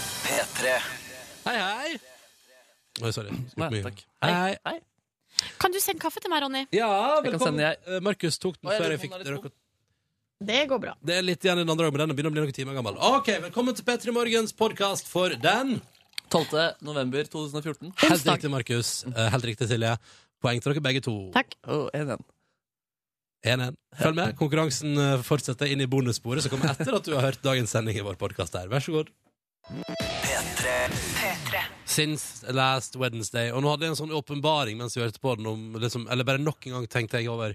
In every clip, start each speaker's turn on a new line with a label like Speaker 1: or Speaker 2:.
Speaker 1: P3.
Speaker 2: Hei, hei! Oi, sorry. Skulle
Speaker 3: Nei,
Speaker 2: på mye.
Speaker 3: takk.
Speaker 2: Hei.
Speaker 3: Hei.
Speaker 2: hei.
Speaker 4: Kan du sende kaffe til meg, Ronny?
Speaker 2: Ja,
Speaker 3: Jeg kan
Speaker 2: velkommen.
Speaker 3: sende jeg-
Speaker 2: Eh, Markus tok den
Speaker 3: Å, jeg
Speaker 2: før
Speaker 3: tror
Speaker 2: jeg fikk
Speaker 3: hånda er
Speaker 2: det.
Speaker 3: litt
Speaker 4: Det går bra.
Speaker 2: Det er litt igjen i den andre dagen, men den begynner å bli noen timer gammel. Ok, Velkommen til P3 Morgens podkast for den
Speaker 3: 12. november 2014.
Speaker 2: Helt
Speaker 4: Onsdag.
Speaker 2: riktig, Markus. Eh, Helt riktig, Silje. Poeng til dere begge to.
Speaker 4: Takk.
Speaker 3: Å, 1-1.
Speaker 2: 1-1. Følg med. Konkurransen eh, fortsetter inn i bonussporet som kommer etter at du har hørt dagens sending i vår podkast her. Vær så god. Since last Wednesday. Og nå hadde jeg en sånn åpenbaring mens vi hørte på den om liksom, Eller bare nok en gang tenkte jeg over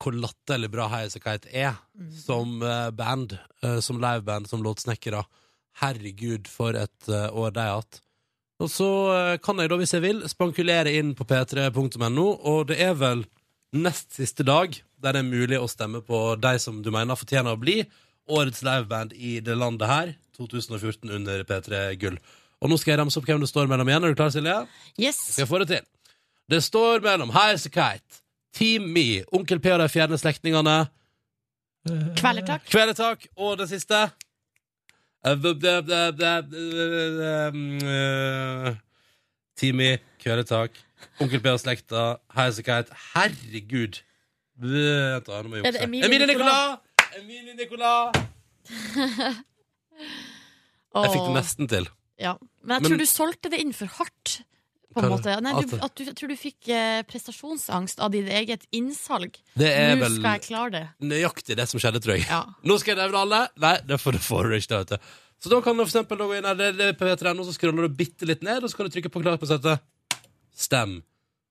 Speaker 2: hvor latterlig bra Highasakite er som eh, band, eh, som liveband, som låtsnekkere. Herregud, for et eh, år de har hatt. Og så eh, kan jeg da, hvis jeg vil, spankulere inn på p3.no, og det er vel nest siste dag der det er mulig å stemme på de som du mener fortjener å bli årets liveband i det landet her, 2014 under P3 Gull. Og nå skal jeg ramse opp hvem det står mellom igjen. Er du klar, Silje?
Speaker 4: Yes.
Speaker 2: Skal jeg få det til? Det står mellom Highasakite, Team Me, Onkel P og de fjerne slektningene,
Speaker 4: Kvelertak.
Speaker 2: Kvelertak og det siste Eh, bæ, bæ, bæ, bæ, eh, mm, eh, Team Me, Kvelertak, Onkel P og slekta, Highasakite. Herregud! Bæ, Vent, da, nå må jeg
Speaker 4: Er det
Speaker 2: jukse.
Speaker 4: Emilie
Speaker 2: Emilie
Speaker 4: Nicolas?
Speaker 2: Nicolas! Emilie Nicolas! Jeg fikk det nesten til.
Speaker 4: Ja. Men jeg
Speaker 2: Men-
Speaker 4: tror du solgte det inn for hardt. På en
Speaker 2: Hva-
Speaker 4: måte. Nei, du,
Speaker 2: at-
Speaker 4: at du, jeg tror du fikk eh, prestasjonsangst av ditt eget innsalg.
Speaker 2: Det er
Speaker 4: Nå
Speaker 2: vel
Speaker 4: skal jeg klare det.
Speaker 2: nøyaktig det som skjedde, tror jeg.
Speaker 4: Ja.
Speaker 2: Nå skal jeg nevne alle. Nei, det får du får du ikke. det, Vet du. Så da kan du for eksempel da gå inn her, det- det er på P3.no, så scroller du bitte litt ned, og så kan du trykke på klar på settet. Stem.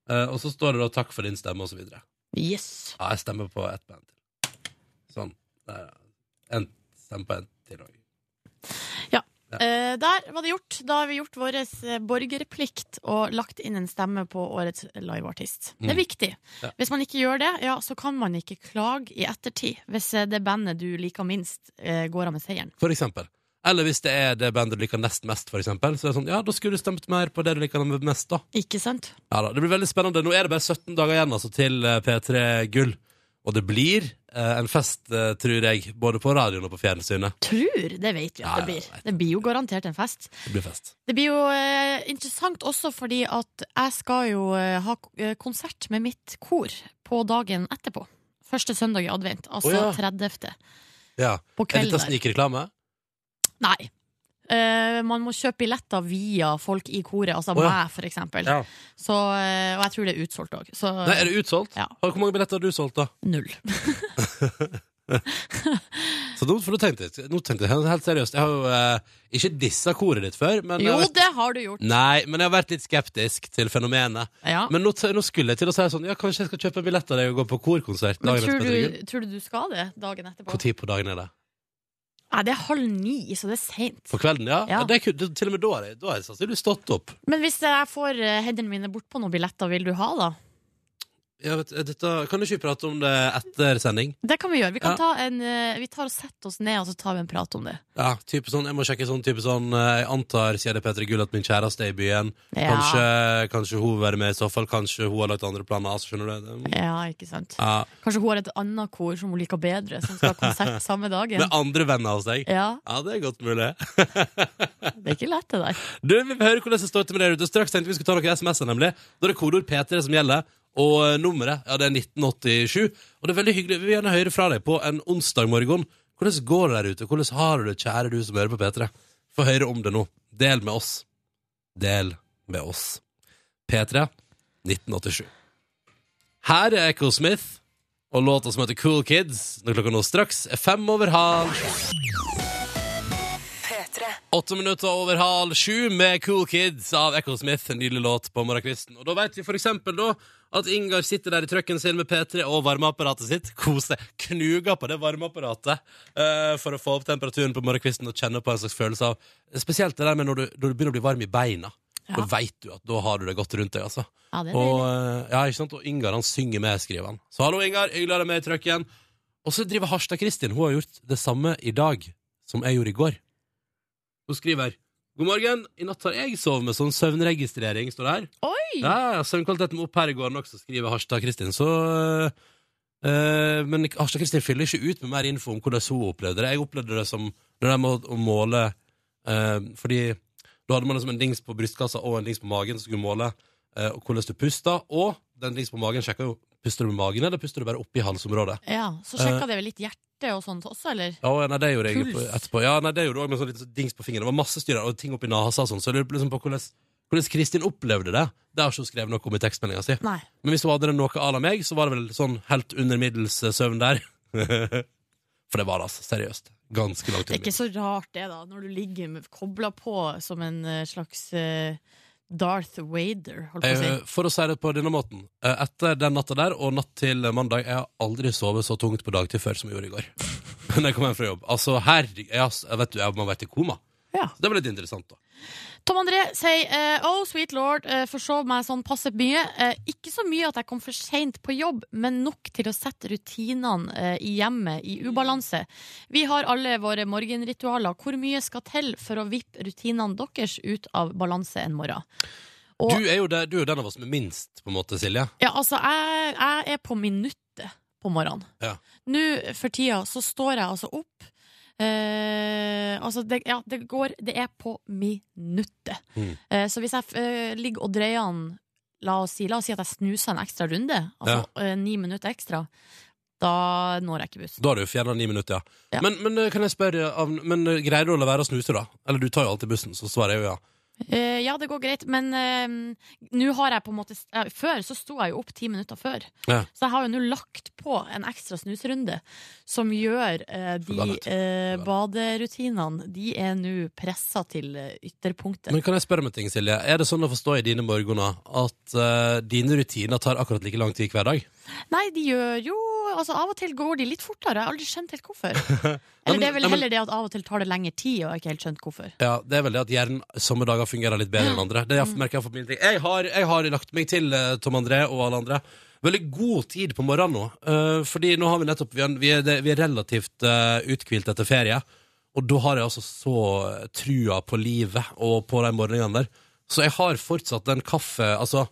Speaker 2: Eh, og så står det da 'takk for din stemme', og så videre.
Speaker 4: Yes.
Speaker 2: Ja, jeg stemmer på ett band til. Sånn. Der, ja. en, stem på en til òg.
Speaker 4: Eh, der var det gjort. Da har vi gjort vår eh, borgerplikt og lagt inn en stemme på årets liveartist. Det
Speaker 2: Mm.
Speaker 4: er viktig.
Speaker 2: Ja.
Speaker 4: Hvis man ikke gjør det, ja, så kan man ikke klage i ettertid. Hvis eh, det bandet du liker minst, eh, går av med seieren.
Speaker 2: For eksempel. Eller hvis det er det bandet du liker nest mest, for eksempel. Så er det sånn, ja, da skulle du stemt mer på det du liker mest, da.
Speaker 4: Ikke sant?
Speaker 2: Ja da, Det blir veldig spennende. Nå er det bare 17 dager igjen altså, til eh, P3 Gull. Og det blir eh, en fest, eh, tror jeg, både på radioen og på fjernsynet.
Speaker 4: Tror, det vet vi
Speaker 2: Ja,
Speaker 4: at
Speaker 2: ja,
Speaker 4: det blir. Det blir jo garantert en fest.
Speaker 2: Det blir fest.
Speaker 4: Det blir jo eh, interessant også fordi at jeg skal jo eh, ha k- eh, konsert med mitt kor på dagen etterpå. Første søndag i advent, altså
Speaker 2: Å ja.
Speaker 4: 30.
Speaker 2: Ja.
Speaker 4: på
Speaker 2: Er
Speaker 4: kvelden.
Speaker 2: dette
Speaker 4: der.
Speaker 2: snikreklame?
Speaker 4: Nei. Eh, man må kjøpe billetter via folk i koret, altså
Speaker 2: Å ja.
Speaker 4: meg, for eksempel.
Speaker 2: Ja.
Speaker 4: Så, eh, og jeg tror det er utsolgt òg. Så
Speaker 2: Nei, er det utsolgt?
Speaker 4: Ja.
Speaker 2: Hvor mange billetter har du solgt, da?
Speaker 4: null.
Speaker 2: Så nå, for nå tenkte jeg, nå tenkte jeg helt seriøst Jeg har jo eh, ikke dissa koret ditt før. Men jeg
Speaker 4: Jo,
Speaker 2: har vært-
Speaker 4: det har du gjort.
Speaker 2: Nei, men jeg har vært litt skeptisk til fenomenet.
Speaker 4: Ja. Men,
Speaker 2: Men nå, t- nå skulle jeg til å si sånn Ja, kanskje jeg skal kjøpe en billett av deg og gå på korkonsert. dagen
Speaker 4: tror,
Speaker 2: etter P3 Gull.
Speaker 4: du, tror du du skal det dagen etterpå?
Speaker 2: Hvor tid på dagen er det?
Speaker 4: Nei, det er halv ni, så det er seint.
Speaker 2: På kvelden, ja?
Speaker 4: Ja.
Speaker 2: ja. Det, er ku- det, til og med da har jeg- da har jeg sannsynligvis stått opp.
Speaker 4: Men hvis jeg får eh, hendene mine bort på noen billetter, vil du ha da?
Speaker 2: Ja, vet, eh, dette, kan du ikke prate om det etter sending?
Speaker 4: Det kan vi gjøre. Vi, kan
Speaker 2: Ja.
Speaker 4: ta en, eh, vi tar og setter oss ned og så tar vi en prat om det.
Speaker 2: Ja, type sånn, Jeg må sjekke sånn type sånn eh, Jeg antar, sier det Petre Gull, at min kjæreste er i byen.
Speaker 4: Ja.
Speaker 2: Kanskje, kanskje hun vil være med i så fall. Kanskje hun har lagt andre planer. Altså, skjønner du det?
Speaker 4: Ja, ikke sant
Speaker 2: Ja,
Speaker 4: Kanskje hun har et annet kor som hun liker bedre, som skal ha konsert samme dagen.
Speaker 2: Med andre venner hos deg.
Speaker 4: Ja,
Speaker 2: Ja, det er godt mulig.
Speaker 4: Det er ikke lett, det der.
Speaker 2: Du, Vi får høre hvordan det står til med deg ute. Straks tenkte vi skulle ta noen SMS-er, nemlig. Da er det kodeord P3 som gjelder. Og eh, nummeret ja, det er 1987. Og det er veldig hyggelig. Vi vil gjerne høre fra deg på en onsdag morgen. Hvordan går det der ute? Hvordan har du det, kjære du som hører på P3? Få høre om det nå. Del med oss. Del med oss. P3 1987. Her er Echo Smith og låta som heter Cool Kids. Når klokka nå straks er fem over halv Åtte minutter over halv sju med Cool Kids av Echo Smith, en nydelig låt på morgenkvisten. Og da vet vi for eksempel da at Ingar sitter der i trøkken sin med P3 og varmeapparatet sitt, koser seg, knuger på det varmeapparatet eh, for å få opp temperaturen på morgenkvisten og kjenne på en slags følelse av Spesielt det der med når du, når du begynner å bli varm i beina. Da
Speaker 4: Ja.
Speaker 2: veit du at da har du det godt rundt deg, altså.
Speaker 4: Ja, det er
Speaker 2: Og,
Speaker 4: deilig.
Speaker 2: eh, ja, ikke sant? og Ingar han synger med, skriver han. Så hallo, Ingar. Hyggelig å ha deg med i trøkken. Og så driver Harstad Kristin. Hun har gjort det samme i dag som jeg gjorde i går. Hun skriver God morgen. I natt har jeg sovet med sånn søvnregistrering, står det her.
Speaker 4: Oi!
Speaker 2: Ja, ja, søvnkvaliteten må opp her i går nok, så skriver Harstad Kristin. Så eh, Men Harstad Kristin fyller ikke ut med mer info om hvordan hun opplevde det. Jeg opplevde det som det der med å- å måle eh, Fordi Da hadde man liksom en dings på brystkassa og en dings på magen som skulle måle eh, hvordan du pusta. Og den dings på magen sjekka jo puster du med magen, eller puster du bare oppi halsområdet.
Speaker 4: Ja, Så
Speaker 2: Eh.
Speaker 4: sjekka dere litt hjerte og sånt også, eller?
Speaker 2: Ja, nei, det gjorde jeg
Speaker 4: Puls.
Speaker 2: på- etterpå. Ja, nei, det gjorde jeg også med sånn litt sånn dings på fingeren. Det var masse styr der, og ting oppi nasa og sånn. Så jeg lurer på liksom på hvordan, hvordan Kristin opplevde det. Det har ikke hun skrevet noe om i tekstmeldinga si.
Speaker 4: Nei.
Speaker 2: Men hvis hun hadde det noe à la meg, så var det vel sånn helt under middels eh, søvn der. For det var det, altså. Seriøst. Ganske langt
Speaker 4: Det er
Speaker 2: under.
Speaker 4: ikke så rart det, da, når du ligger kobla på som en eh, slags eh, Darth Vader, holdt på å si.
Speaker 2: Eh, For å si det på denne måten, eh, etter den natta der og natt til mandag Jeg har aldri sovet så tungt på dagtid før som jeg gjorde i går. Når jeg kom hjem fra jobb. Altså, herregud, jeg, ass- jeg vet du, jeg må vært i koma.
Speaker 4: Ja.
Speaker 2: Så det var litt interessant, da.
Speaker 4: Tom André sier eh, Oh, sweet lord, eh, forsov meg sånn passe mye. Eh, ikke så mye at jeg kom for seint på jobb, men nok til å sette rutinene eh, i hjemmet i ubalanse. Vi har alle våre morgenritualer. Hvor mye skal til for å vippe rutinene deres ut av balanse en morgen? Og-
Speaker 2: Du er jo det, du er jo den av oss med minst, på en måte, Silje.
Speaker 4: Ja, altså, jeg, jeg er på minuttet på morgenen.
Speaker 2: Ja.
Speaker 4: Nå for tida så står jeg altså opp eh, Altså, det, ja, det går Det er på minuttet.
Speaker 2: Mm.
Speaker 4: Eh, så hvis jeg eh, ligger og dreier den la oss, si, la oss si at jeg snuser en ekstra runde, altså eh, ni minutter ekstra, da når jeg ikke bussen.
Speaker 2: Da har du fjerna ni minutter, ja.
Speaker 4: Ja.
Speaker 2: Men, men eh, kan jeg spørre, av- men eh, greier du å la være å snuse, da? Eller du tar jo alltid bussen, så svarer jeg jo ja.
Speaker 4: Eh, ja, det går greit, men eh, nå har jeg på en måte ja, Før så sto jeg jo opp ti minutter før.
Speaker 2: Ja.
Speaker 4: Så jeg har jo nå lagt på en ekstra snusrunde som gjør eh, de
Speaker 2: Forbannet.
Speaker 4: eh,
Speaker 2: Forbannet.
Speaker 4: baderutinene De er nå pressa til eh, ytterpunktet.
Speaker 2: Men kan jeg spørre om en ting, Silje? Er det sånn å forstå i dine morgener at eh, dine rutiner tar akkurat like lang tid hver dag?
Speaker 4: Nei, de gjør jo Altså, av og til går de litt fortere. Jeg har aldri skjønt helt hvorfor.
Speaker 2: Nei,
Speaker 4: Eller
Speaker 2: men-
Speaker 4: det er vel
Speaker 2: nei, men-
Speaker 4: heller det at av og til tar det lengre tid, og jeg har ikke helt skjønt hvorfor.
Speaker 2: Ja, det er vel det at hjernen somme dager fungerer litt bedre enn andre. Det er, merker jeg for min ting. Jeg har, jeg har lagt meg til eh, Tom André og alle andre. Veldig god tid på morgenen nå. eh, fordi nå har vi nettopp Vi er, vi er, det- vi er relativt eh, uthvilt etter ferie. Og da har jeg altså så trua på livet og på de morgenene der. Så jeg har fortsatt den kaffe Altså,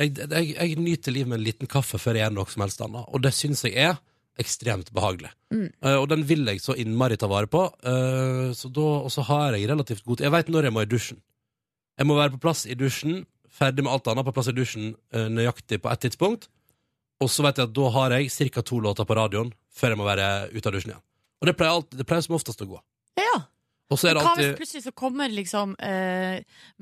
Speaker 2: jeg, jeg, jeg nyter livet med en liten kaffe før jeg gjør noe som helst annet. Og det syns jeg er ekstremt behagelig. Eh, og den vil jeg så innmari ta vare på. eh, så da, og så har jeg relativt god tid. Jeg veit når jeg må i dusjen. Jeg må være på plass i dusjen, ferdig med alt annet, på plass i dusjen eh, nøyaktig på ett tidspunkt. Og så vet jeg at da har jeg ca. to låter på radioen før jeg må være ute av dusjen igjen. Og det pleier, alt, det pleier som oftest å gå.
Speaker 4: Ja,
Speaker 2: Og så er det
Speaker 4: Hva hvis
Speaker 2: alltid
Speaker 4: plutselig så kommer liksom eh,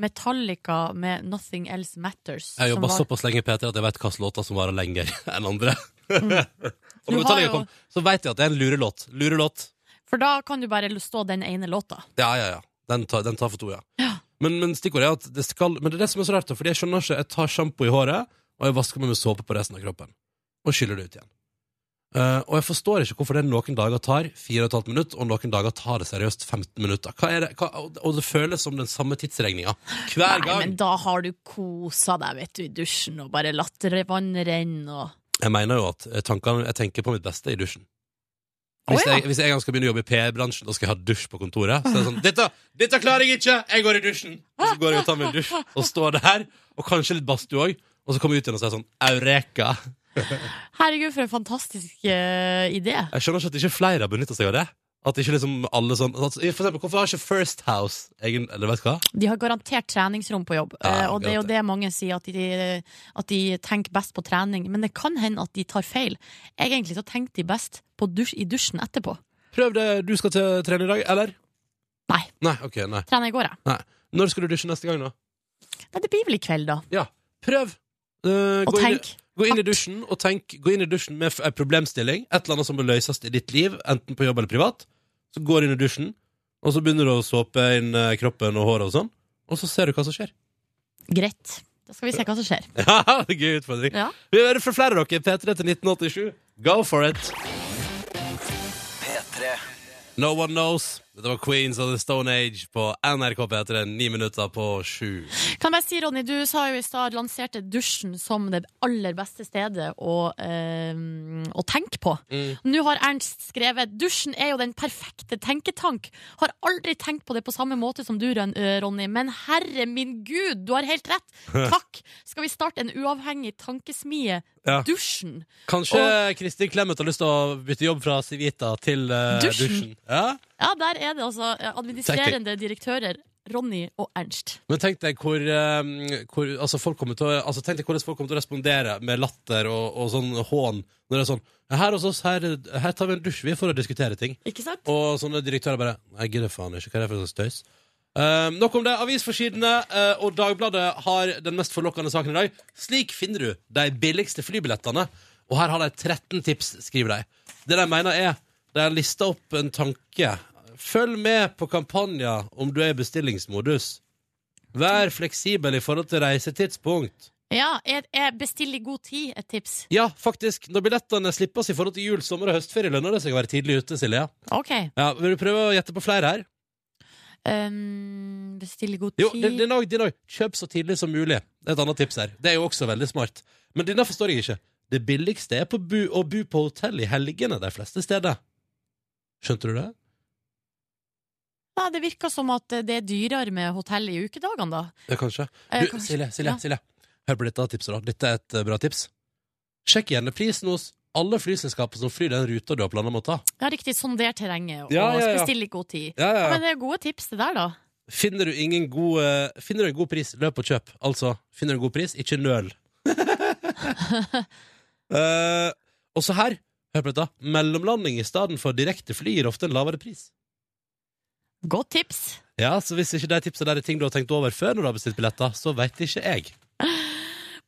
Speaker 4: Metallica med 'Nothing Else Matters'?
Speaker 2: Jeg
Speaker 4: som
Speaker 2: jobber
Speaker 4: var-
Speaker 2: såpass lenge i P3 at jeg vet hvilke låter som varer lenger enn andre. og
Speaker 4: Mm. Du
Speaker 2: når
Speaker 4: har
Speaker 2: Metallica
Speaker 4: jo-
Speaker 2: kom, så vet jeg at det er en lurelåt. Lurelåt.
Speaker 4: For da kan du bare stå den ene låta.
Speaker 2: Ja, ja, ja. Den tar, den tar for to, ja. Men, men stikkordet er at det skal Men det er det som er så rart, da, fordi jeg skjønner ikke Jeg tar sjampo i håret, og jeg vasker meg med såpe på resten av kroppen. Og skyller det ut igjen. Eh, og jeg forstår ikke hvorfor det noen dager tar 4,5 minutter, og noen dager tar det seriøst 15 minutter. Hva er det? Hva, og og det føles som den samme tidsregninga hver
Speaker 4: Nei,
Speaker 2: gang.
Speaker 4: men da har du kosa deg, vet du, i dusjen og bare latt re- vann renne og
Speaker 2: Jeg mener jo at eh, tankene Jeg tenker på mitt beste i dusjen. Hvis,
Speaker 4: Å, ja.
Speaker 2: jeg, hvis jeg en gang skal begynne å jobbe i PR-bransjen, da skal jeg ha dusj på kontoret. Så er det sånn, dette, dette klarer jeg ikke! Jeg går i dusjen! Og så går jeg og tar meg en dusj, og står der, og kanskje litt badstue òg. Og så kommer jeg ut igjen og sier sånn Eureka!
Speaker 4: Herregud, for en fantastisk eh, idé.
Speaker 2: Jeg skjønner ikke at ikke flere har benytta seg av det. At ikke liksom alle sånn at, For eksempel, hvorfor har ikke First House egen Eller vet du hva?
Speaker 4: De har garantert treningsrom på jobb,
Speaker 2: Ja,
Speaker 4: eh, og det er jo
Speaker 2: garantert.
Speaker 4: det mange sier, at de, at de tenker best på trening. Men det kan hende at de tar feil. Egentlig så tenkte de best på dusj, i dusjen etterpå.
Speaker 2: Prøv det du skal til trene i dag, eller?
Speaker 4: Nei,
Speaker 2: Nei, ok, nei.
Speaker 4: trene i går, jeg.
Speaker 2: Når skal du dusje neste gang, da?
Speaker 4: Nei, det blir vel i kveld, da.
Speaker 2: Ja, prøv! Eh,
Speaker 4: Og
Speaker 2: gå inn i-
Speaker 4: tenk.
Speaker 2: Gå inn i
Speaker 4: Hardt.
Speaker 2: dusjen og tenk Gå inn i dusjen med f- en problemstilling Et eller annet som må løses i ditt liv Enten på jobb eller privat Så går du inn i dusjen Og så begynner du å såpe inn eh, kroppen og håret og sånn Og så ser du hva som skjer
Speaker 4: Greit. Da skal vi se hva som skjer.
Speaker 2: Ja, det er gøy utfordring
Speaker 4: Ja.
Speaker 2: Vi hører fra flere av dere P3 til 1987 Go for it No One Knows Dette var Queens of the Stone Age På NRK P3 Ni minutter på sju
Speaker 4: Kan jeg bare si, Ronny, du sa jo i stad lanserte dusjen som det aller beste stedet å, eh, å tenke på. Nå har Ernst skrevet dusjen er jo den perfekte tenketank. Har aldri tenkt på det på samme måte som du, Ron- eh, Ronny, men herre min gud, du har helt rett. Takk. Skal vi starte en uavhengig tankesmie?
Speaker 2: Ja.
Speaker 4: Dusjen.
Speaker 2: Kanskje Kristin Clement har lyst til å bytte jobb fra Civita til eh,
Speaker 4: Dusjen.
Speaker 2: dusjen Ja
Speaker 4: Ja, der er det altså eh, administrerende direktører Ronny og Ernst.
Speaker 2: Men tenk deg hvor, eh, hvor altså folk kommer til å, altså tenk deg hvordan folk kommer til å respondere med latter og, og sånn hån. Når det er sånn Her hos oss, her, her tar vi en dusj, vi, for å diskutere ting.
Speaker 4: Ikke sant?
Speaker 2: Og sånne direktører bare Jeg gidder faen ikke, hva er det for noe støys? Eh, nok om det. Avisforsidene eh, og Dagbladet har den mest forlokkende saken i dag. Slik finner du de billigste flybillettene. Og her har de 13 tips, skriver de. Det de mener er De har lista opp en tanke. Følg med på kampanjer om du er i bestillingsmodus. Vær fleksibel i forhold til reisetidspunkt.
Speaker 4: Ja, er, er bestill i god tid et tips.
Speaker 2: Ja, faktisk. Når billettene slippes i forhold til jul, sommer og høstferie, lønner det seg å være tidlig ute, Silje.
Speaker 4: Ok.
Speaker 2: Ja, vil du prøve å gjette på flere her?
Speaker 4: Um, bestill i god tid.
Speaker 2: Jo, din- din òg, din òg. Kjøp så tidlig som mulig. Det er et annet tips her. Det er jo også veldig smart. Men denne forstår jeg ikke. Det billigste er på bu å bo på hotell i helgene de fleste steder. Skjønte du det?
Speaker 4: Ja, det virker som at det er dyrere med hotell i ukedagene, da.
Speaker 2: Ja, kanskje.
Speaker 4: Eh,
Speaker 2: Du,
Speaker 4: kanskje-
Speaker 2: Silje, Silje,
Speaker 4: ja.
Speaker 2: Silje. Hør på dette tipset, da. Dette er et eh, bra tips. Sjekk gjerne prisen hos alle flyselskaper som flyr den ruta du har planer om å ta.
Speaker 4: Ja, riktig. Sonder terrenget og
Speaker 2: Ja, ja, ja.
Speaker 4: bestill i god tid.
Speaker 2: Ja,
Speaker 4: Ja, men det er gode tips, det der, da.
Speaker 2: Finner du ingen god eh, Finner du en god pris, løp og kjøp. Altså, finner du en god pris, ikke nøl. Eh, og så her, hør på dette. Mellomlanding i stedet for direkte fly gir ofte en lavere pris.
Speaker 4: Godt tips.
Speaker 2: Ja, Så hvis ikke de tipsene der er ting du har tenkt over før når du har bestilt billetter, så veit ikke jeg.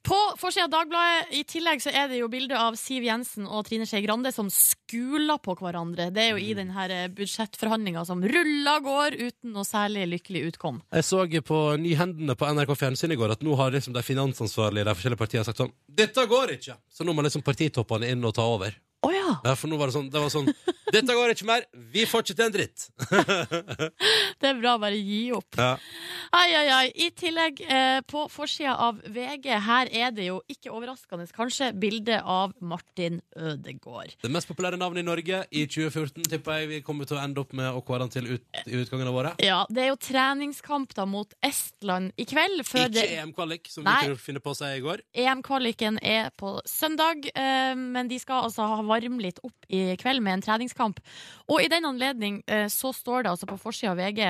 Speaker 4: På forsida av Dagbladet i tillegg så er det jo bilde av Siv Jensen og Trine Skei Grande som skuler på hverandre. Det er jo
Speaker 2: Mm.
Speaker 4: i denne budsjettforhandlinga som ruller og går uten noe særlig lykkelig utkom.
Speaker 2: Jeg så på Nyhendene på NRK Fjernsyn i går at nå har liksom de finansansvarlige i de forskjellige partiene sagt sånn Dette går ikke! Så nå må liksom partitoppene inn og ta over.
Speaker 4: Å ja!
Speaker 2: Ja, For nå var det sånn, det var sånn Dette går ikke mer! Vi får ikke til en dritt!
Speaker 4: Det er bra å bare gi opp.
Speaker 2: Ja.
Speaker 4: Ai, ai, ai. I tillegg, eh, på forsida av VG, her er det jo ikke overraskende kanskje bilde av Martin Ødegaard.
Speaker 2: Det mest populære navnet i Norge i 2014 tipper jeg vi kommer til å ende opp med å kåre han til ut, i utgangen av året.
Speaker 4: Ja, det er jo treningskamp da mot Estland i kveld. Før
Speaker 2: Ikke
Speaker 4: det-
Speaker 2: EM-kvalik, som
Speaker 4: Nei.
Speaker 2: vi kunne finne på å si i går.
Speaker 4: EM-kvaliken er på søndag, eh, men de skal altså ha varme litt opp i kveld med en treningskamp. Og i den anledning eh, så står det altså på forsida av VG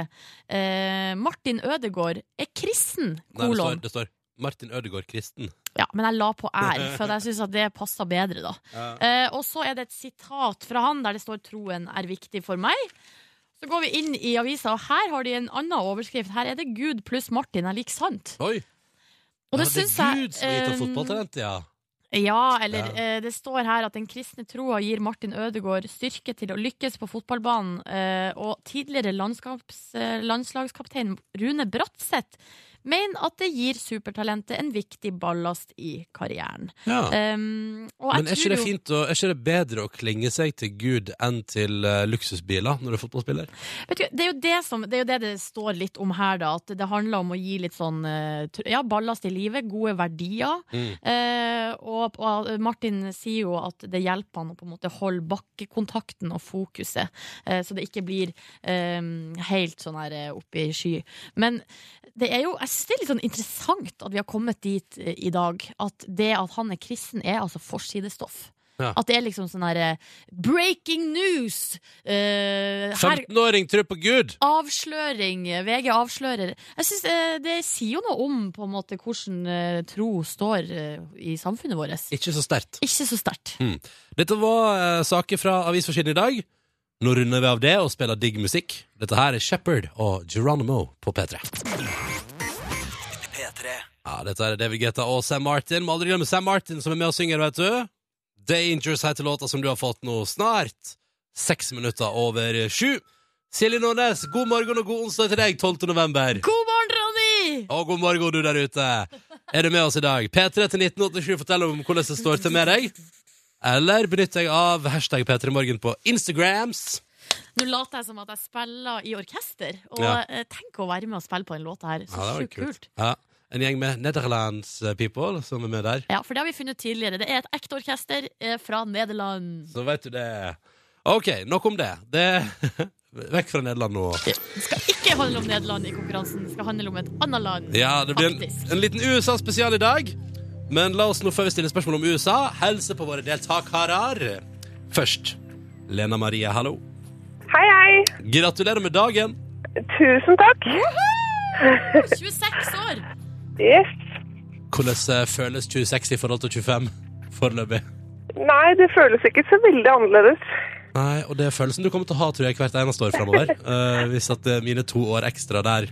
Speaker 4: eh, Martin Ødegaard er kristen,
Speaker 2: Nei, det
Speaker 4: kolon.
Speaker 2: står, det står Martin Ødegaard Kristen.
Speaker 4: Ja, men jeg la på R, for jeg syns at det passer bedre, da. Eh, og så er det et sitat fra han der det står 'Troen er viktig for meg'. Så går vi inn i avisa, og her har de en annen overskrift. Her er det 'Gud pluss Martin er lik sant'.
Speaker 2: Oi!
Speaker 4: Og
Speaker 2: ja,
Speaker 4: det
Speaker 2: det
Speaker 4: syns
Speaker 2: er
Speaker 4: jeg
Speaker 2: Gud som har gitt oss
Speaker 4: eh,
Speaker 2: fotballtalent, ja.
Speaker 4: Ja, eller
Speaker 2: Ja.
Speaker 4: eh, det står her at den kristne troa gir Martin Ødegaard styrke til å lykkes på fotballbanen. eh, og tidligere landskaps, eh, landslagskaptein Rune Bratseth mener at det gir supertalentet en viktig ballast i karrieren.
Speaker 2: ja.
Speaker 4: Um, og jeg
Speaker 2: Men er ikke,
Speaker 4: tror
Speaker 2: det
Speaker 4: jo-
Speaker 2: fint å, er ikke det bedre å klinge seg til Gud enn til eh, luksusbiler når du er fotballspiller?
Speaker 4: Vet du, det, er jo det, som, det er jo det det står litt om her, da. At det handler om å gi litt sånn eh, tr- ja, ballast i livet, gode verdier. Eh, og, og Martin sier jo at det hjelper han å på en måte holde bakkekontakten og fokuset, eh, så det ikke blir eh, helt sånn her eh, oppe i sky. Men det er jo jeg synes det er litt sånn interessant at vi har kommet dit eh, i dag. At det at han er kristen, er altså forsidestoff.
Speaker 2: Ja.
Speaker 4: At det er liksom sånn her eh, Breaking news! Eh, her
Speaker 2: 15-åring tror på Gud!
Speaker 4: Avsløring. VG avslører. Jeg synes, eh, Det sier jo noe om på en måte hvordan eh, tro står eh, i samfunnet vårt.
Speaker 2: Ikke så sterkt.
Speaker 4: Ikke så sterkt.
Speaker 2: Mm. Dette var eh, saker fra avisforsiden i dag. Nå runder vi av det og spiller digg musikk. Dette her er Shepherd og Geronimo på P3. Ja, dette er David Guetta og Sam Martin. Må aldri glemme Sam Martin som er med og synger, vet du. Dangerous heter låta som du har fått nå snart. Seks minutter over sju. Silje Nordnes, god morgen og god onsdag til deg, 12. november.
Speaker 4: God morgen, Ronny!
Speaker 2: Og god morgen, du der ute. Er du med oss i dag? P3 til 1987 fortell om hvordan det står til med deg. Eller benytt deg av hashtag P3morgen på Instagrams.
Speaker 4: Nå later jeg som at jeg spiller i orkester. Og
Speaker 2: Ja.
Speaker 4: eh, tenk å være med og spille på den låta her. Så sjukt kult.
Speaker 2: Ja, en gjeng med Netherlands people som er med der.
Speaker 4: Ja, For det har vi funnet ut tidligere. Det er et ekte orkester eh, fra Nederland.
Speaker 2: Så vet du det. OK, nok om det. det Vekk fra Nederland nå.
Speaker 4: Det skal ikke handle om Nederland i konkurransen, det skal handle om et annet land.
Speaker 2: Ja, det blir en,
Speaker 4: Faktisk.
Speaker 2: en liten USA-spesial i dag. Men la oss nå før vi stiller spørsmål om USA, helse på våre deltakere. Først Lena Marie, hallo.
Speaker 1: Hei, hei.
Speaker 2: Gratulerer med dagen.
Speaker 1: Tusen takk.
Speaker 4: 26 år!
Speaker 1: Yes.
Speaker 2: Hvordan eh, føles 26 i forhold til 25 foreløpig?
Speaker 1: Nei, det føles ikke så veldig annerledes.
Speaker 2: Nei, og det er følelsen du kommer til å ha tror jeg, hvert eneste år framover. hvis at eh, mine to år ekstra der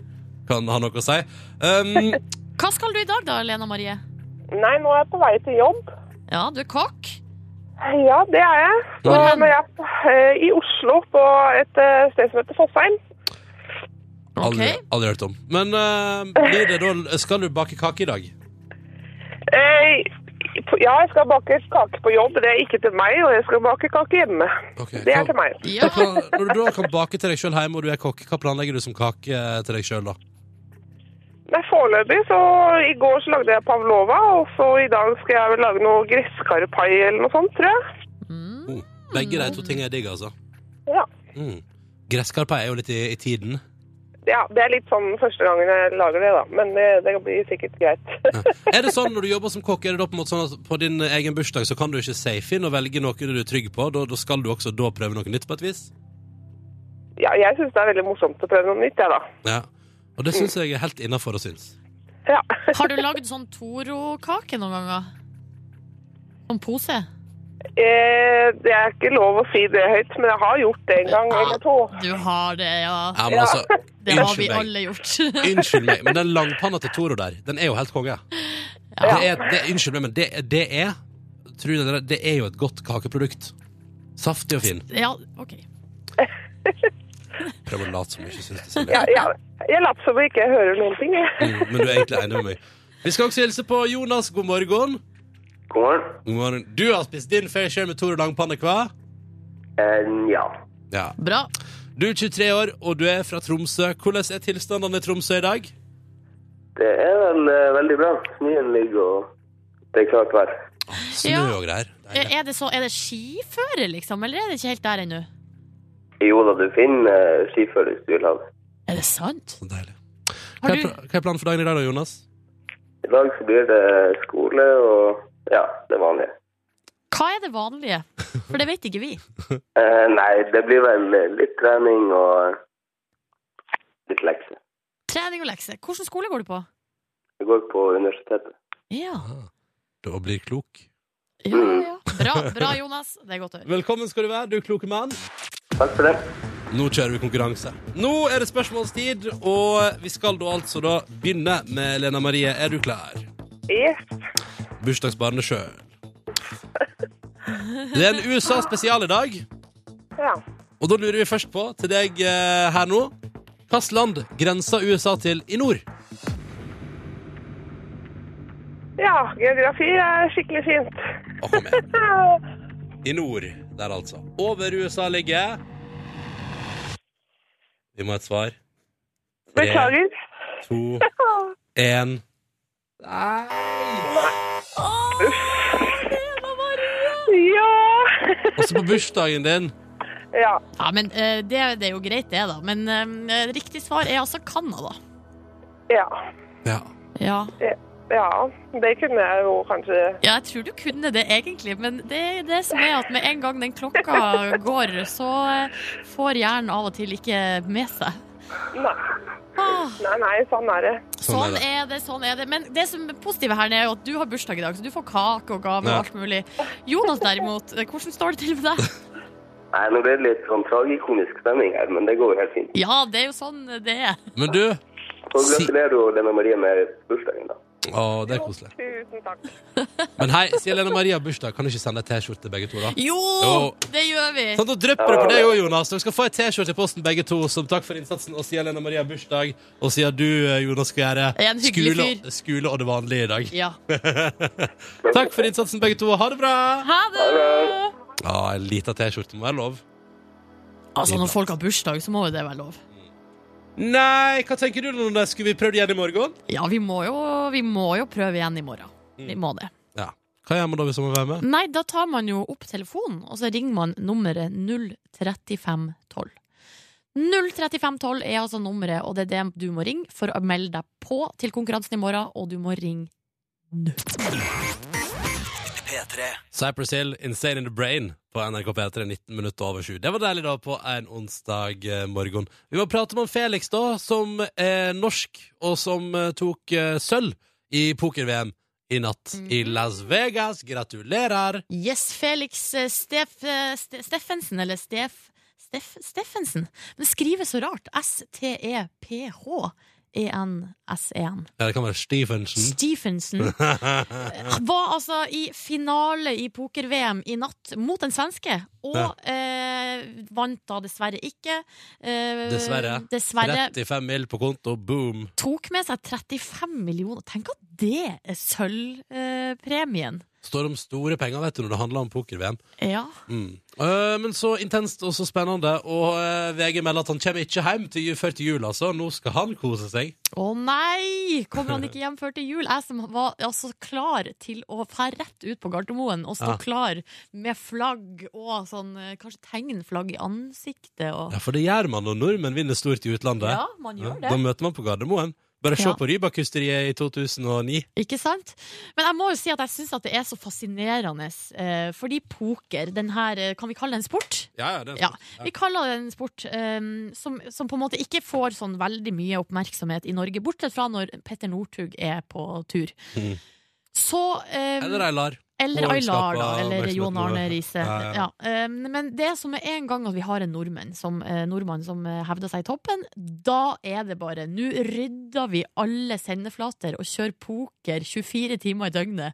Speaker 2: kan ha noe å si. Um,
Speaker 4: Hva skal du i dag da, Lena Marie?
Speaker 1: Nei, nå er jeg på vei til jobb.
Speaker 4: Ja, du er kokk.
Speaker 1: Ja, det er jeg. Så
Speaker 4: Hvor hen?
Speaker 1: nå er jeg eh, i Oslo, på et eh, sted som heter Fossheim.
Speaker 2: aldri,
Speaker 4: Ok.
Speaker 2: aldri hørt om. Men eh, blir det da, skal du bake kake i dag?
Speaker 1: Eh, på- ja, jeg skal bake kake på jobb. Det er ikke til meg, og jeg skal bake kake hjemme.
Speaker 2: Ok,
Speaker 1: Det er
Speaker 2: hva-
Speaker 1: til meg.
Speaker 4: Ja.
Speaker 2: hva- Når du da kan bake til deg sjøl hjemme og du er kokk, hva planlegger du som kake eh, til deg sjøl da?
Speaker 1: Nei, foreløpig så I går så lagde jeg pavlova, og så i dag skal jeg vel lage noe gresskarpai eller noe sånt, tror jeg.
Speaker 4: Mm.
Speaker 2: Oh, begge de to tingene er digg, altså.
Speaker 1: Ja.
Speaker 2: Mm. Gresskarpa er jo litt i, i tiden.
Speaker 1: Ja, Det er litt sånn første gangen jeg lager det, da. Men det, det blir sikkert greit.
Speaker 2: Er det sånn når du jobber som kokk, er det da på en måte sånn at på din egen bursdag så kan du ikke safe inn og velge noe du er trygg på? Da, da skal du også da prøve noe nytt på et vis?
Speaker 1: Ja, jeg syns det er veldig morsomt å prøve noe nytt, jeg, da.
Speaker 2: Ja. Og det syns jeg er helt innafor å synes.
Speaker 1: Ja.
Speaker 4: Har du lagd sånn Toro-kake noen ganger? Sånn pose?
Speaker 1: Eh, det er ikke lov å si det høyt, men jeg har gjort det en gang eller to.
Speaker 4: Du har det, ja.
Speaker 2: Ja, men
Speaker 1: Ja.
Speaker 2: altså,
Speaker 4: Det har vi
Speaker 2: Unnskyld meg.
Speaker 4: alle gjort.
Speaker 2: unnskyld meg, men den langpanna til Toro der, den er jo helt konge. Det er, det, unnskyld meg, men det, det er Tror dere det, det er jo et godt kakeprodukt. Saftig og fin.
Speaker 4: Ja, OK.
Speaker 2: Prøv å late som du ikke syns det. Silje.
Speaker 1: Ja, ja, jeg later som jeg ikke hører noen ting, jeg.
Speaker 2: Mm, men du er egentlig enig med meg. Vi skal også hilse på Jonas. God morgen.
Speaker 5: God morgen.
Speaker 2: God morgen. Du har spist din fair share med Toro langpanne, hva?
Speaker 5: Eh, ja.
Speaker 2: Ja.
Speaker 4: Bra.
Speaker 2: Du er 23 år, og du er fra Tromsø. Hvordan er tilstandene i Tromsø i dag?
Speaker 5: Det er vel eh, veldig bra. Snøen ligger og det er klart vær.
Speaker 2: Snø
Speaker 4: Ja.
Speaker 2: og greier. Deilig.
Speaker 4: Er det, så, er det skiføre, liksom? Eller er det ikke helt der ennå?
Speaker 5: Jo da, du finner eh, skiføre hvis du vil ha det.
Speaker 4: Er det sant?
Speaker 2: Så Sånn Deilig. Hva
Speaker 4: Har
Speaker 2: er
Speaker 4: du,
Speaker 2: pla- hva er planen for dagen i dag da, Jonas?
Speaker 5: I dag så blir det skole og ja, det vanlige.
Speaker 4: hva er det vanlige? For det vet ikke vi.
Speaker 5: Eh, nei, det blir vel eh, litt trening og eh, litt lekser.
Speaker 4: Trening og lekser. Hvilken skole går du på?
Speaker 5: Jeg går på universitetet.
Speaker 4: Ja.
Speaker 2: Da blir klok.
Speaker 4: ja, ja, ja. Bra, bra, Jonas. Det er godt å høre.
Speaker 2: Velkommen skal du være, du kloke mann.
Speaker 5: Takk for det.
Speaker 2: Nå kjører vi konkurranse. Nå er det spørsmålstid, og vi skal da altså da begynne med Lena Marie. Er du klar?
Speaker 1: Yes.
Speaker 2: Bursdagsbarnet sjøl. Det er en USA-spesial i dag,
Speaker 1: Ja.
Speaker 2: og da lurer vi først på, til deg eh, her nå Hvilket land grenser USA til i nord?
Speaker 1: ja, geografi er skikkelig fint.
Speaker 2: Å, kom igjen. I nord, der altså. Over USA ligger Vi må ha et svar. Tre,
Speaker 1: Beklager.
Speaker 2: to, én
Speaker 1: Ja.
Speaker 2: Også på bursdagen din.
Speaker 1: ja.
Speaker 4: Ja, men eh, det, det er jo greit, det, da. Men eh, riktig svar er altså Canada.
Speaker 1: Ja.
Speaker 2: Ja.
Speaker 4: Ja.
Speaker 1: Ja. Det kunne jeg jo kanskje
Speaker 4: Ja, jeg tror du kunne det egentlig, men det er det som er at med en gang den klokka går, så eh, får hjernen av og til ikke med seg.
Speaker 1: Nei,
Speaker 4: Ah,
Speaker 1: nei, nei sånn er det.
Speaker 4: sånn
Speaker 2: er det.
Speaker 4: er det, sånn er det. Men det som er positive her, er jo at du har bursdag i dag, så du får kake og gave og
Speaker 2: Ja.
Speaker 4: alt mulig. Jonas derimot, eh, hvordan står det til med deg?
Speaker 5: Nei, nå blir det litt sånn tragikomisk stemning her, men det går jo helt fint.
Speaker 4: Ja, det er jo sånn det er.
Speaker 2: Men du
Speaker 5: Så
Speaker 2: Si-
Speaker 5: gratulerer jo Lena Marie med bursdagen, da.
Speaker 2: Å, det er koselig.
Speaker 1: Tusen takk.
Speaker 2: Men hei, siden Lena Marie har bursdag, kan du ikke sende ei T-skjorte begge to, da?
Speaker 4: Jo,
Speaker 2: Jo.
Speaker 4: det gjør vi.
Speaker 2: Sånn, da drypper det på deg òg, Jonas. Dere skal få ei T-skjorte i posten, begge to, som takk for innsatsen. Og siden Lena Marie har bursdag, og siden du, eh, Jonas, skal
Speaker 4: Jeg er en
Speaker 2: gjøre
Speaker 4: hyggelig
Speaker 2: skole, skole og det vanlige i dag.
Speaker 4: Ja.
Speaker 2: Takk for innsatsen, begge to. og Ha det bra!
Speaker 4: Ha det!
Speaker 2: Ja, en lita T-skjorte må være lov.
Speaker 4: Altså, når folk har bursdag, så må jo det være lov.
Speaker 2: Nei, hva tenker du nå? Skulle vi prøvd igjen i morgen?
Speaker 4: Ja, vi må jo, vi må jo prøve igjen i morgen. Vi
Speaker 2: Mm.
Speaker 4: må det.
Speaker 2: Ja. Hva gjør man da hvis man vil være med?
Speaker 4: Nei, da tar man jo opp telefonen, og så ringer man nummeret 03512. 03512 er altså nummeret, og det er det du må ringe for å melde deg på til konkurransen i morgen, og du må ringe nå.
Speaker 2: Cypress Hill, Insane in the Brain på NRK P3, 19 minutter over 7. Det var deilig da på en onsdag eh, morgen. Vi må prate om Felix, da, som er norsk, og som eh, tok eh, sølv i poker-VM i natt i Las Vegas. Gratulerer!
Speaker 4: Yes, Felix eh, Stef, eh, Ste- Steffensen, eller Stef, Stef, Steffensen. Men det skrives så rart. E S-T-E-P-H-E-N-S-E-N.
Speaker 2: Ja, det kan være Stephenson.
Speaker 4: Stephensen var altså i finale i poker-VM i natt mot en svenske, og
Speaker 2: Ja.
Speaker 4: eh, vant da dessverre ikke. Eh,
Speaker 2: Dessverre.
Speaker 4: dessverre
Speaker 2: 35 mil på konto, boom!
Speaker 4: tok med seg 35 millioner. Tenk at det er sølvpremien.
Speaker 2: Står om store penger, vet du, når det handler om poker-VM.
Speaker 4: ja.
Speaker 2: Mm. Eh, men så intenst og så spennende. Og eh, VG melder at han kommer ikke hjem til, før til jul, altså. Nå skal han kose seg.
Speaker 4: Å nei! Kommer han ikke hjem før til jul? Jeg som var altså, klar til å fære rett ut på Gardermoen og stå
Speaker 2: Ja.
Speaker 4: klar med flagg og sånn eh, Kanskje tegnflagg i ansiktet og
Speaker 2: Ja, For det gjør man når nordmenn vinner stort i utlandet.
Speaker 4: Ja, man gjør
Speaker 2: Da
Speaker 4: det.
Speaker 2: møter man på Gardermoen. Bare se
Speaker 4: Ja.
Speaker 2: på Rybak-hysteriet i 2009.
Speaker 4: Ikke sant? Men jeg må jo si at jeg syns det er så fascinerende, eh, fordi poker, den her eh, Kan vi kalle det en sport?
Speaker 2: Ja, ja, det er
Speaker 4: Ja, vi kaller det en sport ehm, som, som på en måte ikke får sånn veldig mye oppmerksomhet i Norge, bortsett fra når Petter Northug er på tur.
Speaker 2: Mhm.
Speaker 4: Så ehm,
Speaker 2: Eller Eilar.
Speaker 4: Mm. Eller
Speaker 2: Hun
Speaker 4: Aylar, da.
Speaker 2: skaper
Speaker 4: Eller
Speaker 2: oppmerksomhet
Speaker 4: Jon Arne
Speaker 2: nå.
Speaker 4: Riise.
Speaker 2: Ja,
Speaker 4: Ja,
Speaker 2: ja.
Speaker 4: ehm, men det som er en gang at vi har en nordmann som, eh, nordmann som eh, hevder seg i toppen, da er det bare Nå rydder vi alle sendeflater og kjører poker 24 timer i døgnet.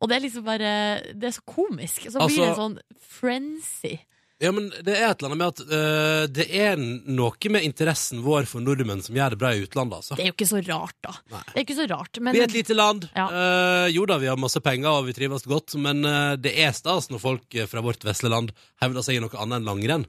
Speaker 4: Og det er liksom bare Det er så komisk. Så
Speaker 2: Altså-
Speaker 4: blir det en sånn frenzy.
Speaker 2: Ja, men det er et eller annet med at eh, det er noe med interessen vår for nordmenn som gjør det bra i utlandet, altså.
Speaker 4: Det er jo ikke så rart, da.
Speaker 2: Nei.
Speaker 4: Det er ikke så rart, men
Speaker 2: Vi er et lite land.
Speaker 4: Ja.
Speaker 2: Eh, jo da, vi har masse penger og vi trives godt, men eh, det er stas når folk eh, fra vårt vesle land hevder seg i noe annet enn langrenn.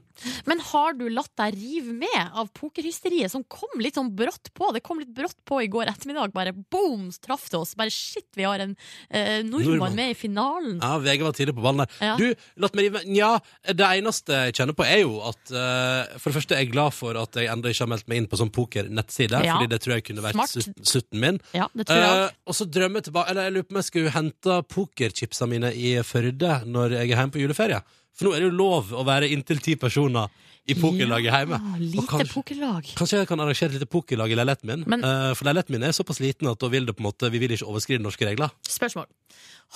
Speaker 4: Men har du latt deg rive med av pokerhysteriet som kom litt sånn brått på? Det kom litt brått på i går ettermiddag. Bare boom, traff det oss. Bare shit, vi har en eh, nordmann,
Speaker 2: Nordmann.
Speaker 4: med i finalen.
Speaker 2: Ja, VG var tidlig på ballen der.
Speaker 4: Ja.
Speaker 2: Du, latt meg rive Nja, det eneste jeg kjenner på, er jo at eh, For det første er jeg glad for at jeg ennå ikke har meldt meg inn på sånn pokernettside,
Speaker 4: Ja.
Speaker 2: fordi det tror jeg kunne vært
Speaker 4: Smart.
Speaker 2: sut- sutten min.
Speaker 4: Ja, det tror jeg
Speaker 2: Eh, og så drømmer jeg tilbake Eller jeg lurer på om jeg skulle hente pokerchipsa mine i Førde når jeg er hjemme på juleferie. For nå er det jo lov å være inntil ti personer i pokerlaget hjemme.
Speaker 4: Ja,
Speaker 2: Og
Speaker 4: lite
Speaker 2: kanskje-
Speaker 4: pokerlag.
Speaker 2: Kanskje jeg kan arrangere et lite pokerlag i leiligheten min.
Speaker 4: Men-
Speaker 2: Eh, for leiligheten min er såpass liten at da vil det på en måte, vi vil ikke overskride norske regler.
Speaker 4: Spørsmål.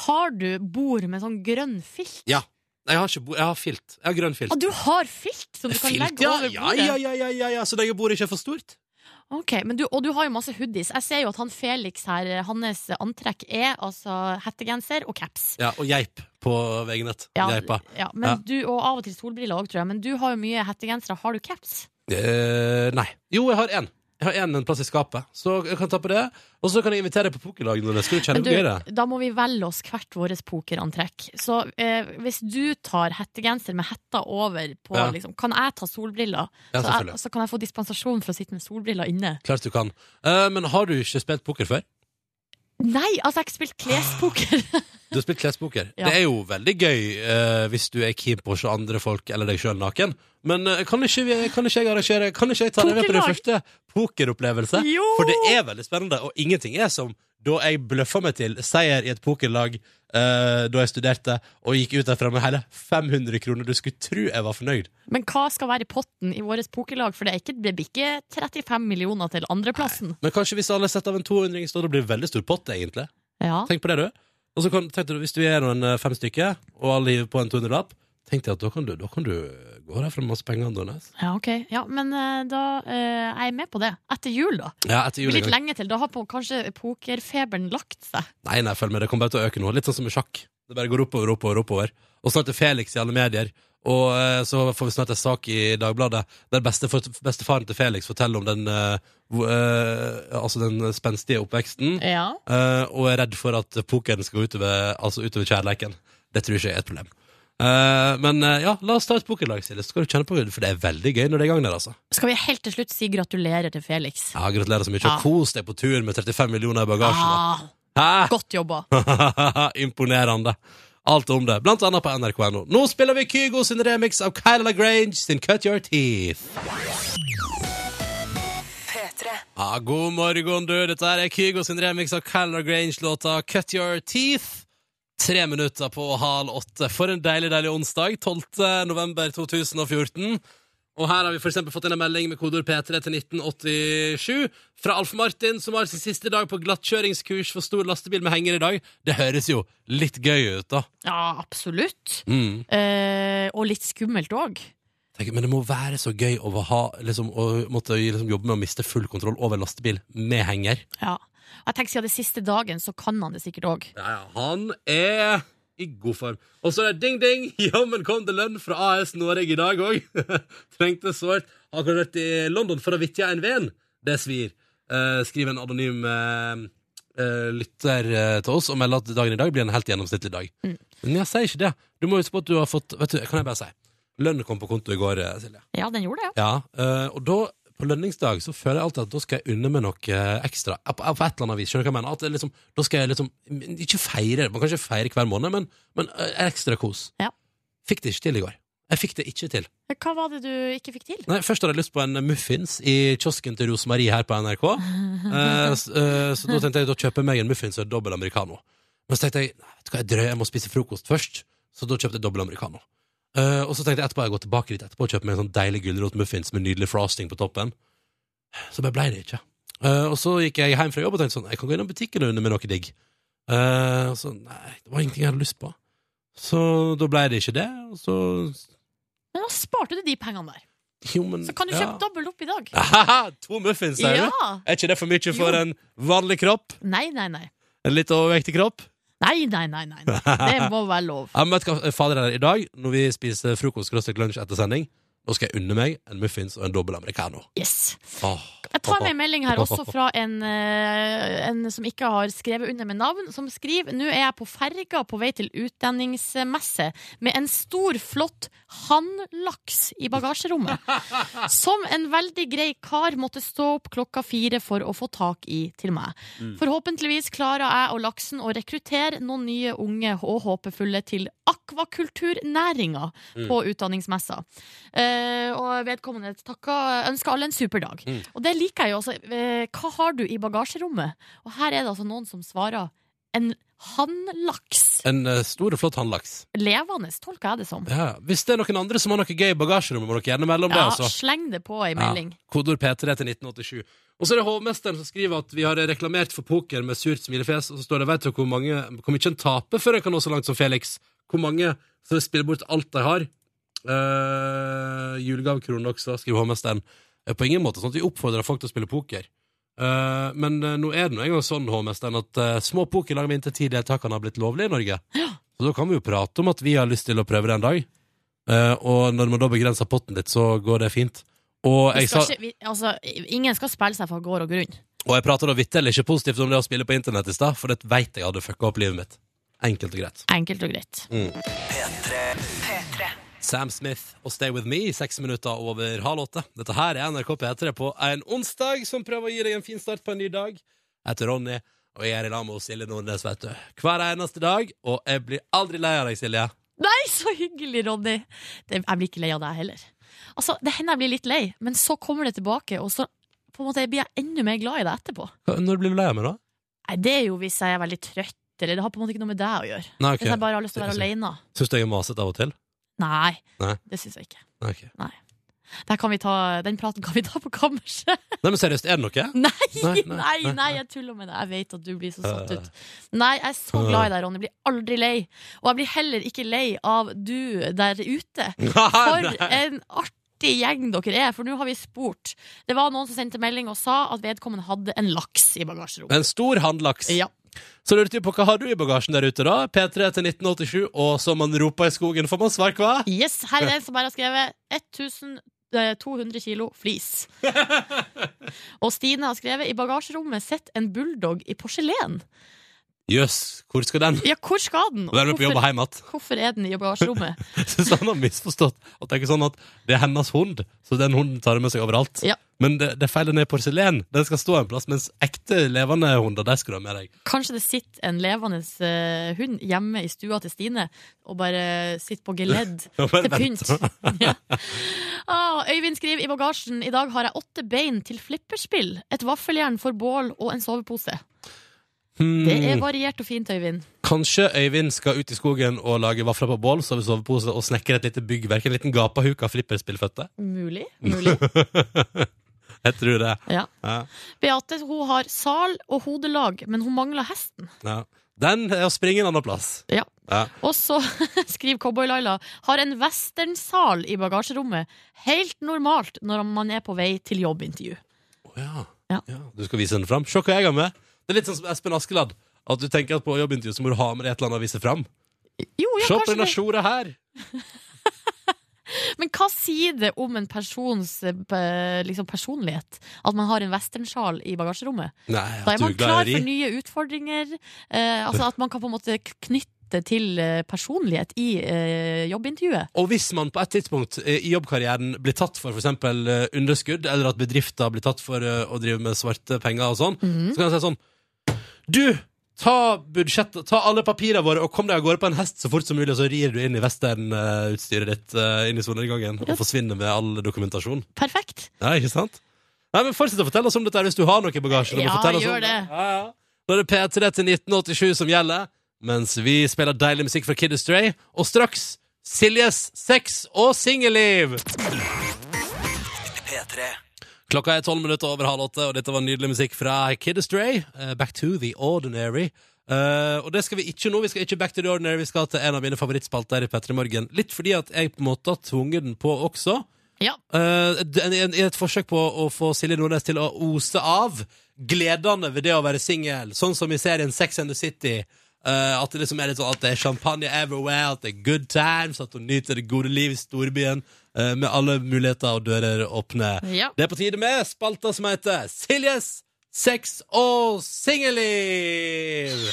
Speaker 4: Har du bord med sånn grønn filt?
Speaker 2: Ja. Nei, Jeg har, ikke bo jeg har filt. Jeg har grønn filt.
Speaker 4: Ah, du har filt som du kan
Speaker 2: Filt,
Speaker 4: legge
Speaker 2: ja.
Speaker 4: over
Speaker 2: Ja,
Speaker 4: bordet?
Speaker 2: ja, ja, ja, ja, ja. Så lenge bordet ikke er for stort.
Speaker 4: Ok, men du, Og du har jo masse hoodies. Jeg ser jo at han Felix her, eh, hans antrekk er altså hettegenser og caps.
Speaker 2: Ja, Og geip på VG-nett. Geipa.
Speaker 4: ja, men
Speaker 2: Ja.
Speaker 4: Du, og av og til solbriller òg, tror jeg. Men du har jo mye hettegensere. Har du caps?
Speaker 2: Eh, nei. Jo, jeg har én. Jeg har én en plass i skapet, så jeg kan ta på det. Og så kan jeg invitere deg på pokerlag, Nordnes. Skal du kjenne
Speaker 4: Men
Speaker 2: hvor gøy det er?
Speaker 4: du, da må vi velge oss hvert vårt pokerantrekk. Så eh, hvis du tar hettegenser med hetta over på,
Speaker 2: Ja.
Speaker 4: liksom, kan jeg ta solbriller?
Speaker 2: Ja,
Speaker 4: så,
Speaker 2: selvfølgelig.
Speaker 4: jeg, så kan jeg få dispensasjon for å sitte med solbriller inne.
Speaker 2: Klart du kan. Eh, men har du ikke spilt poker før?
Speaker 4: Nei, altså, jeg har ikke spilt klespoker.
Speaker 2: Du har spilt klespoker.
Speaker 4: Ja.
Speaker 2: Det er jo veldig gøy eh, hvis du er keen på å se andre folk eller deg sjøl naken. Men eh, kan, ikke vi, kan ikke jeg arrangere Kan ikke jeg ta deg med på din
Speaker 4: Pokerlag.
Speaker 2: første pokeropplevelse?
Speaker 4: Jo!
Speaker 2: Ah, For det er veldig spennende, og ingenting er som da jeg bløffa meg til seier i et pokerlag eh, da jeg studerte, og gikk ut derfra med hele 500 kroner. Du skulle tro jeg var fornøyd.
Speaker 4: Men hva skal være i potten i vårt pokerlag? For det, er ikke, det blir ikke 35 millioner til andreplassen.
Speaker 2: Men kanskje hvis alle setter av en 200-ring, så blir det veldig stor pott, egentlig.
Speaker 4: Ja.
Speaker 2: Tenk på det, du. Og så kan, tenk du, Hvis du er noen eh, fem stykker, og alle hiver på en 200-lapp, tenk deg at da kan du, da kan du gå derfra med masse penger. Andornes.
Speaker 4: Ja, ok. Ja, men eh, da eh, er jeg med på det. Etter jul, da.
Speaker 2: Ja, etter
Speaker 4: Det
Speaker 2: jul en
Speaker 4: blir litt
Speaker 2: gang.
Speaker 4: lenge til. Da har på, kanskje pokerfeberen lagt seg.
Speaker 2: Nei, nei, følg med, det kommer bare til å øke nå. Litt sånn som med sjakk. Det bare går oppover, oppover, oppover. Og snart er Felix i alle medier. Og eh, så får vi snart en sak i Dagbladet der bestefar, bestefaren til Felix forteller om den, eh, hvor- eh, altså den spenstige oppveksten,
Speaker 4: Ja.
Speaker 2: eh, og er redd for at pokeren skal utover, altså utover kjærleiken. Det tror ikke jeg er et problem. Eh, men eh, ja, la oss ta et pokerlag, Silje, så skal du kjenne på det, for det er veldig gøy når det er i gang der, altså.
Speaker 4: Skal vi helt til slutt si gratulerer til Felix?
Speaker 2: Ja, gratulerer så mye.
Speaker 4: Ja.
Speaker 2: Og kos deg på tur med 35 millioner i bagasjen. da.
Speaker 4: Ah,
Speaker 2: Hæ?
Speaker 4: godt jobba.
Speaker 2: Imponerende. Alt om det, blant annet på nrk.no. Nå spiller vi Kygo sin remix av Kyla Lagrange sin Cut Your Teeth. Ja, god morgen, du. Dette her er Kygo sin remix av Kyla Lagrange-låta Cut Your Teeth. Tre minutter på halv åtte. For en deilig, deilig onsdag. 12. november 2014. Og her har vi for eksempel fått inn en melding med kodeord P3 til 1987 fra Alf Martin, som har sin siste dag på glattkjøringskurs for stor lastebil med henger i dag. Det høres jo litt gøy ut, da.
Speaker 4: Ja, absolutt.
Speaker 2: Mm.
Speaker 4: Eh, og litt skummelt òg.
Speaker 2: Tenker, men det må være så gøy å, ha, liksom, å måtte liksom, jobbe med å miste full kontroll over lastebil med henger.
Speaker 4: Ja. Jeg tenker Siden det er siste dagen, så kan han det sikkert òg.
Speaker 2: Ja, ja, han er i god form. Og så er det ding-ding! Jammen kom det lønn fra AS Norge i dag òg. Trengte sårt. Har akkurat vært i London for å vitje en ven. Det svir. Eh, skriver en anonym eh, eh, lytter eh, til oss og melder at dagen i dag blir en helt gjennomsnittlig dag. Men jeg sier ikke det. Du må huske på at du har fått Vet du, Kan jeg bare si Lønnen kom på konto i går, eh, Silje.
Speaker 4: Ja, den gjorde det, ja.
Speaker 2: Ja, eh, og da på lønningsdag så føler jeg alltid at da skal jeg unne meg noe ekstra. På, på et eller annet vis, skjønner du hva jeg mener? At det liksom, da skal jeg liksom Ikke feire, man kan ikke feire hver måned, men, men eh, ekstra kos.
Speaker 4: Ja.
Speaker 2: Fikk det ikke til i går. Jeg fikk det ikke til.
Speaker 4: Hva var det du ikke fikk til?
Speaker 2: Nei, Først hadde jeg lyst på en muffins i kiosken til Rosemarie her på NRK. Eh, s- eh, så da tenkte jeg da kjøper jeg meg en muffins og en dobbel americano. Men så tenkte jeg nei, vet du hva, jeg drøyer, jeg må spise frokost først. Så da kjøpte jeg dobbel americano. Eh, og så tenkte jeg etterpå jeg går tilbake dit etterpå og kjøper meg en sånn deilig gulrotmuffins med nydelig frosting på toppen. Så bare blei det ikke. Eh, og så gikk jeg hjem fra jobb og tenkte sånn Jeg kan gå innom butikken og unne meg noe digg. Eh, og så nei, det var ingenting jeg hadde lyst på. Så da blei det ikke det. Og så
Speaker 4: Men da sparte du de pengene der.
Speaker 2: Jo, men
Speaker 4: Så kan du
Speaker 2: ja.
Speaker 4: kjøpe dobbelt opp i dag.
Speaker 2: Haha, to muffins, sier du?
Speaker 4: Ja!
Speaker 2: Er ikke det for mye for
Speaker 4: Jo.
Speaker 2: en vanlig kropp?
Speaker 4: Nei, nei, nei.
Speaker 2: En litt overvektig kropp?
Speaker 4: Nei, nei, nei, nei. nei. Det må være lov.
Speaker 2: Jeg møtte hva- fader eh, her i dag, når vi spiser frokost skråstrek lunsj etter sending. Nå skal jeg unne meg en muffins og en dobbel americano.
Speaker 4: Yes.
Speaker 2: Åh.
Speaker 4: Jeg tar med en melding her også fra en, eh, en som ikke har skrevet under med navn, som skriver Nå er jeg på ferga på vei til utlendingsmesse med en stor, flott hannlaks i bagasjerommet. Som en veldig grei kar måtte stå opp klokka fire for å få tak i til meg. Forhåpentligvis klarer jeg og laksen å rekruttere noen nye unge og håpefulle til akvakulturnæringa på utdanningsmessa. Eh, og vedkommende takka, ønsker alle en super dag. Og det liker jeg jo også. Eh, Hva har du i bagasjerommet? Og her er det altså noen som svarer en hannlaks.
Speaker 2: En eh, stor og flott handlaks.
Speaker 4: Levende, tolker jeg det som.
Speaker 2: Ja. Hvis det er noen andre som har noe gøy i bagasjerommet, må dere gjerne melde om det.
Speaker 4: Ja,
Speaker 2: altså.
Speaker 4: sleng det på ei melding.
Speaker 2: Ja. Kodord P3 til 1987. Og så er det hovmesteren som skriver at vi har reklamert for poker med surt smilefjes, og så står det veit du hvor mange Hvor mye en taper før en kan nå så langt som Felix? Hvor mange som spiller bort alt de har? Uh, Julegavekronen også, skriver hovmesteren. Eh, På ingen måte sånn at vi oppfordrer folk til å spille poker. Eh, men eh, nå er det nå engang sånn, hovmesteren, at eh, små pokerlag med inntil ti deltakere har blitt lovlig i Norge. Så da kan vi jo prate om at vi har lyst til å prøve det en dag. Eh, og når man da begrenser potten litt, så går det fint. Og
Speaker 4: Vi
Speaker 2: jeg,
Speaker 4: skal
Speaker 2: sa,
Speaker 4: ikke, vi, altså, ingen skal spille seg fra gård og grunn.
Speaker 2: og jeg prater da vitterlig ikke positivt om det å spille på internett i stad, for det veit jeg hadde fucka opp livet mitt. Enkelt og greit.
Speaker 4: Enkelt og greit.
Speaker 2: Sam Smith og Stay With Me, seks minutter over halv åtte. Dette her er NRK P3 på en onsdag som prøver å gi deg en fin start på en ny dag. Jeg heter Ronny, og jeg er i lag med Silje Nordnes, vet du. Hver eneste dag, og jeg blir aldri lei av deg, Silje.
Speaker 4: Nei, så hyggelig, Ronny! Det, jeg blir ikke lei av deg heller. Altså, Det hender jeg blir litt lei, men så kommer det tilbake, og så på en måte, blir jeg enda mer glad i deg etterpå.
Speaker 2: Hva- Når blir du lei av meg, da?
Speaker 4: Nei, Det er jo hvis jeg er veldig trøtt, eller det har på en måte ikke noe med deg å gjøre.
Speaker 2: Nei,
Speaker 4: Hvis jeg
Speaker 2: ok.
Speaker 4: bare har lyst til å være
Speaker 2: Det
Speaker 4: alene.
Speaker 2: Syns du jeg er masete av og til?
Speaker 4: Nei,
Speaker 2: Nei.
Speaker 4: det syns jeg ikke.
Speaker 2: Nei, ok.
Speaker 4: Der kan vi ta, den praten kan vi ta på kammerset.
Speaker 2: Nei, men seriøst, er det noe?
Speaker 4: Nei,
Speaker 2: Nei,
Speaker 4: nei,
Speaker 2: nei,
Speaker 4: nei,
Speaker 2: nei, nei.
Speaker 4: jeg tuller med deg. Jeg vet at du blir så satt ut. Nei, jeg er så glad i deg, Ronny. Jeg blir aldri lei. Og jeg blir heller ikke lei av du der ute. For en artig gjeng dere er, for nå har vi spurt. Det var noen som sendte melding og sa at vedkommende hadde en laks i bagasjerommet.
Speaker 2: En stor handlaks.
Speaker 4: Ja.
Speaker 2: Så lurte vi på hva har du i bagasjen der ute, da? P3 til 1987, og som man roper i skogen, får man svar hva?
Speaker 4: Yes, her er en som bare har skrevet 1200 kilo flis. Og Stine har skrevet i bagasjerommet sitt en bulldog i porselen.
Speaker 2: Jøss, hvor skal den?
Speaker 4: Ja, hvor skal den?
Speaker 2: Den er på jobb og hjem igjen.
Speaker 4: hvorfor er den i bagasjerommet?
Speaker 2: Syns han har misforstått. At det er ikke sånn at det er hennes hund, så den hunden tar det med seg overalt.
Speaker 4: Ja.
Speaker 2: Men det, det feiler ned porselen. Den skal stå en plass, mens ekte levende hunder, de skal du ha med deg.
Speaker 4: Kanskje det sitter en levende eh, hund hjemme i stua til Stine og bare sitter på geledd
Speaker 2: Og bare
Speaker 4: til pynt.
Speaker 2: venter.
Speaker 4: Ja. Ah, Øyvind skriver i bagasjen i dag har jeg åtte bein til flipperspill, et vaffeljern for bål og en sovepose.
Speaker 2: Hmm.
Speaker 4: Det er variert og fint, Øyvind.
Speaker 2: Kanskje Øyvind skal ut i skogen og lage vafler på bål, sove i sovepose og snekre et lite byggverk, en liten gapahuk av flipperspillføtte?
Speaker 4: Mulig. Mulig.
Speaker 2: Jeg tror det.
Speaker 4: Ja.
Speaker 2: Ja.
Speaker 4: Beate hun har sal og hodelag, men hun mangler hesten.
Speaker 2: Ja. Den er å springe en annen plass.
Speaker 4: Ja.
Speaker 2: Ja.
Speaker 4: Og så skriver Cowboy-Laila har en westernsal i bagasjerommet. Helt normalt når man er på vei til jobbintervju.
Speaker 2: Å ja.
Speaker 4: Ja.
Speaker 2: Ja. Du skal vise den fram. Se hva jeg har med. Det er litt sånn som Espen Askeladd. At du tenker at på jobbintervju så må du ha med deg et eller annet å vise fram.
Speaker 4: Jo,
Speaker 2: Se
Speaker 4: ja,
Speaker 2: på
Speaker 4: kanskje
Speaker 2: denne
Speaker 4: det.
Speaker 2: skjorta her!
Speaker 4: Men hva sier det om en persons eh, pe- liksom, personlighet at man har en westernsal i bagasjerommet?
Speaker 2: Nei,
Speaker 4: Da
Speaker 2: at
Speaker 4: er
Speaker 2: du er
Speaker 4: man klar
Speaker 2: glad i å
Speaker 4: for
Speaker 2: ri.
Speaker 4: nye utfordringer. Eh, altså at man kan på en måte k- knytte til eh, personlighet i eh, jobbintervjuet.
Speaker 2: Og hvis man på et tidspunkt eh, i jobbkarrieren blir tatt for f.eks. underskudd, eller at bedrifter blir tatt for eh, å drive med svarte penger og sånn, så kan jeg si sånn Du, ta budsjettet, ta alle papirene våre og kom deg av gårde på en hest så fort som mulig, og så rir du inn i westernutstyret ditt eh, inn i solnedgangen og forsvinner med all dokumentasjon.
Speaker 4: Perfekt.
Speaker 2: Ja, ikke sant? Nei, men Fortsett å fortelle oss om dette her hvis du har noe i bagasjen. du må
Speaker 4: Ja,
Speaker 2: fortelle oss om
Speaker 4: gjør det.
Speaker 2: Ja, ja. Da er det P3 til 1987 som gjelder, mens vi spiller deilig musikk fra Kid Astray. Og straks Siljes sex- og singelliv! Klokka er tolv minutter over halv åtte, og dette var nydelig musikk fra Kid Astray. eh, Back to the Ordinary. Eh, og det skal vi ikke nå. Vi skal ikke back to the ordinary Vi skal til en av mine favorittspalter i P3 Morgen. Litt fordi at jeg på en måte har tvunget den på også.
Speaker 4: Ja.
Speaker 2: Eh, d- en- en- I et forsøk på å få Silje Nordnes til å ose av gledene ved det å være singel, sånn som i serien Sex and the City. eh, at det liksom er litt sånn at det er champagne everywhere, at det er good times, at hun nyter det gode livet i storbyen eh, med alle muligheter og dører åpne.
Speaker 4: Ja.
Speaker 2: Det er på tide med spalta som heter Siljes sex og singelliv!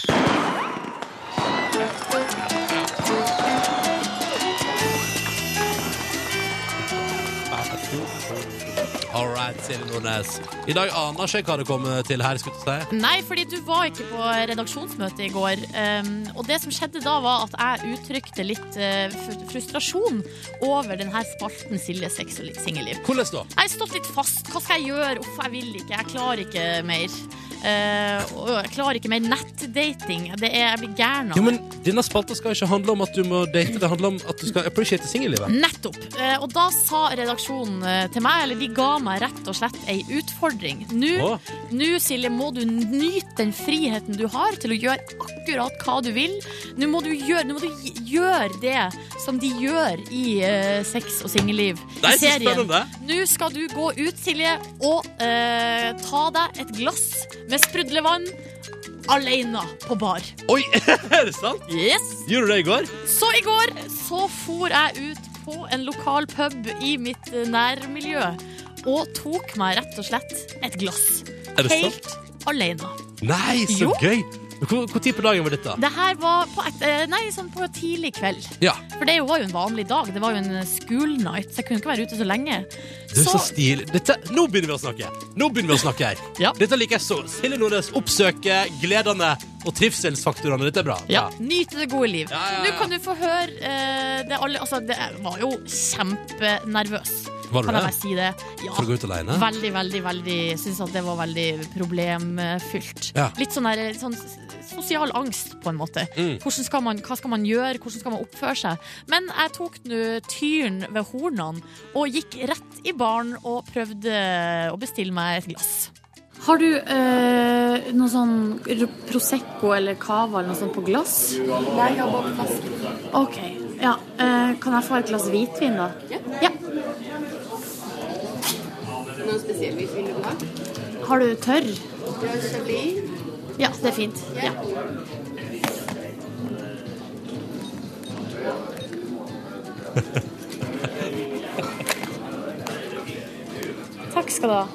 Speaker 2: All right, Silje Nordnes. I dag aner ikke jeg hva det kommer til her. skulle jeg si
Speaker 4: Nei, fordi du var ikke på redaksjonsmøte i går. Um, og det som skjedde da, var at jeg uttrykte litt eh, fr- frustrasjon over denne spalten Silje sex og litt singelliv.
Speaker 2: Hvordan da?
Speaker 4: Jeg har stått litt fast. Hva skal jeg gjøre? Uff, jeg vil ikke. Jeg klarer ikke mer. Eh, og jeg klarer ikke mer nettdating. Det er, jeg blir gæren
Speaker 2: Jo,
Speaker 4: av det.
Speaker 2: men Denne spalta skal ikke handle om at du må date, det handler om at du skal appreciate singellivet.
Speaker 4: Nettopp. Eh, Og da sa redaksjonen eh, til meg, eller de ga meg rett og slett ei utfordring. Nå,
Speaker 2: Å.
Speaker 4: nå, Silje, må du nyte den friheten du har til å gjøre akkurat hva du vil. Nå må du gjøre, nå må du gi- gjøre det som de gjør i eh, sex og singelliv.
Speaker 2: Nei,
Speaker 4: I
Speaker 2: så
Speaker 4: serien.
Speaker 2: spennende!
Speaker 4: Nå skal du gå ut, Silje, og eh, ta deg et glass med sprudlevann alene på bar.
Speaker 2: Oi, er det sant?
Speaker 4: Yes!
Speaker 2: Gjorde du det i går?
Speaker 4: Så i går så for jeg ut på en lokal pub i mitt eh, nærmiljø og tok meg rett og slett et glass.
Speaker 2: Er det sant?
Speaker 4: Helt alene.
Speaker 2: Nei, så
Speaker 4: Jo.
Speaker 2: gøy! Hvor, hvor tid på dagen var dette?
Speaker 4: Det her var på, et, eh, nei, sånn på tidlig kveld.
Speaker 2: Ja,
Speaker 4: For det var jo en vanlig dag. Det var jo en school night, så jeg kunne ikke være ute så lenge.
Speaker 2: det er så, stilig. Dette, nå begynner vi å snakke! Nå begynner vi å snakke her.
Speaker 4: Ja.
Speaker 2: Dette liker jeg så. Silje Nordnes oppsøker gledene og trivselsfaktorene. Dette er bra.
Speaker 4: Ja, Nyt det gode liv.
Speaker 2: Ja, ja, ja.
Speaker 4: Nå kan du få høre eh, det alle Altså, det, jeg var jo kjempenervøs.
Speaker 2: Var du
Speaker 4: Kan jeg
Speaker 2: det?
Speaker 4: bare si det? Ja.
Speaker 2: For å gå ut alene?
Speaker 4: Veldig, veldig, veldig Syns at det var veldig problemfylt.
Speaker 2: Ja.
Speaker 4: Litt sånn der sånn s- sosial angst, på en måte.
Speaker 2: Mm.
Speaker 4: Hvordan skal man, hva skal man gjøre, hvordan skal man oppføre seg? Men jeg tok nå tyren ved hornene og gikk rett i baren og prøvde å bestille meg et glass. Har du eh, noe sånn r- Prosecco eller Cava eller noe sånt på glass? Nei, jeg har bare flaske. Ok, ja. Eh, kan jeg få et glass hvitvin, da? Ja.
Speaker 6: Noen spesiell vi vil du ha?
Speaker 4: Har du tørr?
Speaker 6: Chablis.
Speaker 4: Ja, det er fint. Ja. Takk skal du ha.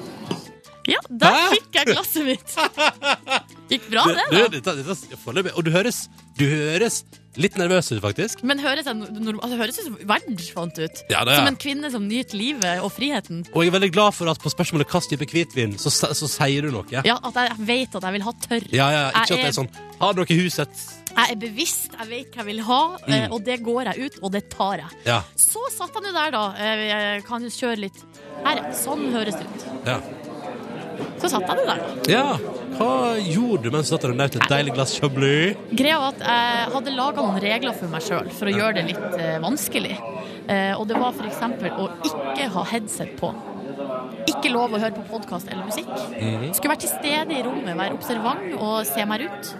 Speaker 4: Ja, der
Speaker 2: Hæ?
Speaker 4: fikk jeg glasset mitt. Gikk bra,
Speaker 2: Du,
Speaker 4: det.
Speaker 2: du,
Speaker 4: da
Speaker 2: dette, dette, foreløpig. og du høres, du høres litt nervøs ut, faktisk.
Speaker 4: Men høres jeg, norm- altså, høres ut som verden fant ut.
Speaker 2: Ja, det er.
Speaker 4: Som en kvinne som nyter livet og friheten.
Speaker 2: Og jeg er veldig glad for at på spørsmålet hva slags type hvitvin, så, s- så sier du noe. Ja,
Speaker 4: Ja, At jeg vet at jeg vil ha tørr.
Speaker 2: ja, ikke at det
Speaker 4: Jeg
Speaker 2: er sånn Har dere huset?
Speaker 4: Jeg er bevisst, jeg vet hva jeg vil ha, eh, og det går jeg ut, og det tar jeg.
Speaker 2: Ja.
Speaker 4: Så satt han jo der, da. Eh, Jeg kan jo kjøre litt. Her, ja. Sånn høres det ut.
Speaker 2: Ja.
Speaker 4: Så satt han jo der, da.
Speaker 2: ja. Hva gjorde du mens du satt der og nøt et deilig glass Chablis?
Speaker 4: Greia var at jeg hadde laga noen regler for meg sjøl for å gjøre det litt eh, vanskelig. Eh, og det var f.eks. å ikke ha headset på. Ikke lov å høre på podkast eller musikk. Skulle være til stede i rommet, være observant og se meg rundt.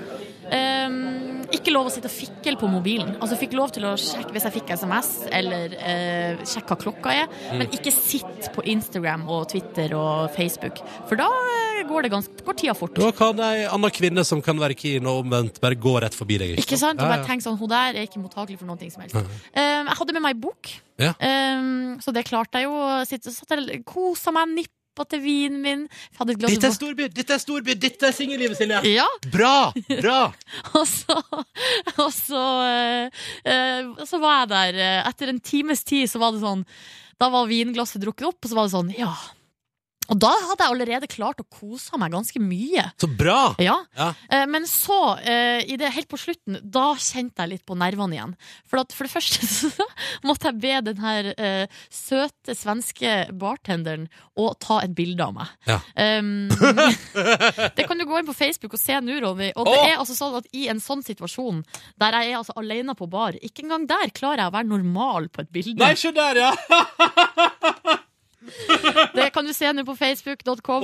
Speaker 4: Um, ikke lov å sitte og fikle på mobilen. Altså fikk lov til å sjekke hvis jeg fikk SMS, eller eh, sjekke hva klokka er, men ikke sitt på Instagram og Twitter og Facebook. For da eh, går, det ganske, går tida fort.
Speaker 2: Da kan ei anna kvinne som kan være keen og omvendt, bare gå rett forbi deg.
Speaker 4: Ikke sant? Og
Speaker 2: Ja,
Speaker 4: bare
Speaker 2: ja.
Speaker 4: tenk sånn, hun der er ikke mottakelig for noen ting som helst. Um, jeg hadde med meg ei bok,
Speaker 2: Ja.
Speaker 4: um, så det klarte jeg jo. Sitt, satt der, kosa meg, nippa til vinen min. Jeg Hadde et glass
Speaker 2: Dette er
Speaker 4: vok-
Speaker 2: storby, dette er storby, dette er singellivet, Silje!
Speaker 4: Ja,
Speaker 2: Bra! Bra!
Speaker 4: og så, og så, eh, eh, så var jeg der. eh, Etter en times tid så var det sånn Da var vinglasset drukket opp, og så var det sånn, ja. Og da hadde jeg allerede klart å kose meg ganske mye.
Speaker 2: Så bra!
Speaker 4: Ja.
Speaker 2: Ja.
Speaker 4: Eh, men så, eh, i det, helt på slutten, da kjente jeg litt på nervene igjen. For, at, for det første så måtte jeg be den her eh, søte svenske bartenderen å ta et bilde av meg.
Speaker 2: Ja.
Speaker 4: Um, det kan du gå inn på Facebook og se nå, Ronny. Og det
Speaker 2: Åh!
Speaker 4: er altså sånn at i en sånn situasjon, der jeg er altså alene på bar, ikke engang der klarer jeg å være normal på et bilde.
Speaker 2: Nei, se der, ja!
Speaker 4: Det kan du se nå på facebook.com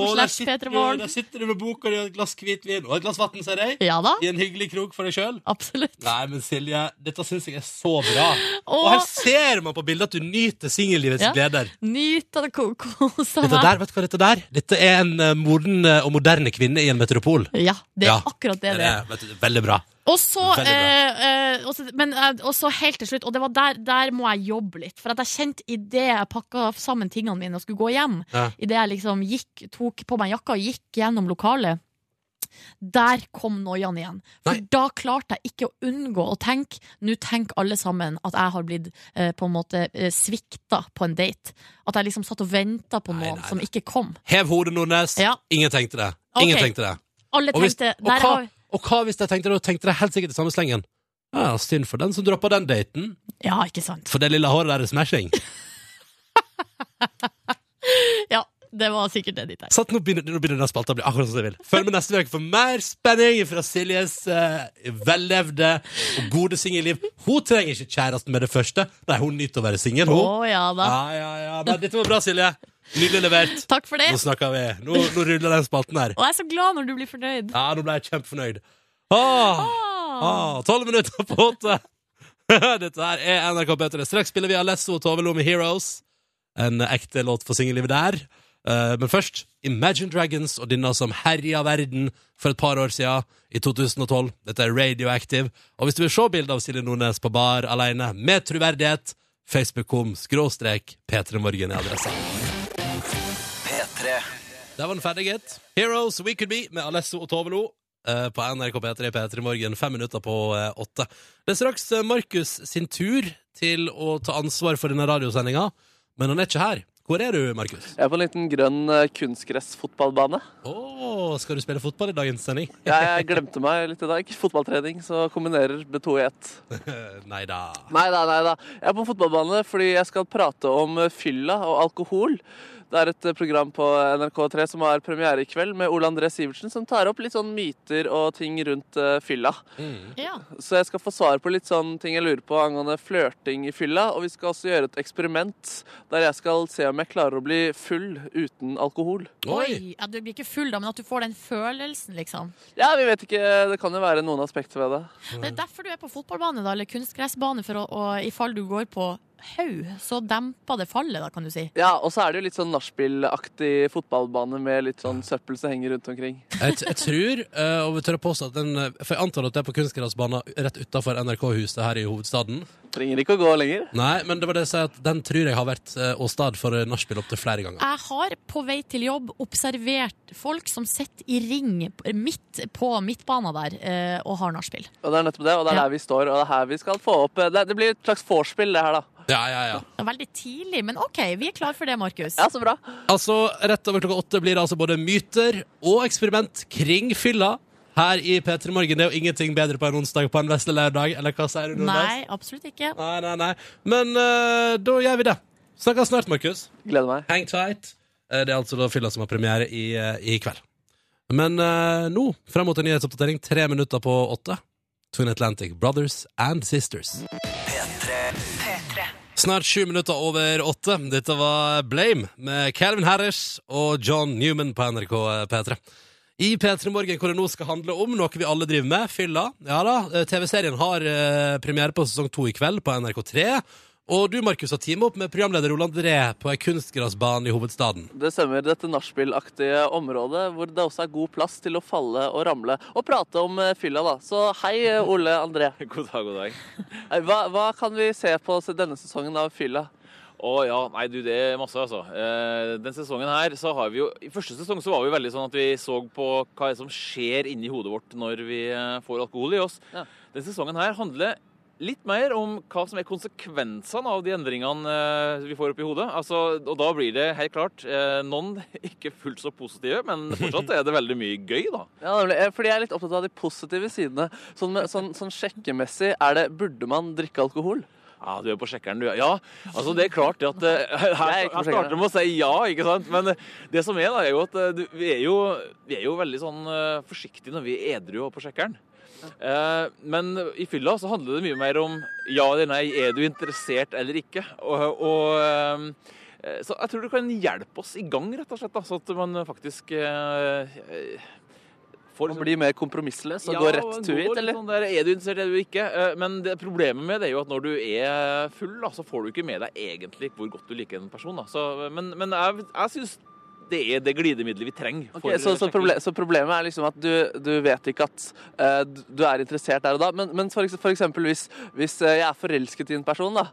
Speaker 2: Og der
Speaker 4: slash
Speaker 2: sitter, du,
Speaker 4: Petremorgen.
Speaker 2: der sitter du med boka di og et glass hvitvin og et glass vann, ser jeg.
Speaker 4: Ja da,
Speaker 2: I en hyggelig krok for deg sjøl.
Speaker 4: absolutt.
Speaker 2: Nei, men Silje, dette syns jeg er så bra. Og her
Speaker 4: Og
Speaker 2: ser man på bildet at du nyter singellivets
Speaker 4: Ja.
Speaker 2: gleder.
Speaker 4: nyt av det ko- kosa
Speaker 2: Dette
Speaker 4: meg.
Speaker 2: der, vet du hva dette der? Dette er en eh, moden eh, og moderne kvinne i en metropol.
Speaker 4: Ja, det er
Speaker 2: Ja.
Speaker 4: akkurat det det
Speaker 2: Det
Speaker 4: er.
Speaker 2: er vet du, veldig bra.
Speaker 4: Og så,
Speaker 2: Veldig bra.
Speaker 4: eh, eh, og så- men, eh, og så helt til slutt, og det var der, der må jeg jobbe litt. For at jeg kjente idet jeg pakka sammen tingene mine og skulle gå hjem,
Speaker 2: Ja.
Speaker 4: i idet jeg liksom gikk, tok på meg jakka og gikk gjennom lokalet, der kom noiaen igjen. For
Speaker 2: Nei.
Speaker 4: da klarte jeg ikke å unngå å tenke Nå tenker alle sammen at jeg har blitt eh, på en måte eh, svikta på en date. At jeg liksom satt og venta på
Speaker 2: Nei,
Speaker 4: noen
Speaker 2: nei,
Speaker 4: som
Speaker 2: nei.
Speaker 4: ikke kom.
Speaker 2: Hev hodet, Nordnes.
Speaker 4: Ja.
Speaker 2: Ingen tenkte det. Ingen
Speaker 4: Ok.
Speaker 2: tenkte det.
Speaker 4: Alle
Speaker 2: Og hvis-
Speaker 4: tenkte
Speaker 2: og hva-
Speaker 4: der har,
Speaker 2: Og hva hvis de tenkte det? Da tenkte de helt sikkert i samme slengen. Ja, Synd for den som droppa den daten,
Speaker 4: Ja, ikke sant?
Speaker 2: for det lille håret der er smashing.
Speaker 4: Ja, det var sikkert det de tenkte.
Speaker 2: Sånn, nå begynner, nå begynner den spalta å bli akkurat som jeg vil. Følg med neste uke for mer spenning fra Siljes eh, vellevde og gode singelliv. Hun trenger ikke kjæresten med det første. Nei, hun nyter å være singel,
Speaker 4: Å
Speaker 2: hun.
Speaker 4: ja da.
Speaker 2: Ja, ja, ja. Nei, dette var bra, Silje. Nydelig levert.
Speaker 4: Takk for det.
Speaker 2: Nå snakker vi. Nå, nå ruller den spalten her.
Speaker 4: Og jeg er så glad når du blir fornøyd.
Speaker 2: Ja, nå ble jeg kjempefornøyd. Åh, åh, Tolv minutter på åtte. Dette her er NRK P3. Straks spiller vi Alesso og Tove Lo med Heroes. En ekte låt for singellivet der. Eh, Men først Imagine Dragons og denne som herja verden for et par år siden, i 2012. Dette er Radioactive. Og hvis du vil se bilde av Silje Nordnes på bar alene med troverdighet, Facebook.com skråstrek P3morgen i adressa.
Speaker 7: P3
Speaker 2: Der var den ferdig, gitt. Heroes We Could Be med Alesso og Tove Lo. eh, På NRK P3 P3 Morgen fem minutter på eh, åtte. Det er straks eh, Markus sin tur til å ta ansvar for denne radiosendinga, men han er ikke her. Hvor er du, Markus?
Speaker 3: Jeg er på en liten grønn eh, kunstgressfotballbane.
Speaker 2: Å, skal du spille fotball i dagens sending?
Speaker 3: Jeg glemte meg litt i dag. Fotballtrening, så kombinerer med to i ett.
Speaker 2: Nei da.
Speaker 3: Nei da, nei da. Jeg er på en fotballbane fordi jeg skal prate om eh, fylla og alkohol. Det er et eh, program på NRK3 som har premiere i kveld, med Ole André Sivertsen, som tar opp litt sånn myter og ting rundt eh, fylla.
Speaker 4: Ja.
Speaker 3: Så jeg skal få svar på litt sånn ting jeg lurer på angående flørting i fylla. Og vi skal også gjøre et eksperiment der jeg skal se om jeg klarer å bli full uten alkohol.
Speaker 2: Oi!
Speaker 4: Oi. Ja, du blir ikke full, da, men at du får den følelsen, liksom.
Speaker 3: Ja, vi vet ikke. Det kan jo være noen aspekter ved det.
Speaker 4: Det er derfor du er på fotballbane, da, eller kunstgressbane, for å, å, i fall du går på haug, så demper det fallet, da, kan du si.
Speaker 3: Ja, og så er det jo litt sånn nachspielaktig fotballbane med litt sånn søppel som henger rundt omkring.
Speaker 2: Jeg, t- jeg tror, eh, og vi tør å påstå at den eh, For jeg antar at det er på kunstgressbanen rett utafor NRK-huset her i hovedstaden.
Speaker 3: Trenger ikke å gå lenger.
Speaker 2: Nei, men det var det jeg sa, at den tror jeg har vært eh, åsted for eh, nachspiel opptil flere ganger.
Speaker 4: Jeg har på vei til jobb observert folk som sitter i ring midt på midtbana der eh, og har nachspiel.
Speaker 3: Og det er nettopp det, og det er
Speaker 4: Ja.
Speaker 3: der vi står, og det er her vi skal få opp Det, det blir et slags vorspiel, det her, da.
Speaker 2: Ja, ja, ja.
Speaker 4: Det er Veldig tidlig, men OK, vi er klar for det, Markus.
Speaker 3: Ja, så bra.
Speaker 2: Altså, Rett over klokka åtte blir det altså både myter og eksperiment kring fylla her i P3 Morgen. Det er jo ingenting bedre på en onsdag på en vesle lørdag, eller hva sier du? Nordnes?
Speaker 4: Nei, absolutt ikke.
Speaker 2: Nei, nei, nei. Men eh, da gjør vi det. Snakkes snart, Markus.
Speaker 3: Gleder meg.
Speaker 2: Hang tight. Eh, det er altså da fylla som har premiere i, eh, i kveld. Men eh, nå, frem mot en nyhetsoppdatering, tre minutter på åtte. Twin Atlantic Brothers and Sisters. Snart sju minutter over åtte. Dette var Blame med Calvin Harris og John Newman på NRK P3. I P3 Morgen, hvor det nå skal handle om noe vi alle driver med, fylla. Ja da, eh, TV-serien har eh, premiere på sesong to i kveld på NRK3. Og du, Markus, har teamet opp med programleder Roland André på ei kunstgressbane i hovedstaden.
Speaker 3: Det stemmer. Dette nachspielaktige området hvor det også er god plass til å falle og ramle. Og prate om eh, fylla, da. Så hei, eh, Ole André.
Speaker 8: God dag, god dag.
Speaker 3: Hei, Hva, hva kan vi se på se- denne sesongen av fylla?
Speaker 8: Å ja, nei du, det er masse, altså. Eh, den sesongen her så har vi jo I første sesong så var vi veldig sånn at vi så på hva som skjer inni hodet vårt når vi eh, får alkohol i oss.
Speaker 3: Ja.
Speaker 8: Den sesongen her handler litt mer om hva som er konsekvensene av de endringene eh, vi får opp i hodet. Altså, og da blir det helt klart eh, noen ikke fullt så positive, men fortsatt er det veldig mye gøy, da.
Speaker 3: Ja, nemlig. Eh, Fordi jeg er litt opptatt av de positive sidene. Sånn, med, sånn, sånn sjekkemessig, er det Burde man drikke alkohol?
Speaker 8: Ja, du er på sjekkeren, du. Ja, altså det er klart det at eh, Her,
Speaker 3: Jeg er
Speaker 8: her
Speaker 3: ikke på
Speaker 8: starter
Speaker 3: sjekkeren.
Speaker 8: de med å si ja, ikke sant? Men eh, det som er, da, er jo at eh, du, vi, er jo, vi er jo veldig sånn eh, forsiktige når vi er edru og på sjekkeren. Eh, men i fylla så handler det mye mer om ja eller nei, er du interessert eller ikke? Og, og eh, Så jeg tror du kan hjelpe oss i gang, rett og slett, da, så at man faktisk eh, eh, får liksom
Speaker 3: Man blir mer kompromissløs og
Speaker 8: Ja,
Speaker 3: går rett to
Speaker 8: går
Speaker 3: it,
Speaker 8: litt
Speaker 3: eller?
Speaker 8: Sånn der, er du interessert, er du ikke? Eh, Men det, problemet med det er jo at når du er full, da, så får du ikke med deg egentlig hvor godt du liker en person. Da. Så, men, men jeg, jeg syns det er det glidemiddelet vi trenger.
Speaker 3: Ok,
Speaker 8: for-
Speaker 3: så, så, proble så problemet er liksom at du, du vet ikke at eh, du- du er interessert der og da. Men, men for, ekse- for eksempel hvis, hvis eh, jeg er forelsket i en person, da,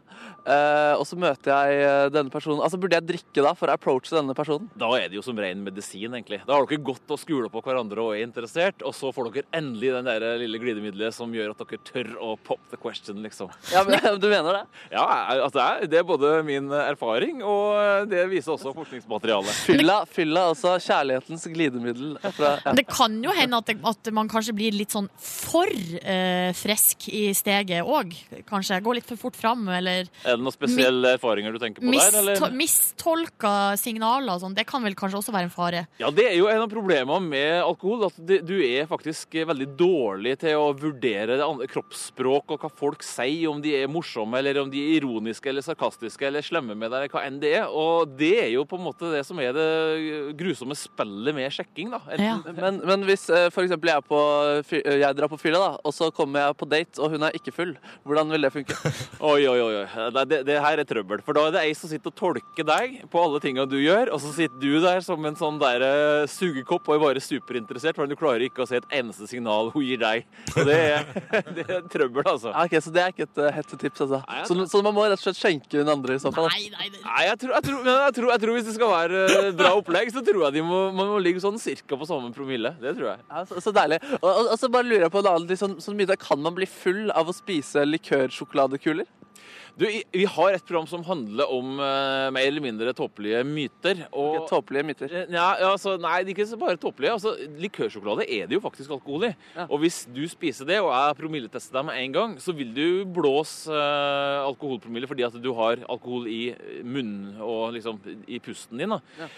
Speaker 3: eh, og så møter jeg eh, denne personen Altså, burde jeg drikke da for å approache denne personen?
Speaker 8: Da er det jo som ren medisin, egentlig. Da har dere gått og skula på hverandre og er interessert, og så får dere endelig den der lille glidemiddelet som gjør at dere tør å pop the question, liksom.
Speaker 3: Ja, men, Du mener det?
Speaker 8: Ja, jeg- altså, jeg- det er både min erfaring, og det viser også forskningsmaterialet.
Speaker 3: Fylla, fylla altså kjærlighetens glidemiddel. Fra, ja.
Speaker 4: Men det kan jo hende at, det, at man kanskje blir litt sånn for eh, frisk i steget òg. Kanskje går litt for fort fram, eller
Speaker 8: Er det noen spesielle erfaringer du tenker på der? eller?
Speaker 4: misto mistolka signaler og sånn. Det kan vel kanskje også være en fare.
Speaker 8: Ja, det er jo en av problemene med alkohol, at det- du er faktisk veldig dårlig til å vurdere det andre- kroppsspråk og hva folk sier, om de er morsomme, eller om de er ironiske, eller sarkastiske, eller slemme med deg, eller hva enn det er. Og det er jo på en måte det som er det grusomme spillet med sjekking, da. Enten-
Speaker 3: Men, men hvis eh, for eksempel jeg, er på, fy- eh, jeg drar på fylla, da, og så kommer jeg på date, og hun er ikke full, hvordan vil det funke?
Speaker 8: Oi, oi, oi. oi. Nei, Det, det her er trøbbel. For da er det ei som sitter og tolker deg på alle tinga du gjør, og så sitter du der som en sånn der eh, sugekopp og er bare superinteressert, for du klarer ikke å se et eneste signal hun gir deg. Og det er, det er trøbbel, altså.
Speaker 3: Ja, ok, Så det er ikke et uh, hett tips, altså.
Speaker 8: Nei, jeg-
Speaker 3: Så, så man må rett og slett skjenke hun andre i så fall. da.
Speaker 4: Nei, nei, det,
Speaker 8: Nei, jeg tror, jeg, tror, men jeg, tror, jeg tror hvis det skal være eh, bra opplegg, så tror jeg de må, man må ligge sånn cirka på samme promille. Det tror jeg.
Speaker 3: Ja, så, så deilig. Og, og, og så bare lurer jeg på en annen ting, sånn, sånn mye da, Kan man bli full av å spise likørsjokoladekuler?
Speaker 8: Du, i- vi har et program som handler om eh, mer eller mindre tåpelige myter. Og
Speaker 3: Ikke Tåpelige myter.
Speaker 8: Ja, altså, nei, det er ikke så bare tåpelige. Altså, likørsjokolade er det jo faktisk alkohol i.
Speaker 3: Ja.
Speaker 8: Og hvis du spiser det, og jeg promilletester deg med en gang, så vil du blåse eh, alkoholpromille fordi at du har alkohol i eh, munnen og liksom i pusten din. da.
Speaker 3: Ja.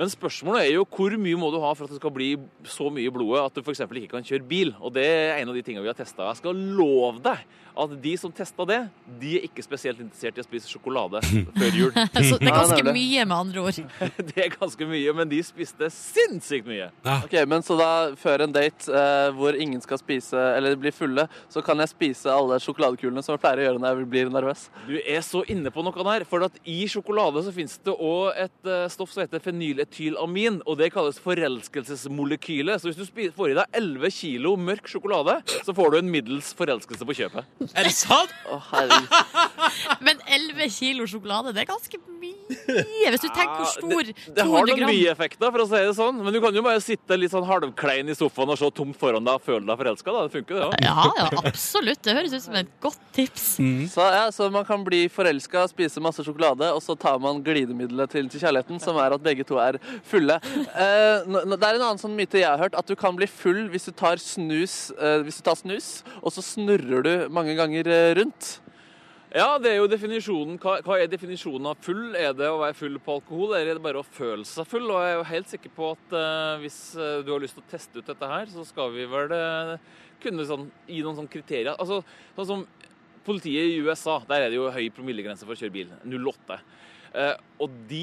Speaker 8: Men spørsmålet er jo hvor mye må du ha for at det skal bli så mye i blodet at du f.eks. ikke kan kjøre bil. Og det er en av de tingene vi har testa. Jeg skal love deg at de som testa det, de er ikke spesielt interessert i å spise sjokolade før jul.
Speaker 4: så Altså, det er
Speaker 3: Nei,
Speaker 4: ganske
Speaker 3: nemlig.
Speaker 4: mye, med andre ord.
Speaker 8: Det er ganske mye, men de spiste sinnssykt mye.
Speaker 3: Ok, Men så da, før en date eh, hvor ingen skal spise eller bli fulle, så kan jeg spise alle sjokoladekulene som jeg pleier å gjøre når jeg blir nervøs?
Speaker 8: Du er så inne på noe der, for at i sjokolade så finnes det også et eh, stoff som heter fenyletylamin, og det kalles forelskelsesmolekylet. Så hvis du spi- får i deg 11 kilo mørk sjokolade, så får du en middels forelskelse på kjøpet.
Speaker 2: Er det sant?!
Speaker 3: Å, herregud.
Speaker 4: Men 11 kilo sjokolade, det er ganske mye. Hvis du tenker hvor stor
Speaker 8: Ja, det, det
Speaker 4: 200
Speaker 8: har noen
Speaker 4: gram
Speaker 8: bieffekter, for å si det sånn, men du kan jo bare sitte litt sånn halvklein i sofaen og se tomt foran deg og føle deg forelska. Det funker, det òg.
Speaker 4: Ja, ja, absolutt. Det høres ut som et godt tips.
Speaker 3: Så, ja, så man kan bli forelska, spise masse sjokolade, og så tar man glidemiddelet til, til kjærligheten, som er at begge to er fulle. Eh, nå- nå- det er en annen sånn myte jeg har hørt, at du kan bli full hvis du tar snus, eh, hvis du tar snus og så snurrer du mange ganger eh, rundt.
Speaker 8: Ja, det er jo definisjonen. Hva, hva er definisjonen av full? Er det å være full på alkohol, eller er det bare å føle seg full? Og jeg er jo helt sikker på at eh, hvis eh, du har lyst til å teste ut dette her, så skal vi vel eh, kunne sånn, gi noen sånne kriterier. Altså, sånn som politiet i USA, der er det jo høy promillegrense for å kjøre bil. 0,8. Eh, og de,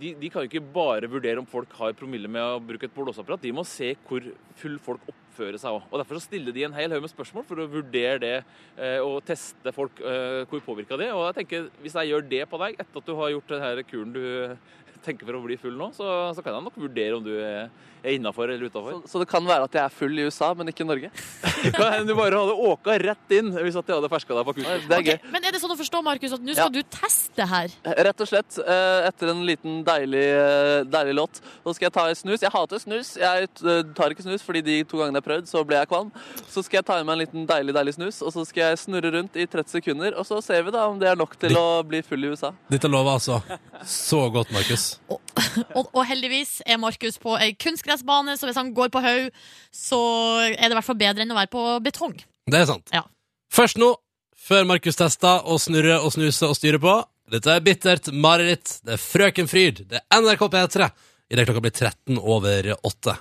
Speaker 8: de, de kan jo ikke bare vurdere om folk har promille med å bruke et blåseapparat. De må se hvor full folk oppfører seg òg. Og derfor så stiller de en hel haug med spørsmål for å vurdere det eh, og teste folk eh, hvor påvirka de er. Og jeg tenker, hvis jeg gjør det på deg etter at du har gjort den her kuren du tenker for å bli full nå, så, så kan jeg nok vurdere om du er, er innafor eller utafor.
Speaker 3: Så, så det kan være at jeg er full i USA, men ikke i Norge.
Speaker 8: Du bare hadde åka rett inn hvis at jeg hadde ferska deg på kursen.
Speaker 3: Det er gøy.
Speaker 4: Men er det sånn å forstå, Markus, at nå skal du teste det her?
Speaker 3: Rett og slett, eh, etter en liten deilig, eh, deilig låt, så skal jeg ta en snus. Jeg hater snus. Jeg eh, tar ikke snus, fordi de to gangene jeg har prøvd, så ble jeg kvalm. Så skal jeg ta i meg en liten deilig, deilig snus, og så skal jeg snurre rundt i 30 sekunder, og så ser vi da om det er nok til å bli full i USA.
Speaker 2: Dette lover altså så godt, Markus.
Speaker 4: Og, og heldigvis er Markus på ei kunstgressbane, så hvis han går på haug, så er det i hvert fall bedre enn å være på betong.
Speaker 2: Det er sant.
Speaker 4: Ja.
Speaker 2: Først nå, før Markus tester og snurrer og snuser og styrer på. Dette er bittert mareritt. Det er Frøken Fryd. Det er NRK P3. Idet klokka blir 13 over 8.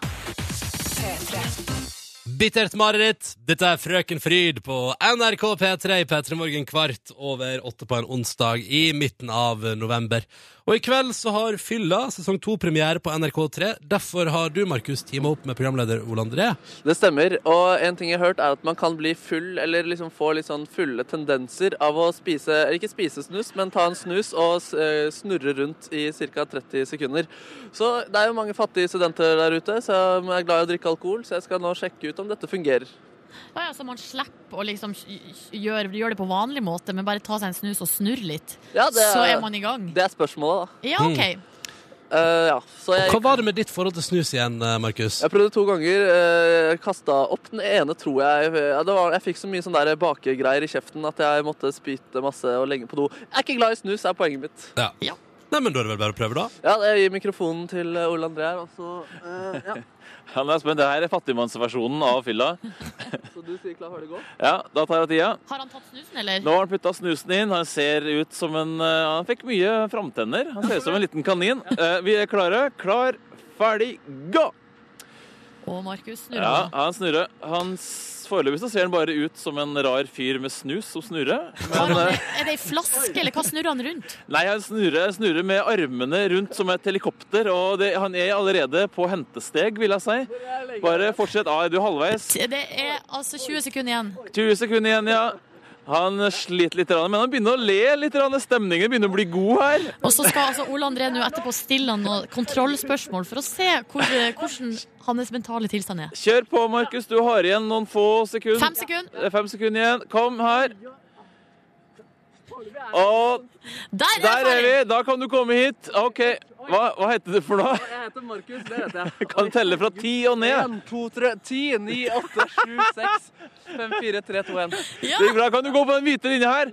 Speaker 2: Bittert mareritt. Dette er Frøken Fryd på NRK P3 i P3 Morgen kvart over åtte på en onsdag i midten av november. Og i kveld så har Fylla sesong to premiere på NRK3. Derfor har du, Markus, teama opp med programleder Ole André.
Speaker 3: Det stemmer. Og en ting jeg har hørt, er at man kan bli full, eller liksom få litt sånn fulle tendenser av å spise eller Ikke spise snus, men ta en snus og s- eh, snurre rundt i ca. 30 sekunder. Så det er jo mange fattige studenter der ute som er glad i å drikke alkohol, så jeg skal nå sjekke ut om dette fungerer.
Speaker 4: Ja, ja, så man slipper å liksom gjøre gjør det på vanlig måte, men bare ta seg en snus og snurre litt.
Speaker 3: Ja, det
Speaker 4: Så er
Speaker 3: er,
Speaker 4: man i gang.
Speaker 3: det er spørsmålet, da.
Speaker 4: Ja, OK.
Speaker 3: Eh, ja. Så jeg,
Speaker 2: Hva var det med ditt forhold til snus igjen, eh, Markus?
Speaker 3: jeg prøvde to ganger. Uh, Kasta opp den ene, tror jeg. Ja, det var, jeg fikk så mye sånn der bakegreier i kjeften at jeg måtte spyte masse og lenge på do. Jeg er ikke glad i snus, er poenget mitt.
Speaker 2: Ja.
Speaker 4: Ja.
Speaker 2: Nei, men da er det vel bare å prøve, da.
Speaker 3: Ja, jeg gir mikrofonen til eh, Ole André her, og så eh, Ja,
Speaker 8: Ja, men jeg er spent. Det her er fattigmannsversjonen av fylla.
Speaker 3: så du sier klar, før det går?
Speaker 8: Ja, da tar jeg tida.
Speaker 4: Har han tatt snusen, eller?
Speaker 8: Nå har han putta snusen inn. Han ser ut som en eh, Han fikk mye framtenner. Han ser ut som en liten kanin. Eh, Vi er klare. Klar, ferdig, gå!
Speaker 4: Og Markus snurrer.
Speaker 8: Ja, han snurrer. Han s- Foreløpig så ser han bare ut som en rar fyr med snus som snurrer.
Speaker 4: Har
Speaker 8: Men,
Speaker 4: han,
Speaker 8: eh,
Speaker 4: er det ei flaske, eller hva snurrer han rundt?
Speaker 8: nei, han snurrer, snurrer med armene rundt som et helikopter, og det, han er allerede på hentesteg, vil jeg si. Bare fortsett. Ah, er du halvveis?
Speaker 4: Det er altså 20 sekunder igjen.
Speaker 8: 20 sekunder igjen, ja. Han sliter litt, men han begynner å le litt. Stemningen begynner å bli god her.
Speaker 4: Og så skal altså Ole André nå etterpå stille han noen kontrollspørsmål for å se hvor, eh, hvordan hans mentale tilstand er.
Speaker 8: Kjør på, Markus. Du har igjen noen få sekunder.
Speaker 4: Fem sekunder.
Speaker 8: Det er fem sekunder igjen. Kom her. Og
Speaker 4: Der er,
Speaker 8: der er vi.
Speaker 4: ferdig.
Speaker 8: Da kan du komme hit. OK. Hva, hva heter du for noe?
Speaker 3: Jeg heter Markus, det heter jeg.
Speaker 8: Kan telle fra ti og ned.
Speaker 3: 1, 2, 3, 10, 9, 8, 7, 6, 5, 4, 3, 2, 1.
Speaker 4: Ja.
Speaker 8: Det gikk bra. Kan du gå på den hvite linja her?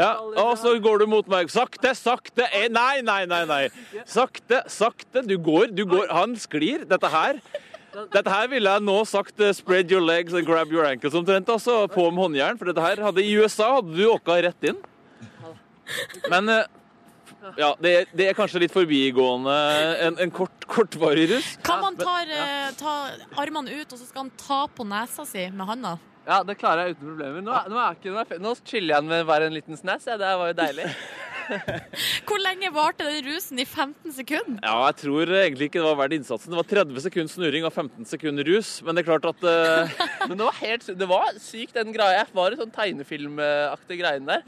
Speaker 8: Ja, og så går du mot meg. Sakte, sakte eh, Nei, nei, nei. nei. Sakte, sakte. Du går, du går. Han sklir. Dette her Dette her ville jeg nå sagt eh, 'spread your legs and grab your ankles' omtrent. Altså, på med håndjern. For dette her hadde I USA hadde du åka rett inn. Men eh, ja, det er, det er kanskje litt forbigående en, en kort, kortvarig rus.
Speaker 4: Kan man ta, eh, ta armene ut, og så skal han ta på nesa si med handa?
Speaker 3: Ja, det klarer jeg uten problemer. Nå, er- nå, er ikke, nå, er, nå chiller jeg med hver en liten snass. Ja, det her var jo deilig.
Speaker 4: Hvor lenge varte den rusen? I 15 sekunder?
Speaker 8: Ja, jeg tror egentlig ikke det var verdt innsatsen. Det var 30 sekunder snurring og 15 sekunder rus. Men det er klart at eh,
Speaker 3: Men det var helt sy- Det var sykt, den greia. Jeg var i sånn tegnefilmaktig greien der.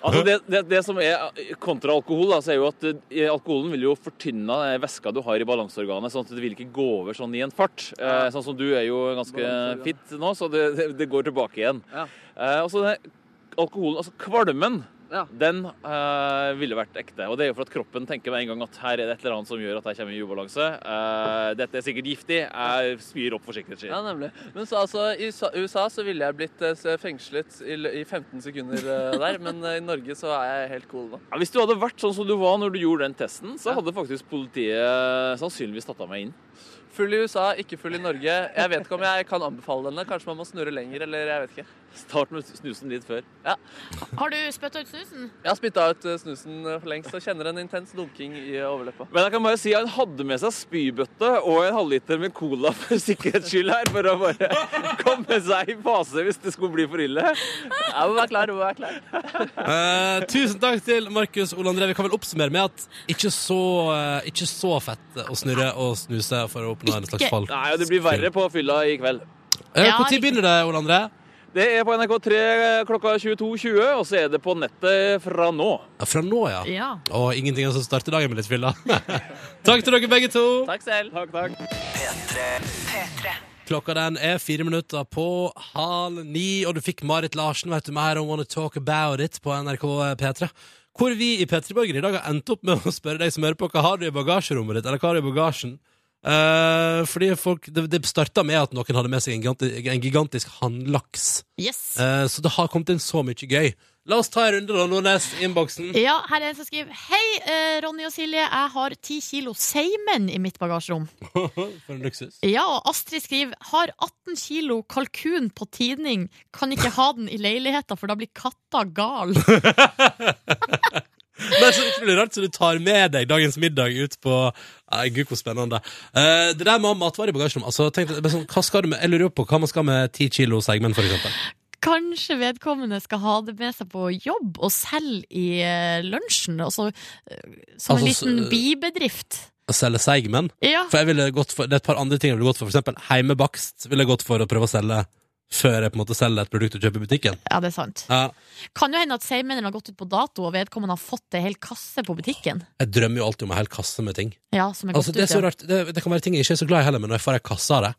Speaker 8: altså det, det, det som er eh, kontra alkohol, da, så er jo at eh, alkoholen vil jo fortynne den væska du har i balanseorganet, sånn at det vil ikke gå over sånn i en fart. Eh, sånn som du er jo ganske
Speaker 3: Balanseorgan.
Speaker 8: fit nå, så det, det, det går tilbake igjen.
Speaker 3: Ja.
Speaker 8: Eh, og så den alkoholen, altså kvalmen,
Speaker 3: Ja.
Speaker 8: den eh, ville vært ekte. Og det er jo for at kroppen tenker med en gang at her er det et eller annet som gjør at jeg kommer i ubalanse. Eh, dette er sikkert giftig. Jeg spyr opp for sikkerhets skyld.
Speaker 3: Ja, nemlig. Men så altså, i USA- USA så ville jeg blitt eh, s- fengslet i, l- i 15 sekunder eh, der, men eh, i Norge så er jeg helt cool nå.
Speaker 8: Ja, hvis du hadde vært sånn som du var når du gjorde den testen, så hadde faktisk politiet sannsynligvis tatt av meg inn.
Speaker 3: Full i USA, ikke full i Norge. Jeg vet ikke om jeg kan anbefale denne. Kanskje man må snurre lenger, eller jeg vet ikke.
Speaker 8: Start med snusen litt før.
Speaker 3: Ja.
Speaker 4: Har du spytta ut snusen?
Speaker 3: Jeg har spytta ut eh, snusen eh, for lengst og kjenner en intens dunking i overleppa.
Speaker 8: Men jeg kan bare si at han hadde med seg spybøtte og en halvliter med cola for sikkerhets skyld her, for å bare komme seg i fase hvis det skulle bli for ille.
Speaker 3: Jeg må være klar, jeg må være klar.
Speaker 2: Eh, tusen takk til Markus Ole André. Vi kan vel oppsummere med at ikke så, eh, ikke så fett å snurre og snuse for å oppnå en slags
Speaker 4: Ikke.
Speaker 2: fall.
Speaker 8: Nei, og det blir verre på fylla i kveld.
Speaker 2: Eh,
Speaker 4: Ja,
Speaker 2: Når
Speaker 4: riktig.
Speaker 2: begynner det, Ole André?
Speaker 8: Det er på NRK3 klokka 22.20, og så er det på nettet fra nå.
Speaker 2: Ja, fra nå, ja.
Speaker 4: Ja.
Speaker 2: Og ingenting som starter dagen med litt fylla. takk til dere begge to.
Speaker 3: Takk selv.
Speaker 8: Takk, takk.
Speaker 2: Klokka den er fire minutter på halv ni, og du fikk Marit Larsen, vet du mer om Wanna Talk About It på NRK P3. Hvor vi i P3 Borger i dag har endt opp med å spørre deg som hører på, hva har du i bagasjerommet ditt, eller hva har du i bagasjen? Eh, fordi folk, det, det starta med at noen hadde med seg en gigantisk, en gigantisk handlaks.
Speaker 4: Yes.
Speaker 2: Eh, så det har kommet inn så mye gøy. La oss ta en runde, da, Nordnes, i innboksen.
Speaker 4: Ja, her er en som skriver Hei, eh, Ronny og Silje, jeg har ti kilo seimen i mitt bagasjerom.
Speaker 2: For en luksus.
Speaker 4: Ja, og Astrid skriver Har 18 kilo kalkun på tidning. Kan ikke ha den i leiligheta, for da blir katta gal.
Speaker 2: Det er så utrolig rart, så du tar med deg dagens middag ut på Nei, Gud, hvor spennende. Eh, det der med å ha matvarer i bagasjerommet altså, tenk deg, men sånn, hva skal du med, Jeg lurer jo på hva man skal med ti kilo seigmenn, for eksempel.
Speaker 4: Kanskje vedkommende skal ha det med seg på jobb og selge i eh, lunsjen. Altså, eh, som en
Speaker 2: Altså, så-
Speaker 4: liten bibedrift.
Speaker 2: Å selge seigmenn.
Speaker 4: Ja.
Speaker 2: For jeg ville gått for, det er et par andre ting jeg ville gått for. For eksempel heimebakst ville jeg gått for å prøve å selge før jeg på en måte selger et produkt du kjøper i butikken.
Speaker 4: ja, det er sant.
Speaker 2: Ja,
Speaker 4: Kan jo hende at seigmennene har gått ut på dato, og vedkommende har fått ei hel kasse på butikken.
Speaker 2: jeg drømmer jo alltid om en hel kasse med ting.
Speaker 4: Ja, som er gått
Speaker 2: Altså, det er så
Speaker 4: ut, ja.
Speaker 2: rart, det, det kan være ting jeg ikke er så glad i heller, men når jeg får ei kasse av det,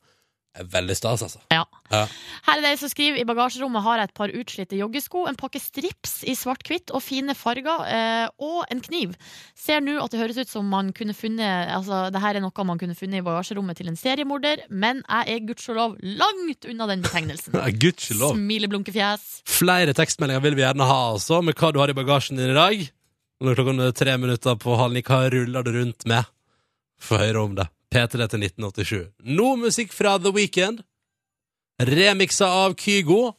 Speaker 2: er veldig stas, altså.
Speaker 4: Ja.
Speaker 2: Ja.
Speaker 4: Her er det en som skriver I bagasjerommet har jeg et par utslitte joggesko, en pakke strips i svart-hvitt og fine farger, eh, og en kniv. Ser nå at det høres ut som man kunne funnet Altså, det her er noe man kunne funnet i bagasjerommet til en seriemorder, men jeg er gudskjelov langt unna den betegnelsen.
Speaker 2: Ja, Gudskjelov.
Speaker 4: Smileblunkefjes.
Speaker 2: Flere tekstmeldinger vil vi gjerne ha også, med hva du har i bagasjen din i dag. Når klokken er tre minutter på halv ni, hva ruller du rundt med? Få høre om det. P3 til 1987. Nå musikk fra The Weekend. Remiksa av Kygo.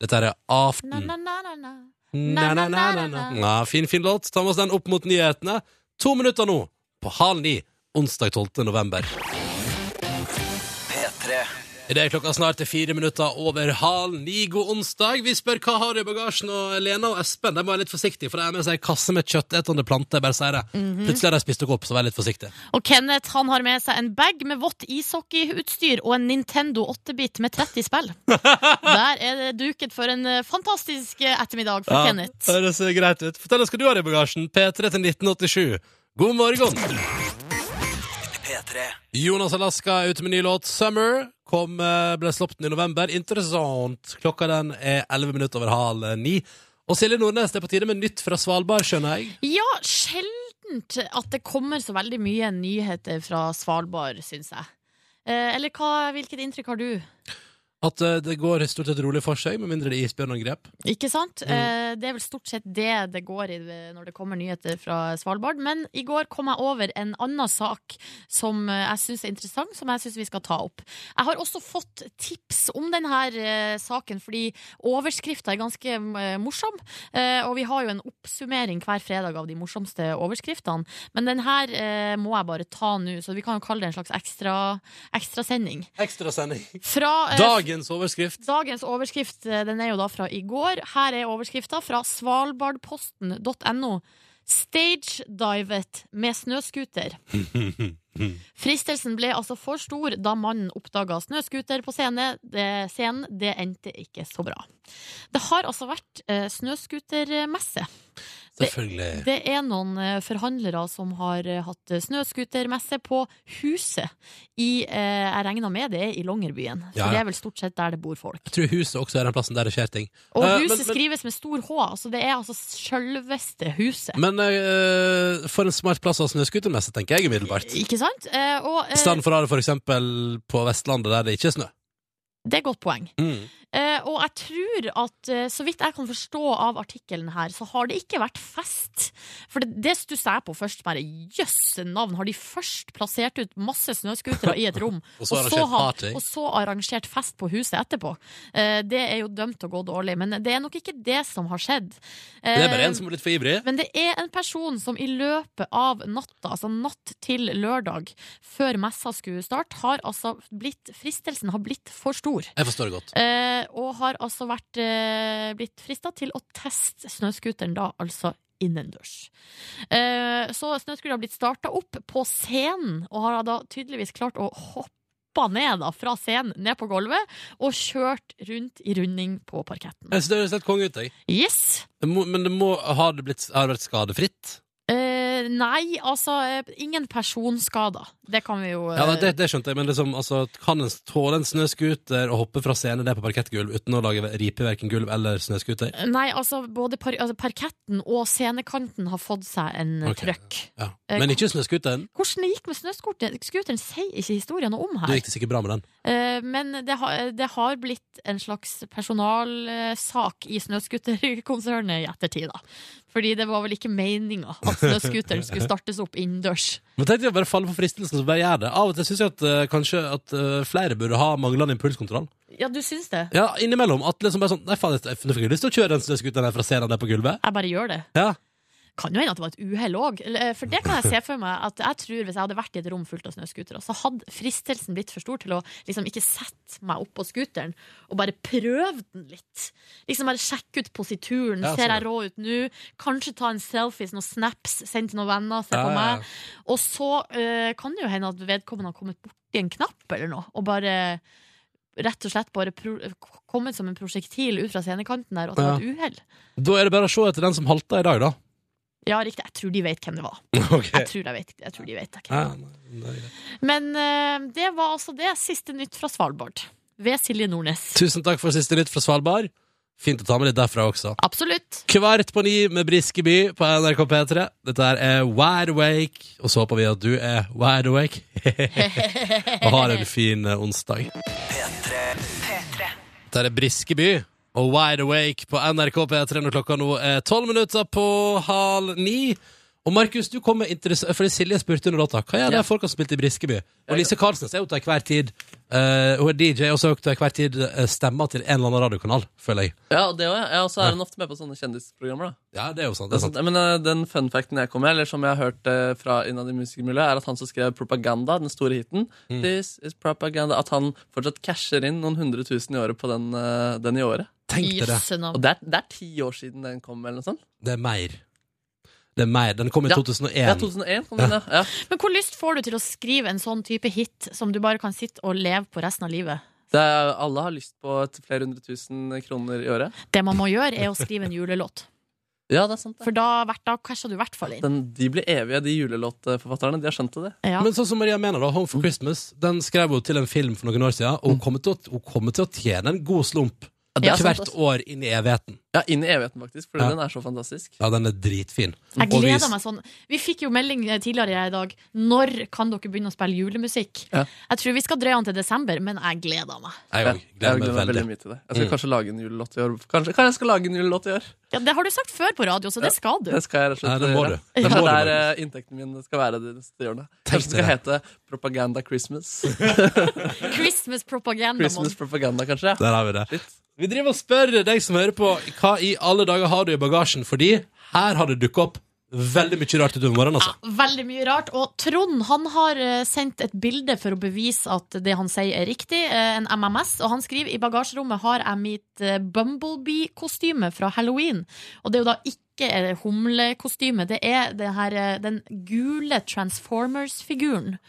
Speaker 2: Dette er Aften.
Speaker 4: Na-na-na-na-na.
Speaker 2: Na-na-na-na-na. Ja, fin, fin låt. Ta med oss den opp mot nyhetene. To minutter nå, på halv ni, onsdag 12. november.
Speaker 7: P3.
Speaker 2: I det er klokka snart er fire minutter over halv ni. God onsdag. Vi spør hva har du i bagasjen, og Lena og Espen de var litt forsiktige, for de har med seg en kasse med kjøttetende planter. jeg Bare sier det. Plutselig har de spist dere opp, så vær litt forsiktig.
Speaker 4: Og Kenneth han har med seg en bag med vått ishockeyutstyr og en Nintendo 8-bit med 30 spill. Der er det duket for en eh, fantastisk eh, ettermiddag for Kenneth.
Speaker 2: Høres greit ut. Fortell oss hva du har i bagasjen. P3 til 1987. God morgen.
Speaker 7: P3.
Speaker 2: Jonas Alaska er ute med ny låt 'Summer'. Kom, eh, ble sluppet i november. Interessant. Klokka den er 11 minutter over halv eh, ni. Og Silje Nordnes, det er på tide med nytt fra Svalbard, skjønner jeg.
Speaker 4: Ja, sjeldent at det kommer så veldig mye nyheter fra Svalbard, syns jeg. Eh, Eller hva, hvilket inntrykk har du?
Speaker 2: At eh, det går stort sett rolig for seg, med mindre det er isbjørnangrep.
Speaker 4: Ikke sant? Eh, Det er vel stort sett det det går i eh, når det kommer nyheter fra Svalbard. Men i går kom jeg over en annen sak som eh, jeg syns er interessant, som jeg syns vi skal ta opp. Jeg har også fått tips om denne saken, fordi overskrifta er ganske eh, morsom. Eh, Og vi har jo en oppsummering hver fredag av de morsomste overskriftene. Men den her eh, må jeg bare ta nå, så vi kan jo kalle det en slags ekstra ekstrasending.
Speaker 2: Ekstrasending.
Speaker 4: Fra eh,
Speaker 2: Dagens overskrift.
Speaker 4: Dagens overskrift eh, den er jo da fra i går. Her er overskrifta fra svalbardposten.no. Stagedivet med snøscooter. Fristelsen ble altså for stor da mannen oppdaga snøscooter på scene. Det, scenen. Det endte ikke så bra. Det har altså vært eh, snøscootermesse.
Speaker 2: Selvfølgelig.
Speaker 4: Det er noen eh, forhandlere som har eh, hatt eh, snøscootermesse på Huset i eh, Jeg regner med det er i Longyearbyen, for
Speaker 2: Ja, ja.
Speaker 4: det er vel stort sett der det bor folk.
Speaker 2: Jeg tror huset også er den plassen der det skjer ting.
Speaker 4: Og
Speaker 2: Eh,
Speaker 4: huset
Speaker 2: men- men-
Speaker 4: skrives med stor H. Altså det er altså sjølveste huset.
Speaker 2: Men eh, for en smart plass å ha snøscootermesse, tenker jeg umiddelbart. I
Speaker 4: Ikke sant? Eh, og eh,
Speaker 2: stedet for å ha det for eksempel på Vestlandet, der det ikke er snø.
Speaker 4: det er et godt poeng. Eh, og jeg tror at, eh, så vidt jeg kan forstå av artikkelen her, så har det ikke vært fest. For det, det stusser jeg på først. Bare jøsse navn! Har de først plassert ut masse snøscootere i et rom,
Speaker 2: Og så
Speaker 4: så
Speaker 2: arrangert
Speaker 4: har-
Speaker 2: party.
Speaker 4: Og så arrangert fest på huset etterpå. Eh, det er jo dømt til å gå dårlig, men det er nok ikke det som har skjedd. Eh,
Speaker 2: Det er bare en som er litt for ivrig.
Speaker 4: men det er en person som i løpet av natta, altså natt til lørdag, før messa skulle starte, har altså blitt Fristelsen har blitt for stor.
Speaker 2: Jeg forstår det godt.
Speaker 4: Eh, og har altså vært, eh, blitt frista til å teste snøscooteren da, altså innendørs. Eh, så snøscooteren har blitt starta opp på scenen, og har da tydeligvis klart å hoppe ned da, fra scenen, ned på gulvet, og kjørt rundt i runding på parketten.
Speaker 2: Jeg synes det høres helt konge ut, jeg.
Speaker 4: Yes!
Speaker 2: Det må, men det må, har det blitt, har det vært skadefritt?
Speaker 4: Eh, nei, altså, eh, ingen personskader. Det kan vi jo eh,
Speaker 2: Ja, nei, det, det skjønte jeg, men liksom, altså, kan en tåle en snøskuter og hoppe fra scenen ned på parkettgulv uten å lage ripe verken gulv eller snøskuter?
Speaker 4: Nei, altså, både par altså, parketten og scenekanten har fått seg en eh,
Speaker 2: Ok.
Speaker 4: trøkk.
Speaker 2: Ja.
Speaker 4: Eh,
Speaker 2: Men ikke snøskuteren.
Speaker 4: Hvordan det gikk med snøscooteren, sier ikke historien noe om
Speaker 2: Det
Speaker 4: her.
Speaker 2: gikk det sikkert bra med den.
Speaker 4: Eh, Men det har, det har blitt en slags personalsak i snøscooterkonsernet i ettertid, da. Fordi det var vel ikke meninga at snøscooteren skulle startes opp innendørs.
Speaker 2: Men tenkte jeg å bare falle for fristelsen, så bare gjør det. Av og til syns jeg at eh, kanskje at eh, flere burde ha manglende impulskontroll.
Speaker 4: Ja, du syns det?
Speaker 2: Ja, innimellom. At liksom bare sånn Nei, faen, jeg- nå fikk jeg lyst til å kjøre den snøskuteren her fra scenen der på gulvet.
Speaker 4: Jeg bare gjør det.
Speaker 2: Ja.
Speaker 4: Kan jo hende at det var et uhell òg. For det kan jeg se for meg. At jeg tror Hvis jeg hadde vært i et rom fullt av snøscootere, så hadde fristelsen blitt for stor til å liksom ikke sette meg opp på scooteren og bare prøve den litt. Liksom bare sjekke ut posituren.
Speaker 2: Ja,
Speaker 4: ser
Speaker 2: sånn.
Speaker 4: jeg rå ut nå? Kanskje ta en selfies, noen snaps, send til noen venner, se på
Speaker 2: Ja, ja, ja.
Speaker 4: meg. Og så eh, kan det jo hende at vedkommende har kommet borti en knapp eller noe, og bare Rett og slett bare pro kommet som en prosjektil ut fra scenekanten der, og at det var et uhell.
Speaker 2: Da er det bare å se etter den som halter i dag, da.
Speaker 4: Ja, riktig. Jeg tror de vet hvem det var.
Speaker 2: Ok.
Speaker 4: Jeg tror, jeg vet, jeg tror de vet det.
Speaker 2: Eh, Ja, nei, det er greit.
Speaker 4: Men eh, det var altså det siste nytt fra Svalbard. Ved Silje Nordnes.
Speaker 2: Tusen takk for siste nytt fra Svalbard. Fint å ta med litt derfra også.
Speaker 4: Absolutt.
Speaker 2: Kvart på ni med Briskeby på NRK P3. Dette her er Wide Awake, og så håper vi at du er wide awake. og har en fin eh, onsdag. Dette er Briskeby og Wide Awake på NRK P3 når klokka nå er tolv minutter på halv ni. Og Markus, du kom med interess- Fordi Silje spurte under låta hva er det folk har spilt i Briskeby. Og Lise Karlsnes er jo til enhver tid eh, Hun er DJ og så er hun til enhver tid eh, stemmer til en eller annen radiokanal, føler jeg.
Speaker 3: Ja, og det også, ja. ja. Og så er hun ofte med på sånne kjendisprogrammer, da.
Speaker 2: Ja, det er jo sant.
Speaker 3: Det
Speaker 2: Det
Speaker 3: er
Speaker 2: er sant.
Speaker 3: sant. Men eh, den fun facten jeg kom med, eller som jeg har hørt eh, fra innad i musikermiljøet, er at han som skrev Propaganda, den store hiten, This is propaganda At han fortsatt casher inn noen hundre tusen i året på den, eh, den i året.
Speaker 2: sånn, Tenk deg det.
Speaker 4: Jøsse
Speaker 3: Og
Speaker 4: navn.
Speaker 3: det er, det er ti år siden den kom, eller noe sånt.
Speaker 2: Det er mer. Det er mer. Den kom i
Speaker 3: Ja.
Speaker 2: 2001.
Speaker 3: Ja, 2001 kom den, ja. ja.
Speaker 4: Men hvor lyst får du til å skrive en sånn type hit som du bare kan sitte og leve på resten av livet?
Speaker 3: Det er, alle har lyst på et flere hundre tusen kroner i året.
Speaker 4: Det man må gjøre, er å skrive en julelåt.
Speaker 3: Ja, det er sant.
Speaker 4: For
Speaker 3: Det.
Speaker 4: da, hvert- da casher du i hvert fall inn.
Speaker 3: Den, de blir evige, de julelåtforfatterne. De har skjønt det.
Speaker 4: Ja.
Speaker 2: Men sånn som Maria Mena, da, Home for Christmas, den skrev hun til en film for noen år siden, og hun kommer til å, hun kommer til å tjene en god slump
Speaker 3: det er sant,
Speaker 2: hvert
Speaker 3: altså.
Speaker 2: år inn i evigheten.
Speaker 3: Ja, Inn i evigheten, faktisk. Fordi
Speaker 2: Ja.
Speaker 3: den er så fantastisk.
Speaker 2: Ja, den er dritfin.
Speaker 4: Jeg
Speaker 2: Og vi-
Speaker 4: gleder meg sånn. Vi fikk jo melding eh, tidligere i dag. Når kan dere begynne å spille julemusikk?
Speaker 3: Ja.
Speaker 4: Jeg tror vi skal drøye den til desember, men jeg gleder meg.
Speaker 2: Jeg
Speaker 3: Ja,
Speaker 2: òg. Gleder meg veldig.
Speaker 3: mye til det. Jeg skal kanskje lage en julelåt i år. Kanskje, kanskje jeg skal lage en julelåt i år.
Speaker 4: Ja, det har du sagt før på radio, så det skal du.
Speaker 3: Det skal jeg rett og slett
Speaker 2: Nei, det må
Speaker 3: gjøre.
Speaker 2: du.
Speaker 3: er
Speaker 2: Det må du,
Speaker 3: der
Speaker 2: Magnus.
Speaker 3: eh, inntekten min skal være de neste årene. Kanskje
Speaker 2: Tenk
Speaker 3: den skal
Speaker 2: deg
Speaker 3: hete Propaganda Christmas.
Speaker 4: Christmas propaganda.
Speaker 3: Christmas propaganda, kanskje. ja.
Speaker 2: Der har vi det.
Speaker 3: Shit.
Speaker 2: Vi driver og spør deg som hører på, hva i alle dager har du i bagasjen? Fordi her har det dukka opp veldig mye rart utover morgenen, altså.
Speaker 4: Veldig mye rart. Og Trond han har eh, sendt et bilde for å bevise at det han sier er riktig, eh, en MMS. Og han skriver i bagasjerommet har jeg mitt eh, Bumblebee-kostyme fra Halloween. Og det er jo da ikke eh, humlekostyme, det er det her, eh, den gule Transformers-figuren.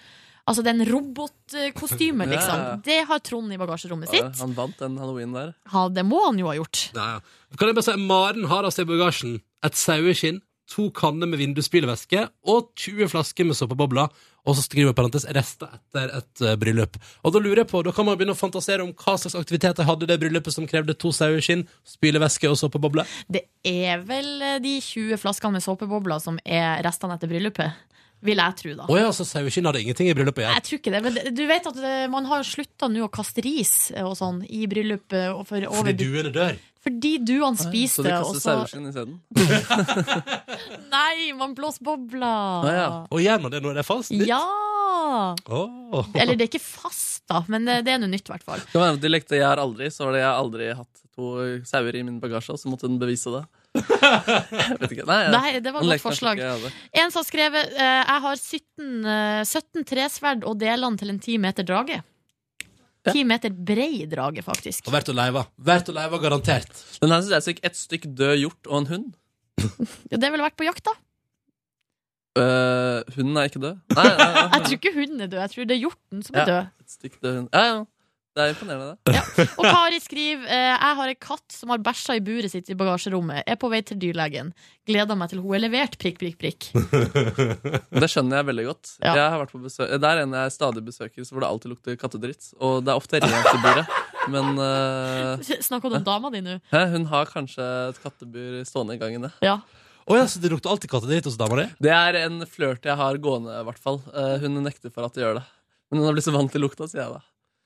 Speaker 4: Altså den robotkostymet, liksom.
Speaker 3: Ja.
Speaker 4: Det har Trond i bagasjerommet
Speaker 3: Ja,
Speaker 4: sitt.
Speaker 3: Han vant den halloween der.
Speaker 4: Ja, det må han jo ha gjort.
Speaker 2: Ja, ja. Kan jeg bare si, Maren har altså i bagasjen et saueskinn, to kanner med vindusspylevæske og 20 flasker med såpebobler, og så skriver jeg i parentes rester etter et eh, bryllup. Og da lurer jeg på, da kan man begynne å fantasere om hva slags aktiviteter hadde det bryllupet som krevde to saueskinn, spylevæske og såpebobler.
Speaker 4: Det er vel eh, de 20 flaskene med såpebobler som er restene etter bryllupet. vil jeg tro, da.
Speaker 2: Å ja, så saueskinn hadde ingenting i bryllupet igjen.
Speaker 4: Jeg tror ikke det, men det- du vet at eh, man har slutta nå å kaste ris og sånn i bryllup eh, og for
Speaker 2: Fordi
Speaker 4: over,
Speaker 2: duene dør.
Speaker 4: fordi duene spiser
Speaker 3: Så de
Speaker 4: det. og
Speaker 3: kaster
Speaker 4: så-
Speaker 3: saueskinn isteden?
Speaker 4: Nei, man blåser bobler!
Speaker 3: Å ja.
Speaker 2: Og gjør man det når det er fast?
Speaker 4: Ja!
Speaker 2: Åh.
Speaker 4: Eller det er ikke fast, da, men eh, det er noe nytt, i hvert fall.
Speaker 3: Det kan være at de lekte 'jeg har aldri', så var det 'jeg har aldri hatt to sauer i min bagasje', og så måtte hun bevise det. Jeg vet ikke. Nei,
Speaker 4: Nei, det var
Speaker 3: han
Speaker 4: et
Speaker 3: lekte altså,
Speaker 4: godt
Speaker 3: kanskje
Speaker 4: forslag.
Speaker 3: ikke jeg hadde.
Speaker 4: En som har skrevet eh, Jeg har 17, eh, 17 tresverd og deler den til en 10 meter drage. 10 meter brei drage,
Speaker 2: Og
Speaker 4: faktisk.
Speaker 2: vært og leiva. Vært og leiva, garantert.
Speaker 3: Den her synes jeg fikk ett stykk død hjort og en hund.
Speaker 4: Ja, det ville vært på jakt, da.
Speaker 3: Øh, hunden er ikke død. Nei, nei, nei,
Speaker 4: Jeg tror ikke hunden er død, jeg tror det er hjorten som er
Speaker 3: Ja.
Speaker 4: død.
Speaker 3: Et stykk død hund. Ja, ja. Det er imponerende, det.
Speaker 4: Og Kari skriver eh, Jeg har en katt som har bæsja i buret sitt i bagasjerommet. Er på vei til dyrlegen. Gleder meg til hun er levert. Prikk, prikk, prikk.
Speaker 3: Det skjønner jeg veldig godt.
Speaker 4: Ja.
Speaker 3: Jeg har vært på besøk Det er en jeg stadig besøker, så hvor det alltid lukter kattedritt. Og det er ofte rent i buret. Men øh,
Speaker 4: Snakk om den dama di nå.
Speaker 3: hæ, hun har kanskje et kattebur stående i gangen, ja.
Speaker 4: Ja.
Speaker 2: Å ja, så det lukter alltid kattedritt hos dama di?
Speaker 3: Det er en flørt jeg har gående, i hvert fall. Eh, hun nekter for at jeg gjør det. Men hun har blitt så vant til lukta, sier jeg da.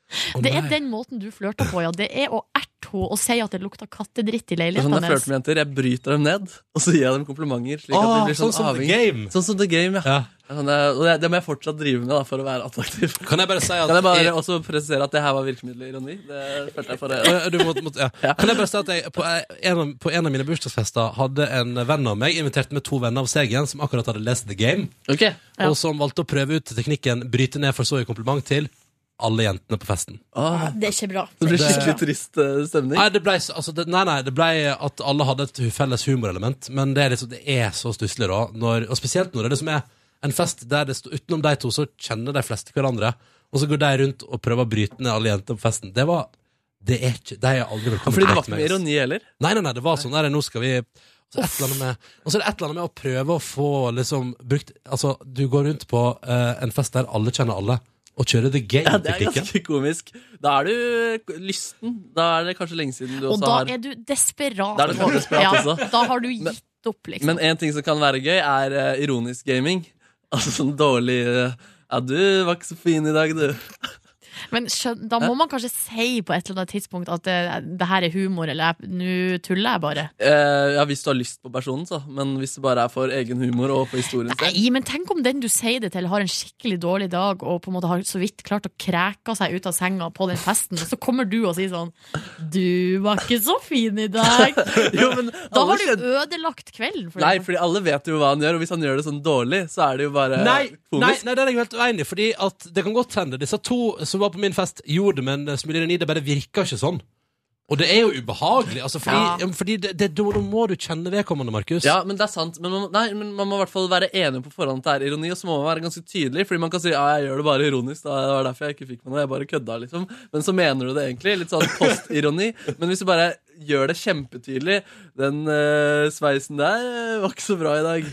Speaker 2: Å,
Speaker 4: Det er
Speaker 2: nei.
Speaker 4: den måten du flørter på, ja. Det er å erte henne og si at det lukter kattedritt i
Speaker 3: Det er sånn jeg
Speaker 4: leiligheten
Speaker 3: flørter med jenter. Jeg bryter dem ned, og så gir jeg dem komplimenter. Slik at de
Speaker 2: Åh,
Speaker 3: blir
Speaker 2: sånn
Speaker 3: sånn,
Speaker 2: som The
Speaker 3: avhengig.
Speaker 2: Game.
Speaker 3: Sånn som The Game, ja.
Speaker 2: Ja.
Speaker 3: Sånn, eh, og det, det må jeg fortsatt drive med da, for å være attraktiv.
Speaker 2: Kan jeg bare si at
Speaker 3: Kan jeg bare
Speaker 2: jeg-
Speaker 3: også presisere at det her var virkemiddelironi? Det følte jeg for
Speaker 2: Å,
Speaker 3: det.
Speaker 2: ja, Eh, du må- må- ja. Kan jeg bare si at jeg på eh, en, av, på en av mine bursdagsfester hadde en venn av meg invitert med to venner av seg igjen som akkurat hadde lest The Game,
Speaker 3: Ok,
Speaker 4: Ja.
Speaker 2: og som valgte å prøve ut teknikken bryte ned for så i kompliment til alle jentene på festen.
Speaker 3: Åh,
Speaker 4: Det er ikke bra.
Speaker 3: Det blir
Speaker 2: Det-
Speaker 3: skikkelig trist eh, stemning.
Speaker 2: Nei, det ble, så- altså, det, nei, nei, det ble at alle hadde et felles humorelement, men det er, liksom, det er så stusslig, da. Når, og spesielt når det er det som er en fest der det står utenom de to, så kjenner de fleste hverandre, og så går de rundt og prøver å bryte ned alle jentene på festen. Det var det er ikke, De er aldri velkommen
Speaker 3: Fordi det
Speaker 2: hit
Speaker 3: var
Speaker 2: til
Speaker 3: ikke
Speaker 2: meg,
Speaker 3: med
Speaker 2: ass.
Speaker 3: ironi heller.
Speaker 2: Nei, nei, nei, det var sånn der, nå skal vi så et eller annet med, Og så er det et eller annet med å prøve å få liksom brukt Altså, du går rundt på eh, en fest der alle kjenner alle, og kjører the
Speaker 3: Ja, det er
Speaker 2: game-teknikken.
Speaker 3: ganske komisk. Da er du eh, lysten. Da er det kanskje lenge siden du
Speaker 4: Og
Speaker 3: også
Speaker 4: da
Speaker 3: har
Speaker 4: er du desperat.
Speaker 3: Da er du faen desperat
Speaker 4: ja,
Speaker 3: også.
Speaker 4: Da har du gitt opp, liksom.
Speaker 3: Men en ting som kan være gøy, er eh, ironisk gaming. Altså sånn dårlig eh, Ja, du var ikke så fin i dag, du.
Speaker 4: Men skjøn, da må man kanskje si på et eller annet tidspunkt at det, det her er humor, eller jeg- nå tuller jeg bare.
Speaker 3: Eh, ja, Hvis du har lyst på personen, så. Men hvis det bare er for egen humor og for historien sin.
Speaker 4: Nei, men tenk om den du sier det til, har en skikkelig dårlig dag og på en måte har så vidt klart å kræke seg ut av senga på den festen, og så kommer du og sier sånn Du var ikke så fin i dag.
Speaker 3: Jo, men
Speaker 4: Da
Speaker 3: alle
Speaker 4: har du
Speaker 3: skjønner-
Speaker 4: ødelagt kvelden. For
Speaker 3: Nei,
Speaker 4: deg.
Speaker 3: fordi alle vet jo hva han gjør, og hvis han gjør det sånn dårlig, så er det jo bare
Speaker 2: Nei, nei,
Speaker 3: Eh, komisk.
Speaker 2: nei, det er jeg helt uenig i, Fordi at det kan godt hende disse to som var på min fest, gjorde det med en smule ironi. Det bare virka ikke sånn. Og det er jo ubehagelig. Altså, fordi
Speaker 4: Ja.
Speaker 2: ja, men fordi det, det, da må du kjenne vedkommende, Markus.
Speaker 3: Ja, men det er sant. Men man, nei, men man må i hvert fall være enig på forhånd at det er ironi, og så må man være ganske tydelig, fordi man kan si ja, jeg gjør det bare ironisk, da. det var derfor jeg ikke fikk meg noe, jeg bare kødda, liksom. Men så mener du det egentlig. Litt sånn postironi. Men hvis du bare gjør det kjempetydelig, den eh, sveisen der eh, var ikke så bra i dag.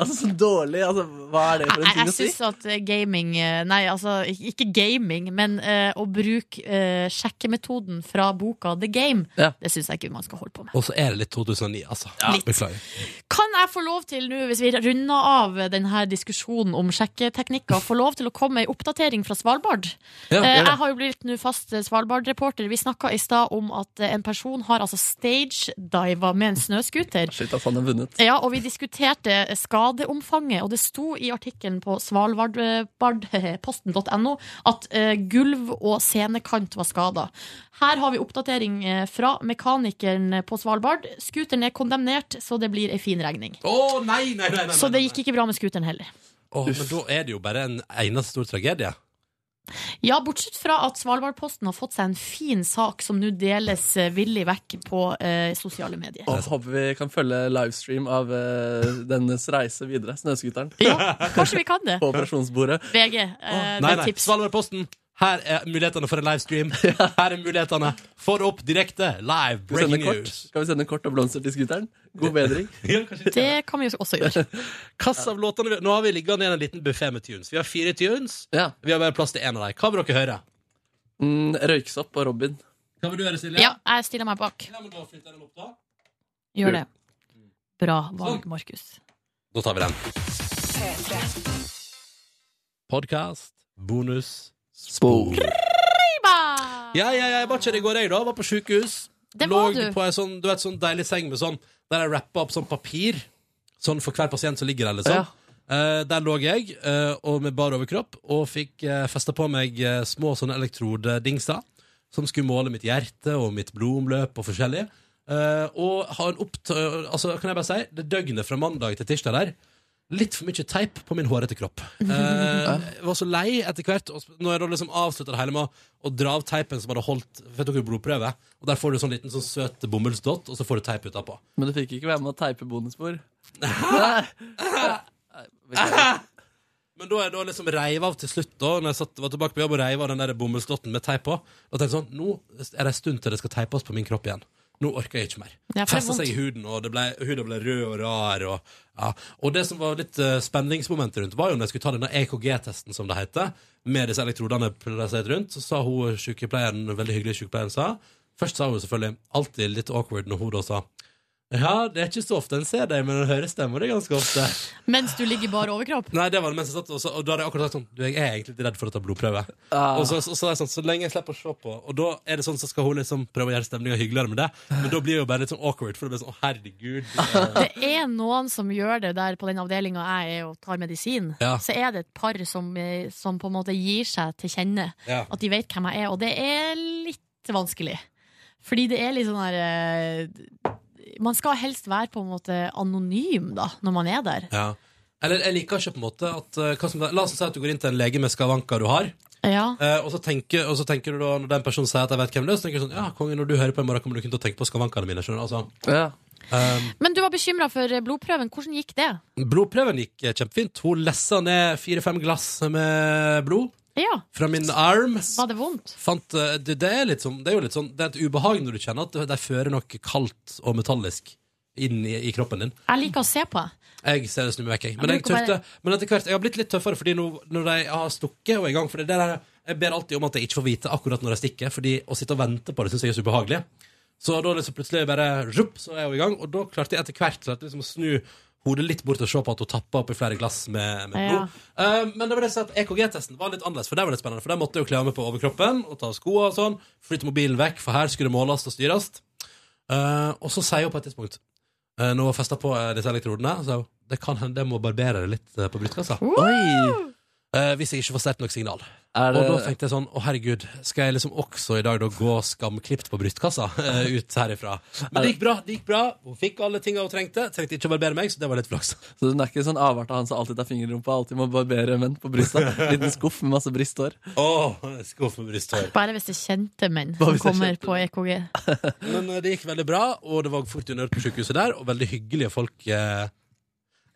Speaker 3: Altså, så dårlig. Altså, hva er det for
Speaker 4: Jeg,
Speaker 3: en ting
Speaker 4: jeg
Speaker 3: å si?
Speaker 4: syns at eh, gaming eh, Nei, altså ik- ikke gaming, men eh, å bruke eh, sjekkemetoden fra boka The Game,
Speaker 3: Ja.
Speaker 4: det syns jeg ikke man skal holde på med.
Speaker 2: Og så er det litt 2009, altså.
Speaker 4: Litt.
Speaker 2: Beklager.
Speaker 4: Kan jeg få lov til, nå, hvis vi runder av denne diskusjonen om sjekketeknikker, få lov til å komme med ei oppdatering fra Svalbard?
Speaker 2: Ja,
Speaker 4: Eh,
Speaker 2: gjør det.
Speaker 4: Jeg har jo blitt nå fast Svalbard-reporter. Vi snakka i stad om at eh, en person har altså stage-diva med en snøscooter.
Speaker 3: Shit, at han har vunnet.
Speaker 4: Ja, og vi diskuterte skadeomfanget, og det sto i artikkelen på svalbardposten.no at eh, gulv og scenekant var skada. Her har vi oppdatering eh, fra mekanikeren på Svalbard. Scooteren er kondemnert, så det blir ei fin regning.
Speaker 2: Å, nei, nei, nei, nei,
Speaker 4: Så
Speaker 2: nei,
Speaker 4: det
Speaker 2: nei.
Speaker 4: gikk ikke bra med scooteren heller.
Speaker 2: Åh, men da er det jo bare en eneste stor tragedie.
Speaker 4: Ja, bortsett fra at Svalbardposten har fått seg en fin sak som nå deles eh, villig vekk på eh, sosiale medier.
Speaker 3: Og håper vi kan følge livestream av eh, dennes reise videre, snøscooteren,
Speaker 4: Ja, kanskje vi kan det?
Speaker 3: på operasjonsbordet.
Speaker 4: VG, eh, det
Speaker 2: Nei,
Speaker 4: er
Speaker 2: nei,
Speaker 4: et tips.
Speaker 2: Svalbardposten. Her er mulighetene for en livestream. Her er mulighetene for opp direkte,
Speaker 3: Skal
Speaker 2: live,
Speaker 3: vi sende
Speaker 2: breaking
Speaker 3: kort?
Speaker 2: news.
Speaker 3: Skal vi sende kort og blomster til scooteren? God bedring.
Speaker 2: Ja, kanskje.
Speaker 4: Det kan vi jo også gjøre.
Speaker 2: Kass av låtene vi- Nå har vi liggende igjen en liten buffé med tunes. Vi har fire tunes.
Speaker 3: Ja.
Speaker 2: Vi har bare plass til én av dem. Hva vil dere høre?
Speaker 3: Mm, Røyksopp og Robin.
Speaker 2: Hva vil du høre, Silje?
Speaker 4: Ja, jeg stiller meg bak.
Speaker 2: Ja, men da flytter jeg den opp, da.
Speaker 4: Gjør det. Bra valg, Markus.
Speaker 2: Da tar vi den. Podkast, bonus,
Speaker 3: Spor.
Speaker 4: Ba!
Speaker 2: Ja, ja, ja, jeg var ikke det i går, jeg, da. Var på sjukehus.
Speaker 4: Det
Speaker 2: Lå
Speaker 4: var du.
Speaker 2: på ei sånn, du vet, sånn deilig seng med sånn Der jeg rappa opp sånn papir. Sånn for hver pasient som ligger der, liksom.
Speaker 3: Ja.
Speaker 2: Eh, der lå jeg, eh, og med bar overkropp, og fikk uh, festa på meg eh, små sånne elektrodedingser som skulle måle mitt hjerte og mitt blodomløp og forskjellig. Eh, og har en oppt... altså, kan jeg bare si, det døgnet fra mandag til tirsdag der litt for mye teip på min hårete kropp. Eh, jeg var så lei etter hvert. Og når jeg da liksom avslutta det hele med å- å dra av teipen som hadde holdt For jeg tok jo blodprøve, og der får du sånn liten sånn søt bomullsdott, og så får du teip utapå.
Speaker 3: Men du fikk ikke være med å teipe bonusbord.
Speaker 2: Men da jeg da liksom reiv av til slutt, da Når jeg satt, var tilbake på jobb og reiv av den der bomullsdotten med teip på, da tenkte jeg sånn Nå er det en stund til det skal teipes på min kropp igjen. Nå orker jeg ikke mer.
Speaker 4: Ja, for det er
Speaker 2: Festa seg i
Speaker 4: vondt.
Speaker 2: huden, og det ble, huden ble rød og rar. Og, ja. og det som var litt eh, spenningsmomentet rundt, var jo når jeg skulle ta denne EKG-testen, som det heter, med disse elektrodene plassert rundt, så sa hun sykepleieren, en veldig hyggelig sykepleieren, sa Først sa hun selvfølgelig alltid litt awkward når hun da sa ja, det er ikke så ofte en ser deg, men en hører stemmer det ganske ofte.
Speaker 4: Mens du ligger i bar overkropp.
Speaker 2: Nei, det var det mens jeg satt, og, så, og da hadde jeg akkurat sagt sånn Du, jeg er egentlig litt redd for å ta blodprøve. Og så, så, så, er det sånn, så lenge jeg slipper å se på, og da er det sånn, så skal hun liksom prøve å gjøre stemninga hyggeligere med det, men da blir det jo bare litt sånn awkward, for det blir sånn Å, herregud. eh,
Speaker 4: Det er noen som gjør det der på den avdelinga jeg er og tar medisin.
Speaker 2: Ja.
Speaker 4: Så er det et par som, eh, som på en måte gir seg til kjenne.
Speaker 2: Ja.
Speaker 4: At de vet hvem jeg er. Og det er litt vanskelig. Fordi det er litt sånn der eh, Man skal helst være på en måte anonym da, når man er der.
Speaker 2: Ja. Eller jeg liker ikke på en måte at eh, hva som, La oss si at du går inn til en lege med skavanker du har,
Speaker 4: Ja.
Speaker 2: eh, og, så tenker, og så tenker du da når den personen sier at jeg vet hvem det er, så tenker du sånn Ja, konge, når du hører på i morgen, kommer du kun til å tenke på skavankene mine. Skjønner, du? altså,
Speaker 3: Ja.
Speaker 2: ehm,
Speaker 4: Men du var bekymra for eh, blodprøven. Hvordan gikk det?
Speaker 2: blodprøven gikk eh, kjempefint. Hun lessa ned fire-fem glass med blod
Speaker 4: Ja,
Speaker 2: fra min arm.
Speaker 4: Var det vondt?
Speaker 2: Fant, eh, det, det, er litt sånn, det er jo litt sånn Det er et ubehag når du kjenner at de fører noe kaldt og metallisk inn i, i kroppen din.
Speaker 4: Jeg liker å se på.
Speaker 2: Jeg ser det snur meg vekk, jeg. Men,
Speaker 4: Ja, men
Speaker 2: jeg
Speaker 4: du kan
Speaker 2: tørte, men etter hvert, jeg har blitt litt tøffere, fordi nå, når jeg har stukket og er i gang for det der, er- Jeg ber alltid om at jeg ikke får vite akkurat når jeg stikker, Fordi å sitte og vente på det syns jeg er så ubehagelig. Så da liksom plutselig bare rupp, så er jeg jo i gang, og da klarte jeg etter hvert klarte jeg liksom å snu hodet litt bort og se på at hun tappa oppi flere glass med, med
Speaker 4: Ja.
Speaker 2: blod. Eh, men det var det som at EKG-testen var litt annerledes, for det var litt spennende. For der måtte jeg jo kle av meg på overkroppen og ta av skoene og sånn. Flytte mobilen vekk, for her skulle det måles og styres. Eh, og så sier hun på et tidspunkt eh, Når hun festa på eh, disse elektrodene, så sier hun det kan hende jeg må barbere det litt eh, på brystkassa.
Speaker 3: Oi!
Speaker 2: Eh, hvis jeg ikke får sterkt nok signal.
Speaker 3: Er det,
Speaker 2: Og da tenkte jeg sånn, å herregud, skal jeg liksom også i dag da gå skamklipt på brystkassa eh, ut herifra? Men det gikk bra, det gikk bra. Hun fikk alle tinga hun trengte. Trengte ikke å barbere meg, så det var litt flaks.
Speaker 3: så hun er ikke sånn avart av han som alltid tar finger i rumpa, alltid må barbere menn på brysta. Liten skuff med masse brysthår.
Speaker 2: Åh, skuff med brysthår.
Speaker 4: Bare hvis det er kjente menn
Speaker 3: Bare
Speaker 4: som
Speaker 3: hvis det er
Speaker 4: kommer
Speaker 3: kjente
Speaker 4: på E EKG.
Speaker 2: Men eh, det gikk veldig bra, og det var fort underhørt på sykehuset der, og veldig hyggelige folk. eh,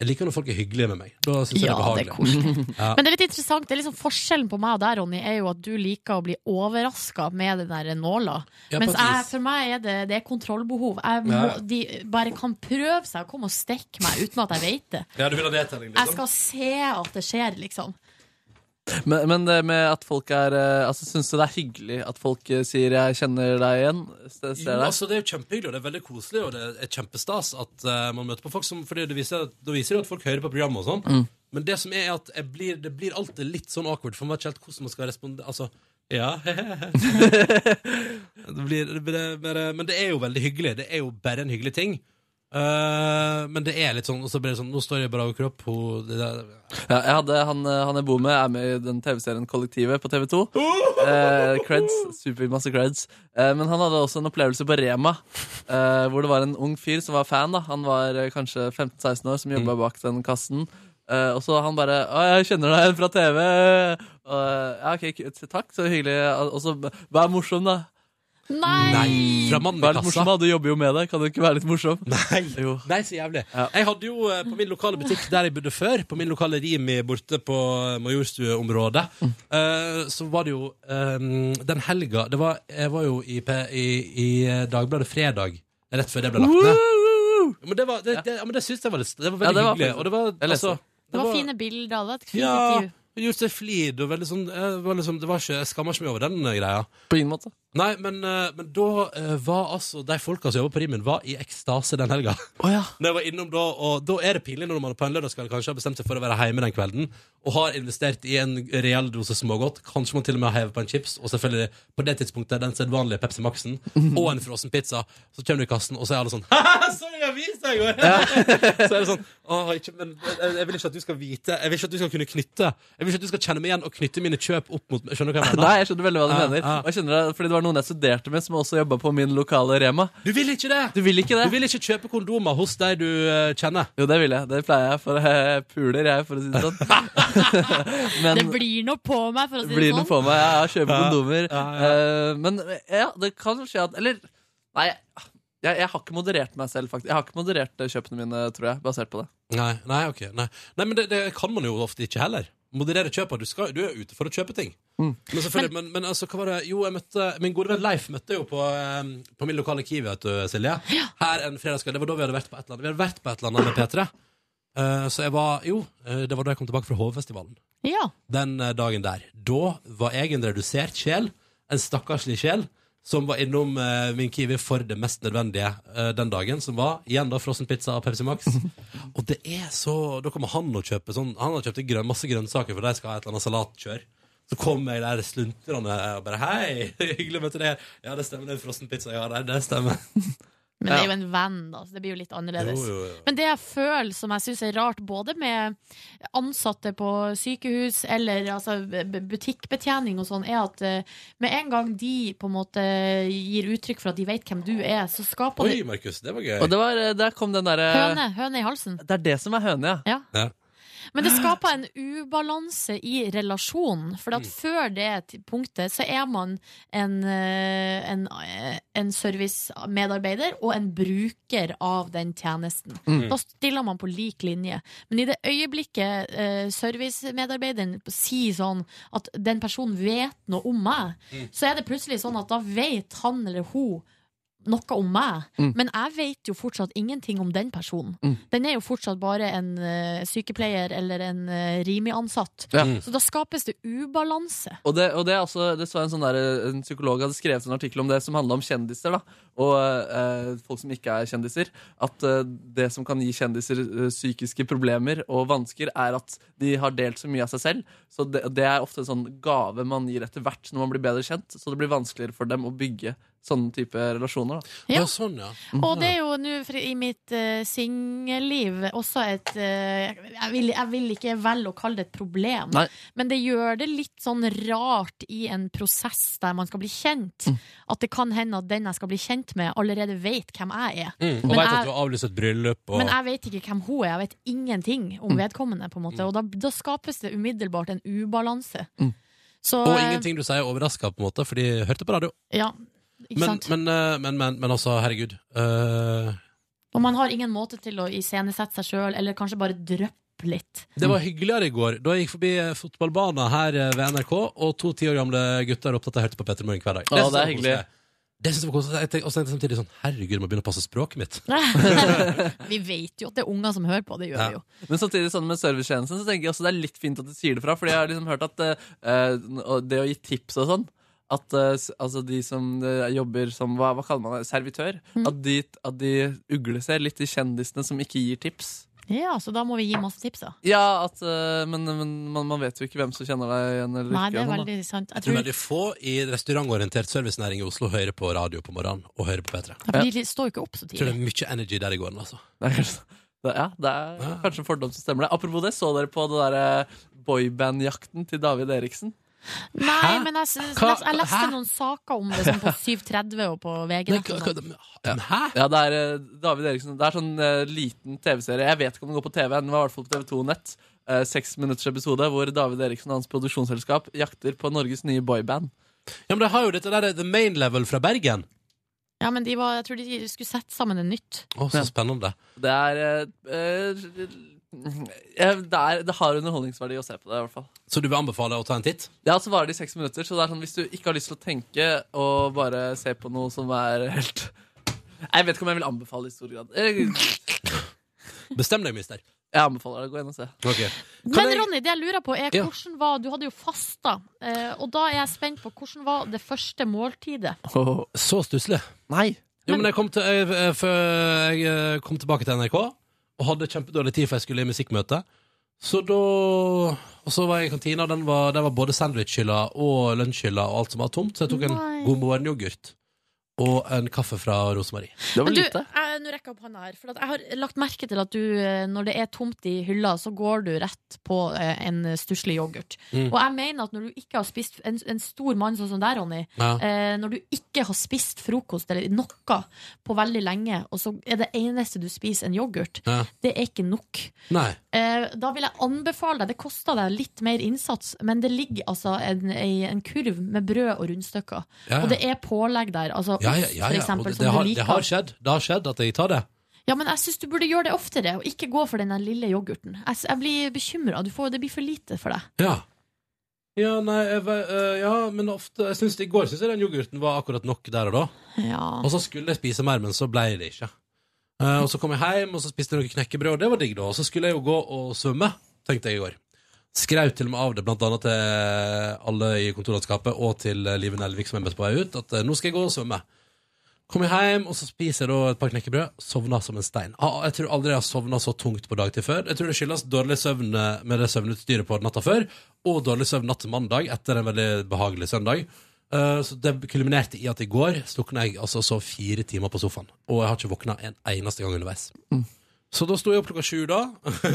Speaker 2: Jeg liker når folk er hyggelige med meg. Da syns jeg det er
Speaker 4: Ja, det er
Speaker 2: behagelig.
Speaker 4: koselig.
Speaker 2: Ja.
Speaker 4: Men det er litt interessant. Det er liksom forskjellen på meg og deg, Ronny, er jo at du liker å bli overraska med den der nåla.
Speaker 2: Ja,
Speaker 4: Mens
Speaker 2: på et
Speaker 4: jeg,
Speaker 2: vis.
Speaker 4: for meg er det, det er kontrollbehov. Jeg må,
Speaker 2: Ja.
Speaker 4: de bare kan prøve seg og komme og stikke meg uten at jeg vet det.
Speaker 2: Ja, du vil ha nedtelling,
Speaker 4: Jeg
Speaker 2: liksom?
Speaker 4: skal se at det skjer, liksom.
Speaker 3: Men, men det med at folk er eh, Altså, syns du det er hyggelig at folk eh, sier 'jeg kjenner deg igjen'? Se-
Speaker 2: Jo,
Speaker 3: Ser deg?
Speaker 2: altså Det er jo kjempehyggelig, og det er veldig koselig, og det er kjempestas at eh, man møter på folk som For det viser, da viser det jo at folk hører på programmet og sånn. Men det som er, er at jeg blir, det blir alltid litt sånn awkward, for man vet ikke helt hvordan man skal responde. Altså, ja det blir, det blir bare, Men det er jo veldig hyggelig. Det er jo bare en hyggelig ting. Eh, men det er litt sånn, og så blir det sånn Nå står jeg bare over kropp, hun det der,
Speaker 3: Ja, jeg hadde han, eh, han jeg bor med, er med i den TV-serien Kollektivet på TV2. Eh, creds, Supermasse creds. Eh, men han hadde også en opplevelse på Rema, eh, hvor det var en ung fyr som var fan. da Han var eh, kanskje 15-16 år, som jobba bak den kassen. Eh, og så han bare 'Å, jeg kjenner deg fra TV'. Og, eh, ja, ok, k- takk, så hyggelig. Og så b- vær morsom, da.
Speaker 4: Nei!
Speaker 2: Nei! Fra mannen i
Speaker 3: Vær litt
Speaker 2: kassa.
Speaker 3: morsom, da. Du jobber jo med det. Kan du ikke være litt morsom?
Speaker 2: Nei,
Speaker 3: Jo.
Speaker 2: Nei, så jævlig.
Speaker 3: Ja.
Speaker 2: Jeg hadde jo eh, på min lokale butikk der jeg bodde før, på min lokale Rimi borte på Majorstueområdet, eh, så var det jo eh, den helga det var, Jeg var jo i, P, i, i eh, Dagbladet fredag, rett før det ble lagt ned. Men det, var, det, det, ja, men det syns jeg var litt Det var
Speaker 3: Ja,
Speaker 2: veldig
Speaker 3: det var
Speaker 2: hyggelig.
Speaker 3: faktisk-
Speaker 2: Og det var,
Speaker 3: jeg leste
Speaker 2: altså,
Speaker 3: det.
Speaker 4: Det var fine bilder. Det var et fint
Speaker 2: Ja,
Speaker 4: intervju.
Speaker 2: gjort seg flid og veldig sånn, eh, var liksom, det var ikke, Jeg skammer ikke meg over den eh, greia.
Speaker 3: På ingen måte.
Speaker 2: Nei, men, eh, men da eh, var altså de folka som jobber på Rimen, var i ekstase den helga.
Speaker 3: Å ja.
Speaker 2: Når jeg var innom da, og da er det pinlig når man på en lørdagskveld kanskje har bestemt seg for å være hjemme den kvelden, og har investert i en reell dose smågodt, kanskje man til og med hever på en chips, og selvfølgelig på det tidspunktet den sedvanlige Pepsi Max-en, og en frossen pizza, så kommer du i kassen, og så er alle sånn «Haha, Sorry, jeg har vist deg i går! så er det sånn «Åh, ikke, men jeg, jeg vil ikke at du skal vite Jeg vil ikke at du skal kunne knytte Jeg vil ikke at du skal kjenne meg igjen og knytte mine kjøp opp mot meg. Skjønner du hva jeg mener?
Speaker 3: Nei, jeg skjønner veldig hva du
Speaker 2: Ja,
Speaker 3: mener.
Speaker 2: ja.
Speaker 3: Og jeg skjønner det, fordi det var noen jeg studerte med, som også jobba på min lokale Rema.
Speaker 2: Du vil ikke det!
Speaker 3: Du vil ikke
Speaker 2: Du
Speaker 3: det?
Speaker 2: vil ikke kjøpe kondomer hos de du eh, kjenner.
Speaker 3: Jo, det vil jeg. Det pleier jeg, for jeg puler, jeg, for å si det sånn. Men
Speaker 4: Det blir noe på meg, for å si det
Speaker 3: blir det
Speaker 4: sånn.
Speaker 3: på meg. Jeg kjøper
Speaker 2: Ja,
Speaker 3: kondomer.
Speaker 2: ja,
Speaker 3: Eh, Men ja, det kan skje at Eller nei, jeg, jeg har ikke moderert meg selv, faktisk. Jeg har ikke moderert eh, kjøpene mine, tror jeg, basert på det.
Speaker 2: Nei, nei, ok Nei, nei men det, det kan man jo ofte ikke heller Moderere kjøpet, du, skal, du er ute for å kjøpe ting Men selvfølgelig, men, men altså, hva var det? Jo, jeg møtte, min gode venn Leif møtte jeg jo på, eh, på min lokale Kiwi, vet du, Silje Her en fredagskveld, det var da vi hadde vært på et eller annet Vi hadde vært på et eller annet med P3 Eh, Så jeg var, jo, eh, det var da jeg kom tilbake fra Hovefestivalen
Speaker 4: Ja.
Speaker 2: den eh, dagen der. Da var jeg en redusert sjel, en stakkarslig sjel, som var innom eh, min Kiwi for det mest nødvendige eh, den dagen, som var igjen da frossen pizza og Pepsi Max. og det er så Da kommer han og kjøper sånn Han har kjøpt en grønn, masse grønnsaker, for de skal ha et eller annet salatkjør. Så kommer jeg der sluntrende eh, og bare Hei, hyggelig å møte deg her. Ja, det stemmer, det er en frossen pizza. Ja, det, det stemmer.
Speaker 4: Men det er jo en venn, da, så det blir jo litt annerledes. Men det jeg føler som jeg syns er rart, både med ansatte på sykehus eller altså, b- butikkbetjening og sånn, er at eh, med en gang de på en måte gir uttrykk for at de vet hvem du er, så skaper
Speaker 2: Oi,
Speaker 4: det
Speaker 2: Markus, det var gøy.
Speaker 3: Og det var, eh, der kom den derre
Speaker 4: høne, høne i halsen.
Speaker 3: Det er det som er høne, ja.
Speaker 4: Ja.
Speaker 2: Ja.
Speaker 4: Men det skaper en ubalanse i relasjonen. For at før det t- punktet så er man en, eh, en, eh, en servicemedarbeider og en bruker av den tjenesten. Da stiller man på lik linje. Men i det øyeblikket eh, servicemedarbeideren sier sånn at den personen vet noe om meg, så er det plutselig sånn at da vet han eller hun noe om meg,
Speaker 3: Mm.
Speaker 4: men jeg vet jo fortsatt ingenting om den personen. Den er jo fortsatt bare en eh, sykepleier eller en uh, Rimi-ansatt.
Speaker 3: Ja.
Speaker 4: Så da skapes det ubalanse.
Speaker 3: Og det, og det er også, det så jeg en, sånn der, en psykolog hadde skrevet en artikkel om det som handla om kjendiser. da, Og eh, folk som ikke er kjendiser. At eh, det som kan gi kjendiser eh, psykiske problemer og vansker, er at de har delt så mye av seg selv. Så det, det er ofte en sånn gave man gir etter hvert når man blir bedre kjent. Så det blir vanskeligere for dem å bygge sånne type relasjoner. da.
Speaker 4: Ja.
Speaker 2: ja, sånn, ja.
Speaker 3: Mm.
Speaker 4: Og det er jo nå for- i mitt uh, singelliv også et eh, jeg, vil, jeg vil ikke velge å kalle det et problem,
Speaker 3: Nei.
Speaker 4: men det gjør det litt sånn rart i en prosess der man skal bli kjent.
Speaker 3: Mm.
Speaker 4: At det kan hende at den jeg skal bli kjent med, allerede vet hvem jeg er.
Speaker 2: Mm. Og
Speaker 4: Men
Speaker 2: veit
Speaker 4: jeg-
Speaker 2: at du har avlyst et bryllup og Mm.
Speaker 4: Men jeg vet ikke hvem hun er, jeg vet ingenting om vedkommende. på en måte Og da, da skapes det umiddelbart en ubalanse.
Speaker 2: Mm.
Speaker 4: Så,
Speaker 2: Og
Speaker 4: eh,
Speaker 2: ingenting du sier overraska, på en måte, for de hørte på radio.
Speaker 4: Ja, ikke
Speaker 2: Men,
Speaker 4: sant?
Speaker 2: men, eh, men, men, men altså, herregud. Eh,
Speaker 4: Og man har ingen måte til å iscenesette seg sjøl, eller kanskje bare dryppe litt.
Speaker 2: det var hyggeligere i går. Da jeg gikk forbi eh, fotballbanen her eh, ved NRK, og to ti år gamle gutter opptatt av hørte på Petter Morgen hver dag.
Speaker 3: Å,
Speaker 2: synes
Speaker 3: det er
Speaker 2: jeg var
Speaker 3: hyggelig.
Speaker 2: koselig. Det synes jeg var koselig. Jeg tenkte- Og så tenkte jeg samtidig sånn Herregud, jeg må begynne å passe språket mitt.
Speaker 4: vi vet jo at det er unger som hører på, det gjør
Speaker 2: Ja.
Speaker 4: vi jo.
Speaker 3: Men samtidig sånn med servicetjenesten så tenker jeg også det er litt fint at du sier det fra. Fordi jeg har liksom hørt at eh, og det å gi tips og sånn at eh, s- altså de som eh, jobber som hva, hva kaller man det, servitør,
Speaker 4: Mm.
Speaker 3: at, de, at de ugleser litt de kjendisene som ikke gir tips.
Speaker 4: Ja, så da må vi gi masse tips, da.
Speaker 3: Ja, at, eh, men, men man, man vet jo ikke hvem som kjenner deg igjen. Eller
Speaker 4: Nei,
Speaker 3: ikke,
Speaker 4: det er
Speaker 3: og sånn, da.
Speaker 4: veldig sant. Jeg
Speaker 2: Jeg tror
Speaker 4: tror
Speaker 2: veldig få i restaurantorientert servicenæring i Oslo hører på radio på morgenen og hører på P3.
Speaker 4: Ja, for De står jo ikke opp så
Speaker 2: Jeg tror
Speaker 4: tidlig.
Speaker 2: det er mye energy der i går. Altså.
Speaker 3: Det er kanskje, det, ja, det er
Speaker 2: Ja.
Speaker 3: kanskje en fordom som stemmer. det Apropos det, så dere på det der eh, boybandjakten til David Eriksen?
Speaker 4: Nei, men jeg, s-
Speaker 2: Hva?
Speaker 4: jeg leste
Speaker 2: Hæ?
Speaker 4: noen saker om det sånn på 7.30 og på VG.
Speaker 2: Nei, hva- hva- men- men Hæ?
Speaker 3: Ja, det er eh, David Eriksen Det er sånn eh, liten TV-serie. Jeg vet ikke om den går på TV, den var i hvert fall på TV2 Nett. Eh, seks minutters episode hvor David Eriksen og hans produksjonsselskap jakter på Norges nye boyband.
Speaker 2: Ja, men de har jo dette der The Main Level fra Bergen.
Speaker 4: Ja, men de var, jeg tror de skulle sette sammen en nytt.
Speaker 2: Å, så spennende.
Speaker 3: Det er eh, eh, eh, det, er, det har underholdningsverdi å se på det, i hvert fall.
Speaker 2: Så du vil anbefale å ta en titt?
Speaker 3: Ja, så varer det i seks minutter, så det er sånn hvis du ikke har lyst til å tenke og bare se på noe som er helt Jeg vet ikke om jeg vil anbefale det i stor grad. Eh,
Speaker 2: Bestem deg, mister.
Speaker 3: Jeg anbefaler deg å gå inn og se.
Speaker 2: Ok. Kan
Speaker 4: Men
Speaker 2: jeg-
Speaker 4: Ronny, det jeg lurer på er
Speaker 2: Ja.
Speaker 4: hvordan var Du hadde jo fasta, eh, og da er jeg spent på hvordan var det første måltidet?
Speaker 2: Så stusslig.
Speaker 3: Nei.
Speaker 2: Jo, men jeg kom, til, jeg, jeg- før jeg eh, kom tilbake til NRK og hadde kjempedårlig tid, for jeg skulle i musikkmøte. Så da Og så var jeg i kantina, og den var, den var både sandwichhylla og lunsjhylla og alt som var tomt, så jeg tok en
Speaker 4: Nei.
Speaker 2: god morgen-yoghurt og en kaffe fra Rosemarie.
Speaker 3: Det var
Speaker 4: Men du,
Speaker 3: lite.
Speaker 4: jeg, nå rekker jeg opp hånda her, for at jeg har lagt merke til at du, eh, når det er tomt i hylla, så går du rett på eh, en stusslig yoghurt.
Speaker 2: Mm.
Speaker 4: Og jeg mener at når du ikke har spist en, en stor mann sånn som deg, Ronny,
Speaker 2: Ja.
Speaker 4: eh, når du ikke har spist frokost eller noe på veldig lenge, og så er det eneste du spiser en yoghurt,
Speaker 2: Ja.
Speaker 4: det er ikke nok.
Speaker 2: Nei.
Speaker 4: Eh, da vil jeg anbefale deg, det koster deg litt mer innsats, men det ligger altså en, ei- en kurv med brød og rundstykker.
Speaker 2: Ja,
Speaker 4: Og det
Speaker 2: ja.
Speaker 4: er pålegg der, altså
Speaker 2: Ja, ja,
Speaker 4: ost
Speaker 2: ja,
Speaker 4: for
Speaker 2: ja. Og
Speaker 4: eksempel,
Speaker 2: det,
Speaker 4: som
Speaker 2: det, har,
Speaker 4: du
Speaker 2: det
Speaker 4: liker.
Speaker 2: har skjedd. Det har skjedd at jeg tar det.
Speaker 4: Ja, men jeg syns du burde gjøre det oftere, og ikke gå for den der lille yoghurten. Jeg, s- jeg blir bekymra, det blir for lite for deg.
Speaker 2: Ja. Ja, nei, jeg, ve- eh, ja, men ofte jeg synes, I går syns jeg den yoghurten var akkurat nok der og da.
Speaker 4: Ja.
Speaker 2: Og så skulle jeg spise mer, men så ble det ikke. Eh, og så kom jeg hjem, og så spiste jeg noe knekkebrød, og det var digg, da. Og så skulle jeg jo gå og svømme, tenkte jeg i går. Skrev til og med av det, blant annet til alle i kontorlandskapet og til eh, Live Nelvik, som er mest på vei ut, at eh, nå skal jeg gå og svømme. Kom jeg hjem, og så spiser jeg da et par knekkebrød. Sovna som en stein. Ah, Jeg tror aldri jeg har sovna så tungt på dagtid før. Jeg tror det skyldes dårlig søvn eh, med det søvnutstyret på natta før, og dårlig søvn natt til mandag etter en veldig behagelig søndag. Eh, Så det kulminerte i at i går slukna jeg altså så fire timer på sofaen. Og jeg har ikke våkna en eneste gang underveis. Så da sto jeg opp klokka sju da,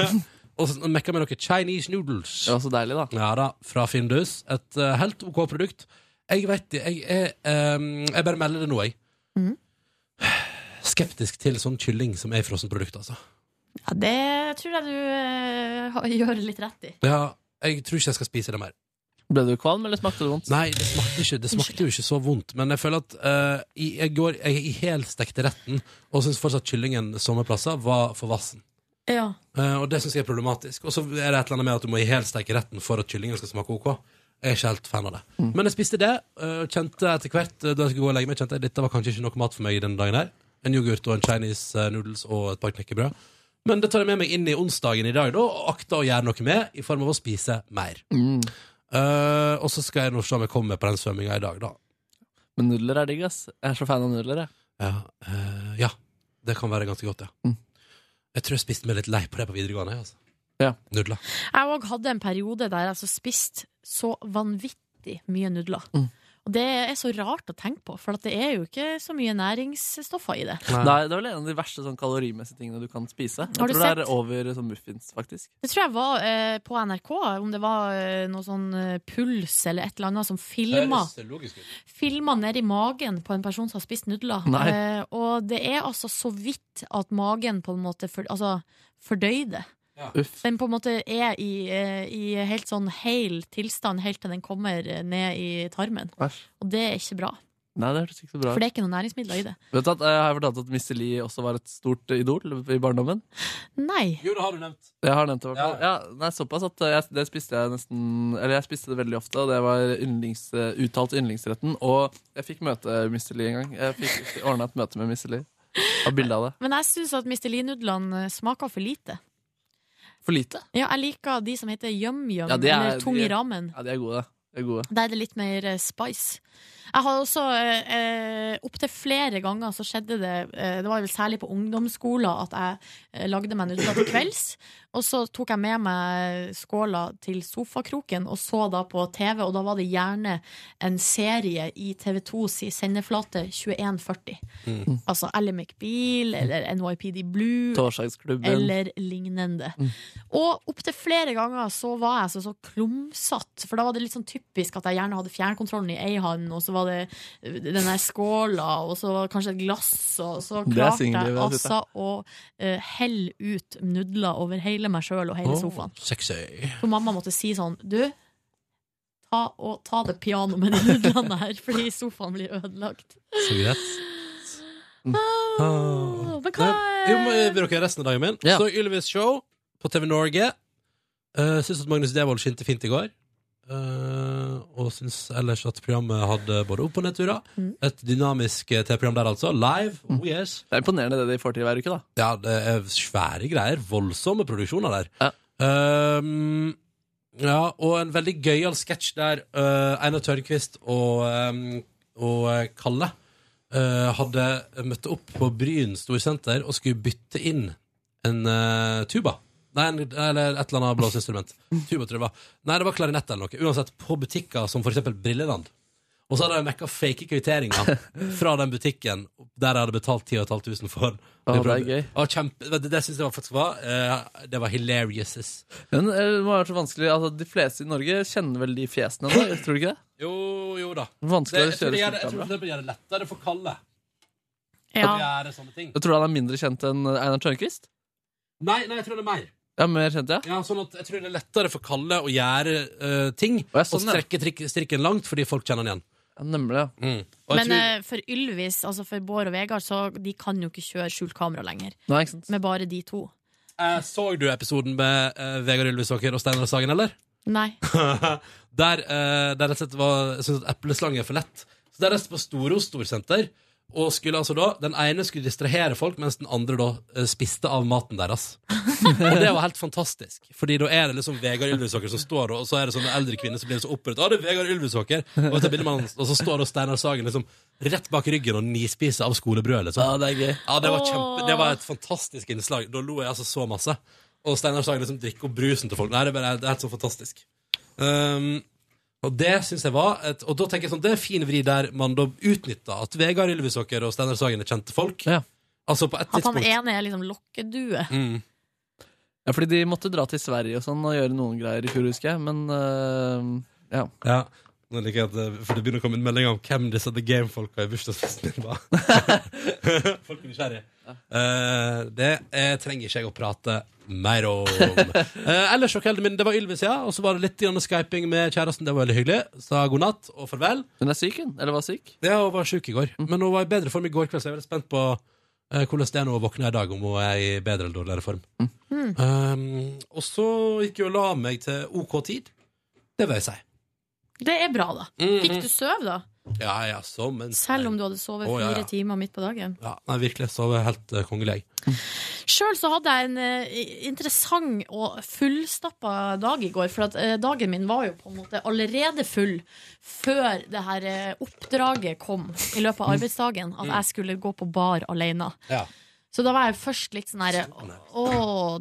Speaker 2: og så mekka meg noen Chinese noodles.
Speaker 3: Det var så deilig, da.
Speaker 2: Ja da, fra Findus. Et eh, helt OK produkt. Jeg vet det, jeg er ehm, Jeg bare melder det nå, jeg. Skeptisk til sånn kylling som er i frossenprodukt, altså.
Speaker 4: ja, det tror jeg du eh, har- gjør litt rett i.
Speaker 2: Ja, jeg tror ikke jeg skal spise det mer.
Speaker 3: Ble du kvalm, eller smakte det vondt?
Speaker 2: Nei, det smakte, ikke, det smakte jo ikke så vondt, men jeg føler at eh, i, jeg går jeg, i helstekte retten og syns fortsatt kyllingen somme plasser var for vassen.
Speaker 4: Ja.
Speaker 2: Eh, og det syns jeg er problematisk. Og så er det et eller annet med at du må i helsteke retten for at kyllingen skal smake OK. Jeg er ikke helt fan av det.
Speaker 3: Mm.
Speaker 2: Men jeg spiste det, eh, kjente etter hvert eh, da jeg skulle gå og legge meg, kjente jeg dette var kanskje ikke nok mat for meg denne dagen her. En yoghurt og en Chinese eh, noodles og et par knekkebrød. Men det tar jeg med meg inn i onsdagen i dag, da, og akter å gjøre noe med i form av å spise mer.
Speaker 3: Mm.
Speaker 2: Eh, og så skal jeg nå se om jeg kommer med på den svømminga i dag, da.
Speaker 3: Men nudler er digg, ass. Jeg er så fan av nudler, jeg.
Speaker 2: Ja, eh, ja. det kan være ganske godt, ja.
Speaker 3: Mm.
Speaker 2: Jeg tror jeg spiste meg litt lei på det på videregående. jeg, Altså.
Speaker 3: Ja.
Speaker 2: Nudler.
Speaker 4: Jeg òg hadde en periode der jeg altså spiste så vanvittig mye nudler.
Speaker 3: Mm.
Speaker 4: Og det er så rart å tenke på, for at det er jo ikke så mye næringsstoffer i det.
Speaker 3: Det er, det er vel en av de verste sånn, kalorimessige tingene du kan spise. Jeg
Speaker 4: Har du
Speaker 3: tror det er over sånn muffins, faktisk.
Speaker 4: Det tror jeg var eh, på NRK, om det var eh, noe sånn eh, puls eller et eller annet som filma.
Speaker 2: logisk ut.
Speaker 4: Filma nedi magen på en person som har spist nudler.
Speaker 3: Nei.
Speaker 4: Eh, og det er altså så vidt at magen på en måte for, altså, fordøyde.
Speaker 3: Uff.
Speaker 4: Den på en måte er i, eh, i helt sånn heil tilstand helt til den kommer eh, ned i tarmen.
Speaker 3: Æsj.
Speaker 4: Og det er ikke bra.
Speaker 3: Nei, det hørtes ikke så bra ut.
Speaker 4: For det er ikke noen næringsmidler i det.
Speaker 3: Vet du at eh, Jeg har fortalt at Missy Lee også var et stort idol i barndommen.
Speaker 4: Nei.
Speaker 2: Jo, det har du nevnt.
Speaker 3: Jeg har nevnt det i hvert
Speaker 2: Ja,
Speaker 3: fall. Ja, nei, såpass at eh, jeg, det spiste jeg nesten Eller jeg spiste det veldig ofte, og det var yndlings, eh, uttalt yndlingsretten. Og jeg fikk møte Missy Lee en gang. Jeg fikk ordna et møte med Missy Lee. Av bilde av det.
Speaker 4: Men jeg syns at Mistelin-nudlene smaker for lite.
Speaker 3: For lite?
Speaker 4: Ja, jeg liker de som heter yum-yum
Speaker 3: Ja, det er-
Speaker 4: eller tung i
Speaker 3: de-
Speaker 4: ramen.
Speaker 3: Ja, de er gode. De er gode.
Speaker 4: Der er det litt mer eh, spice. Jeg har også eh, eh, Opptil flere ganger så skjedde det eh, Det var vel særlig på ungdomsskolen at jeg eh, lagde meg nudler til kvelds. Og så tok jeg med meg skåla til sofakroken og så da på TV, og da var det gjerne en serie i TV2s sendeflate 2140. Altså Ally McBeal eller NYPD Blue
Speaker 3: Torsdagsklubben.
Speaker 4: eller lignende. Og opptil flere ganger så var jeg altså så, så klumsatt, for da var det litt sånn typisk at jeg gjerne hadde fjernkontrollen i ei hand, og så var det eh, den der skåla, og så var det kanskje et glass, og så
Speaker 3: Det er
Speaker 4: klarte
Speaker 3: singellivet,
Speaker 4: jeg
Speaker 3: dette.
Speaker 4: altså å eh, helle ut nudler over hele meg sjøl og hele sofaen.
Speaker 2: Sexy.
Speaker 4: For mamma måtte si sånn, du Ta, og ta det piano med de nudlene her, fordi sofaen blir ødelagt.
Speaker 2: Så greit.
Speaker 4: Ah, men hva
Speaker 2: Jo, men Vil dere ha resten av dagen min?
Speaker 3: Ja.
Speaker 2: Eh, Så Ylvis show på TV Norge. Uh, Syns at Magnus Devold skinte fint i går. eh, og syns ellers at programmet hadde både opp- og nedturer. Et dynamisk eh, TV-program der, altså. Live. Oh yes.
Speaker 3: Det er imponerende det de får til hver uke, da.
Speaker 2: Ja, det er svære greier. Voldsomme produksjoner der.
Speaker 3: Ja.
Speaker 2: Ehm, ja, og en veldig gøyal sketsj der eh, Einar Tørnquist og, ehm, og eh, Kalle eh, hadde møtt opp på Bryn storsenter og skulle bytte inn en eh, tuba. Nei, en, eller et eller annet blåseinstrument. Tuba, tror jeg det var. Nei, det var klarinett eller noe. Uansett, på butikker som for eksempel Brilleland. Og så hadde de mekka fake kvitteringer fra den butikken der jeg hadde betalt 10 500 for.
Speaker 3: Å, det er gøy.
Speaker 2: Å, kjempe, det det syns jeg faktisk var eh, Det var hilarious.
Speaker 3: Men eh, det må ha vært så vanskelig altså, De fleste i Norge kjenner vel de fjesene nå, tror du ikke det?
Speaker 2: Jo, jo da. Det,
Speaker 3: Vanskelig
Speaker 2: jeg
Speaker 3: å
Speaker 2: tror
Speaker 3: kjøre
Speaker 2: det gjør det- jeg tror
Speaker 3: skjortekamera.
Speaker 2: det blir lettere for Kalle å
Speaker 4: Ja.
Speaker 2: gjøre sånne ting.
Speaker 3: Jeg tror han er mindre kjent enn eh, Einar Tørnquist.
Speaker 2: Nei, nei, jeg tror det er mer.
Speaker 3: Ja, mer kjent, ja.
Speaker 2: Ja, sånn at jeg tror det er lettere for Kalle å gjøre eh, ting
Speaker 3: Å, ja, sånn,
Speaker 2: og strekke trikk, strikken langt fordi folk kjenner han igjen.
Speaker 3: ja nemlig. ja.
Speaker 2: Mm. Og jeg
Speaker 4: Men
Speaker 2: tror,
Speaker 4: eh, for Ylvis, altså for Bård og Vegard, så de kan jo ikke kjøre skjult kamera lenger.
Speaker 3: Nei, ikke sant?
Speaker 4: Med bare de to.
Speaker 2: eh, så du episoden med eh, Vegard Ylvisåker og Steinar Sagen, eller?
Speaker 4: Nei.
Speaker 2: der uh, der jeg var, jeg synes at epleslange er for lett. Så der reiste på Storos storsenter, og skulle altså da, den ene skulle distrahere folk, mens den andre da eh, spiste av maten deres. og det var helt fantastisk, fordi da er det liksom Vegard Ylvisåker som står, og så er det sånne eldre kvinner som blir så opprørt. Å, det er Vegard Ylvisåker! Og, så begynner man- og så står da Steinar Sagen liksom rett bak ryggen og nispiser av skolebrød,
Speaker 3: Ja,
Speaker 2: liksom.
Speaker 3: det er gøy.
Speaker 2: Ja, det var,
Speaker 4: Åh.
Speaker 2: kjempe, det var et fantastisk innslag. Da lo jeg altså så masse. Og Steinar Sagen liksom drikker opp brusen til folk. Nei, det er, bare, det er helt så fantastisk. Um, og det synes jeg var et, Og da tenker jeg sånn, det er en fin vri der man da utnytta at Vegard Ylvisåker og Steinar Sagen er kjente folk.
Speaker 3: Ja.
Speaker 2: Altså på et
Speaker 4: At han
Speaker 2: tidspunkt.
Speaker 4: ene er liksom lokkedue.
Speaker 2: Mm.
Speaker 3: Ja, fordi de måtte dra til Sverige og sånn og gjøre noen greier i fjor, husker jeg. Men eh, ja.
Speaker 2: Ja. Nå liker jeg at, det- for det begynner å komme en melding om hvem disse The Game-folka i bursdagsfesten min var. Folk er nysgjerrige. Eh, det eh, trenger ikke jeg å prate mer om. Eh, ellers så kvelden min, det var Ylvis, ja. Og så var det litt grann skyping med kjæresten. Det var veldig hyggelig. Sa god natt og farvel.
Speaker 3: Hun er syk, hun. Eller var syk.
Speaker 2: Ja, hun var sjuk i går. Men hun var i bedre form i går kveld, så jeg er veldig spent på eh, hvordan det er når hun våkner i dag, om hun er i bedre eller dårligere form.
Speaker 4: Mm.
Speaker 2: Um, og så gikk jeg og la meg til OK tid. Det vil jeg si.
Speaker 4: Det er bra, da.
Speaker 2: Mm-hmm.
Speaker 4: Fikk du sove, da?
Speaker 2: Ja, ja, som en
Speaker 4: Selv om du hadde sovet
Speaker 2: Å, ja, ja.
Speaker 4: fire timer midt på dagen.
Speaker 2: Ja, nei, virkelig, så er jeg helt eh, kongelig jeg.
Speaker 4: Sjøl så hadde jeg en eh, interessant og fullstappa dag i går. For at eh, dagen min var jo på en måte allerede full før det her eh, oppdraget kom i løpet
Speaker 2: Mm.
Speaker 4: av arbeidsdagen. At jeg skulle gå på bar alene.
Speaker 2: Ja.
Speaker 4: Så da var jeg først litt sånn herre Å,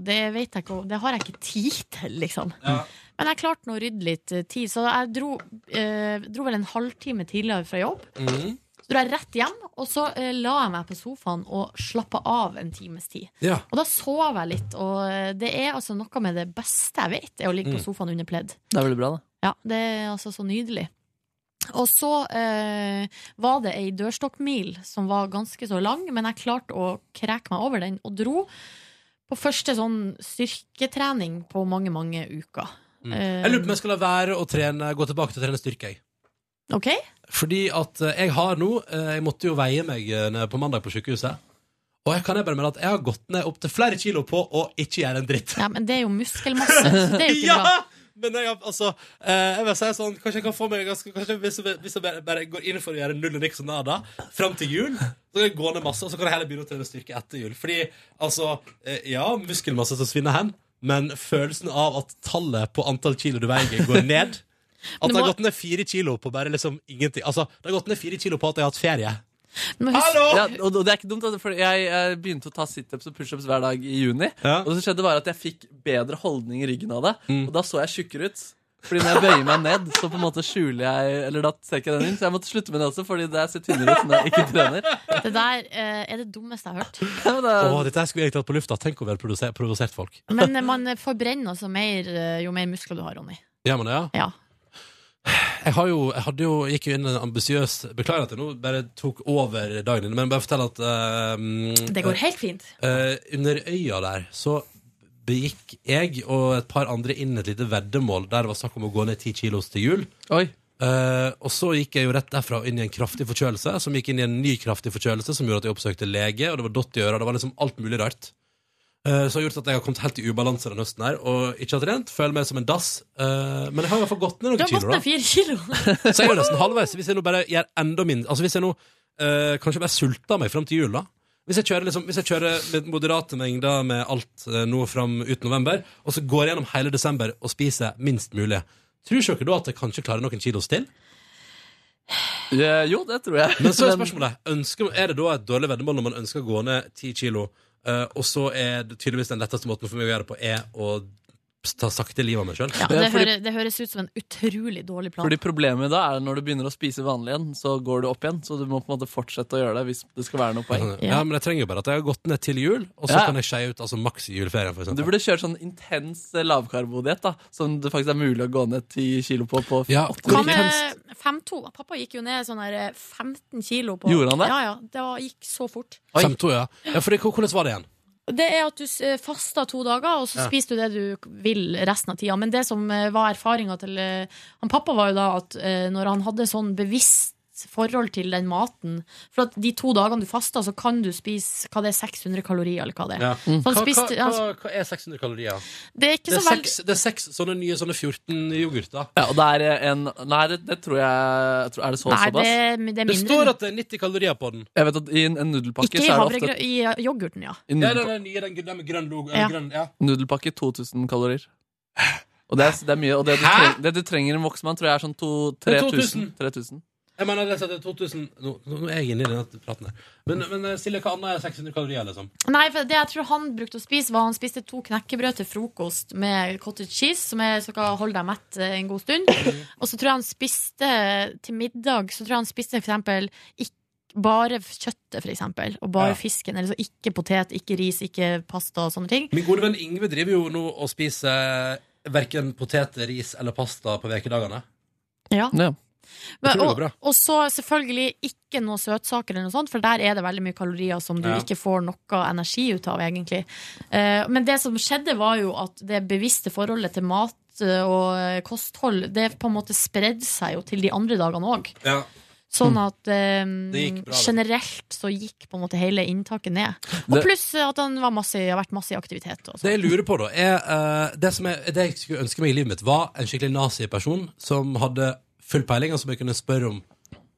Speaker 4: det vet jeg ikke Det har jeg ikke tid til, liksom.
Speaker 2: Ja.
Speaker 4: Men jeg klarte nå å rydde litt eh, tid, så jeg dro, eh, dro vel en halvtime tidligere fra jobb.
Speaker 2: Mhm.
Speaker 4: Så dro jeg rett hjem, og så eh, la jeg meg på sofaen og slappa av en times tid.
Speaker 2: ja.
Speaker 4: Og da sov jeg litt, og eh, det er altså noe med det beste jeg vet, er å ligge på sofaen under pledd.
Speaker 3: Det er veldig bra, da.
Speaker 4: Ja, det er altså så nydelig. Og så eh, var det ei dørstokkmil som var ganske så lang, men jeg klarte å kreke meg over den og dro på første sånn styrketrening på mange, mange uker. Eh,
Speaker 2: Jeg lurer på om jeg skal la være å trene, gå tilbake til å trene styrke. Jeg.
Speaker 4: OK?
Speaker 2: Fordi at eh, jeg har nå eh, Jeg måtte jo veie meg eh, ned på mandag på sykehuset. Og jeg kan jeg bare melde at jeg har gått ned opptil flere kilo på å ikke gjøre en dritt.
Speaker 4: Ja, men det er jo muskelmasse. så Det er jo ikke
Speaker 2: Ja!
Speaker 4: bra.
Speaker 2: Men jeg, har- altså, eh, jeg vil si sånn Kanskje jeg kan få meg ganske, kanskje Hvis jeg, hvis jeg bare, bare går inn for å gjøre null og niks og nada fram til jul, så kan jeg gå ned masse, og så kan jeg heller begynne å trene styrke etter jul. Fordi altså eh, Ja, muskelmasse som svinner hen, men følelsen av at tallet på antall kilo du veier, går ned At
Speaker 4: Du
Speaker 2: det har
Speaker 4: må-
Speaker 2: gått ned fire kilo på bare liksom ingenting. Altså, det har gått ned fire kilo på at jeg har hatt ferie.
Speaker 4: Men husk-
Speaker 3: Ja, og og det er ikke dumt, altså, for jeg, jeg begynte å ta situps og pushups hver dag i juni.
Speaker 2: Ja. Mm.
Speaker 3: Og så skjedde bare at jeg fikk bedre holdning i ryggen av det. Og da så jeg tjukkere ut. Fordi når jeg bøyer meg ned, så på en måte skjuler jeg Eller da trekker jeg den inn. Så jeg måtte slutte med det også, fordi det ser tynnere ut når jeg ikke trener.
Speaker 4: Det der eh, er det dummeste jeg har hørt.
Speaker 3: Ja, men det er-
Speaker 2: Åh, dette her skulle jeg tatt på lufta. Tenk å være provosert, provosert folk.
Speaker 4: Men eh, man forbrenner altså mer eh, jo mer muskler du har, Ronny.
Speaker 2: Gjør man det, ja?
Speaker 4: Ja.
Speaker 2: Jeg, har jo, jeg hadde jo, gikk jo inn i en ambisiøs Beklager at jeg nå bare tok over dagen din, men bare fortell at eh,
Speaker 4: Det går helt fint.
Speaker 2: eh, Under øya der så begikk jeg og et par andre inn et lite veddemål der det var snakk om å gå ned ti kilos til jul.
Speaker 3: Oi.
Speaker 2: Eh, og så gikk jeg jo rett derfra inn i en kraftig forkjølelse, som gikk inn i en ny kraftig forkjølelse, som gjorde at jeg oppsøkte lege, og det var dott i øra, det var liksom alt mulig rart. eh, som har gjort at jeg har kommet helt i ubalanse denne høsten her, og ikke har trent. Føler meg som en dass. eh, men jeg har i hvert fall gått ned noen
Speaker 4: Du har gått
Speaker 2: kilo. da
Speaker 4: ned fire kilo.
Speaker 2: Så jeg er jo nesten halvveis. Hvis jeg nå bare gjør enda mindre Altså hvis jeg nå eh, kanskje bare sulter meg fram til jul, da. Hvis jeg kjører, liksom, hvis jeg kjører med moderate mengder med alt eh, nå fram ut november, og så går jeg gjennom hele desember og spiser minst mulig, tror ikke dere da at jeg kanskje klarer noen kilos til?
Speaker 3: Eh, Jo, det tror jeg.
Speaker 2: Men så er spørsmålet ønsker, Er det da et dårlig veddemål når man ønsker å gå ned 10 kilo, eh, og så er det tydeligvis den letteste måten for meg å gjøre det på, er å ta sakte livet av meg sjøl?
Speaker 3: Ja,
Speaker 4: Ja, det,
Speaker 3: fordi-
Speaker 4: høres, det høres ut som en utrolig dårlig plan.
Speaker 3: Fordi Problemet da er når du begynner å spise vanlig igjen, så går du opp igjen. Så du må på en måte fortsette å gjøre det hvis det skal være noe poeng.
Speaker 2: Ja. men jeg trenger jo bare at jeg har gått ned til jul, og så
Speaker 3: Ja.
Speaker 2: kan jeg skeie ut altså maks i juleferien, for
Speaker 3: Du
Speaker 2: eksempel.
Speaker 3: burde kjørt sånn intens eh, lavkarbodiett, da, som det faktisk er mulig å gå ned 10 kilo på. på
Speaker 2: Ja,
Speaker 3: åtte
Speaker 4: Hva
Speaker 3: uker.
Speaker 2: hvor
Speaker 4: med 5-2? Pappa gikk jo ned sånn her eh, 15 kilo på
Speaker 3: Gjorde han det?
Speaker 4: Ja, ja, det var, gikk så fort.
Speaker 3: Oi.
Speaker 2: 5-2, ja. ja for det, hvordan var det igjen?
Speaker 4: Det er at du eh, faster to dager, og så
Speaker 2: Ja.
Speaker 4: spiser du det du vil resten av tida. Men det som eh, var erfaringa til eh, han pappa, var jo da at eh, når han hadde sånn bevisst forhold til den maten For at de to dagene du faster, så kan du spise hva det er, 600 kalorier, eller hva det
Speaker 2: Hva,
Speaker 4: er. Så han spiste,
Speaker 2: hva,
Speaker 4: han-
Speaker 2: hva, hva er 600 kalorier?
Speaker 4: det er
Speaker 2: Det
Speaker 4: ikke
Speaker 2: er,
Speaker 4: så veldig
Speaker 2: seks, det er seks sånne nye sånne 14 yoghurter.
Speaker 3: Ja, og det er eh, en Nei, det, det tror jeg, jeg tror, Er det så
Speaker 4: Nei, det,
Speaker 3: såpass?
Speaker 4: det er
Speaker 2: Det står
Speaker 4: mindre.
Speaker 2: at det er 90 kalorier på den.
Speaker 3: Jeg vet at I en, en nudelpakke
Speaker 4: Ikke i
Speaker 3: så er det
Speaker 4: havregrø...
Speaker 3: ofte
Speaker 4: I eh, yoghurten, ja.
Speaker 3: i
Speaker 2: Ja,
Speaker 3: nudel,
Speaker 2: den er nye, den, den med grønn logo.
Speaker 4: Ja.
Speaker 2: Ja. Grønn, ja.
Speaker 3: Nudelpakke 2000 kalorier. Og det er, det er mye. Og det du, treng, det du trenger i en voksen mann, tror jeg er sånn to-
Speaker 2: Det er
Speaker 3: 3000. 3000.
Speaker 2: Jeg mener, det er 2000 nå, nå nå er jeg inne i denne praten her. Men, men eh, Silje, hva annet er 600 kalorier, liksom?
Speaker 4: Nei, for det jeg tror han brukte å spise, var han spiste to knekkebrød til frokost med cottage cheese, som er, som skal holde deg mett eh, en god stund. Og så tror jeg han spiste til middag Så tror jeg han spiste for eksempel ikk- bare kjøttet, for eksempel, og bare
Speaker 2: Ja.
Speaker 4: fisken. Eller så ikke potet, ikke ris, ikke pasta og sånne ting.
Speaker 2: Min gode venn Ingve driver jo nå og spiser verken potet, ris eller pasta på ukedagene.
Speaker 4: Ja.
Speaker 3: Ja.
Speaker 2: Jeg
Speaker 4: Men,
Speaker 2: tror det
Speaker 4: og,
Speaker 2: går bra.
Speaker 4: og så selvfølgelig ikke noe søtsaker eller noe sånt, for der er det veldig mye kalorier som du
Speaker 2: Ja.
Speaker 4: ikke får noe energi ut av, egentlig. Eh, men det som skjedde, var jo at det bevisste forholdet til mat eh, og eh, kosthold, det på en måte spredde seg jo til de andre dagene òg.
Speaker 2: Ja.
Speaker 4: Sånn at eh,
Speaker 2: Mm. Det gikk bra, det.
Speaker 4: generelt så gikk på en måte hele inntaket ned. Og
Speaker 3: Det-
Speaker 4: pluss at han var masse, har vært masse i aktivitet.
Speaker 2: Det
Speaker 4: Og sånn.
Speaker 2: jeg lurer på, da, er eh, det, som jeg, det jeg skulle ønske meg i livet mitt, var en skikkelig nazi-person som hadde full peiling, og som jeg kunne spørre om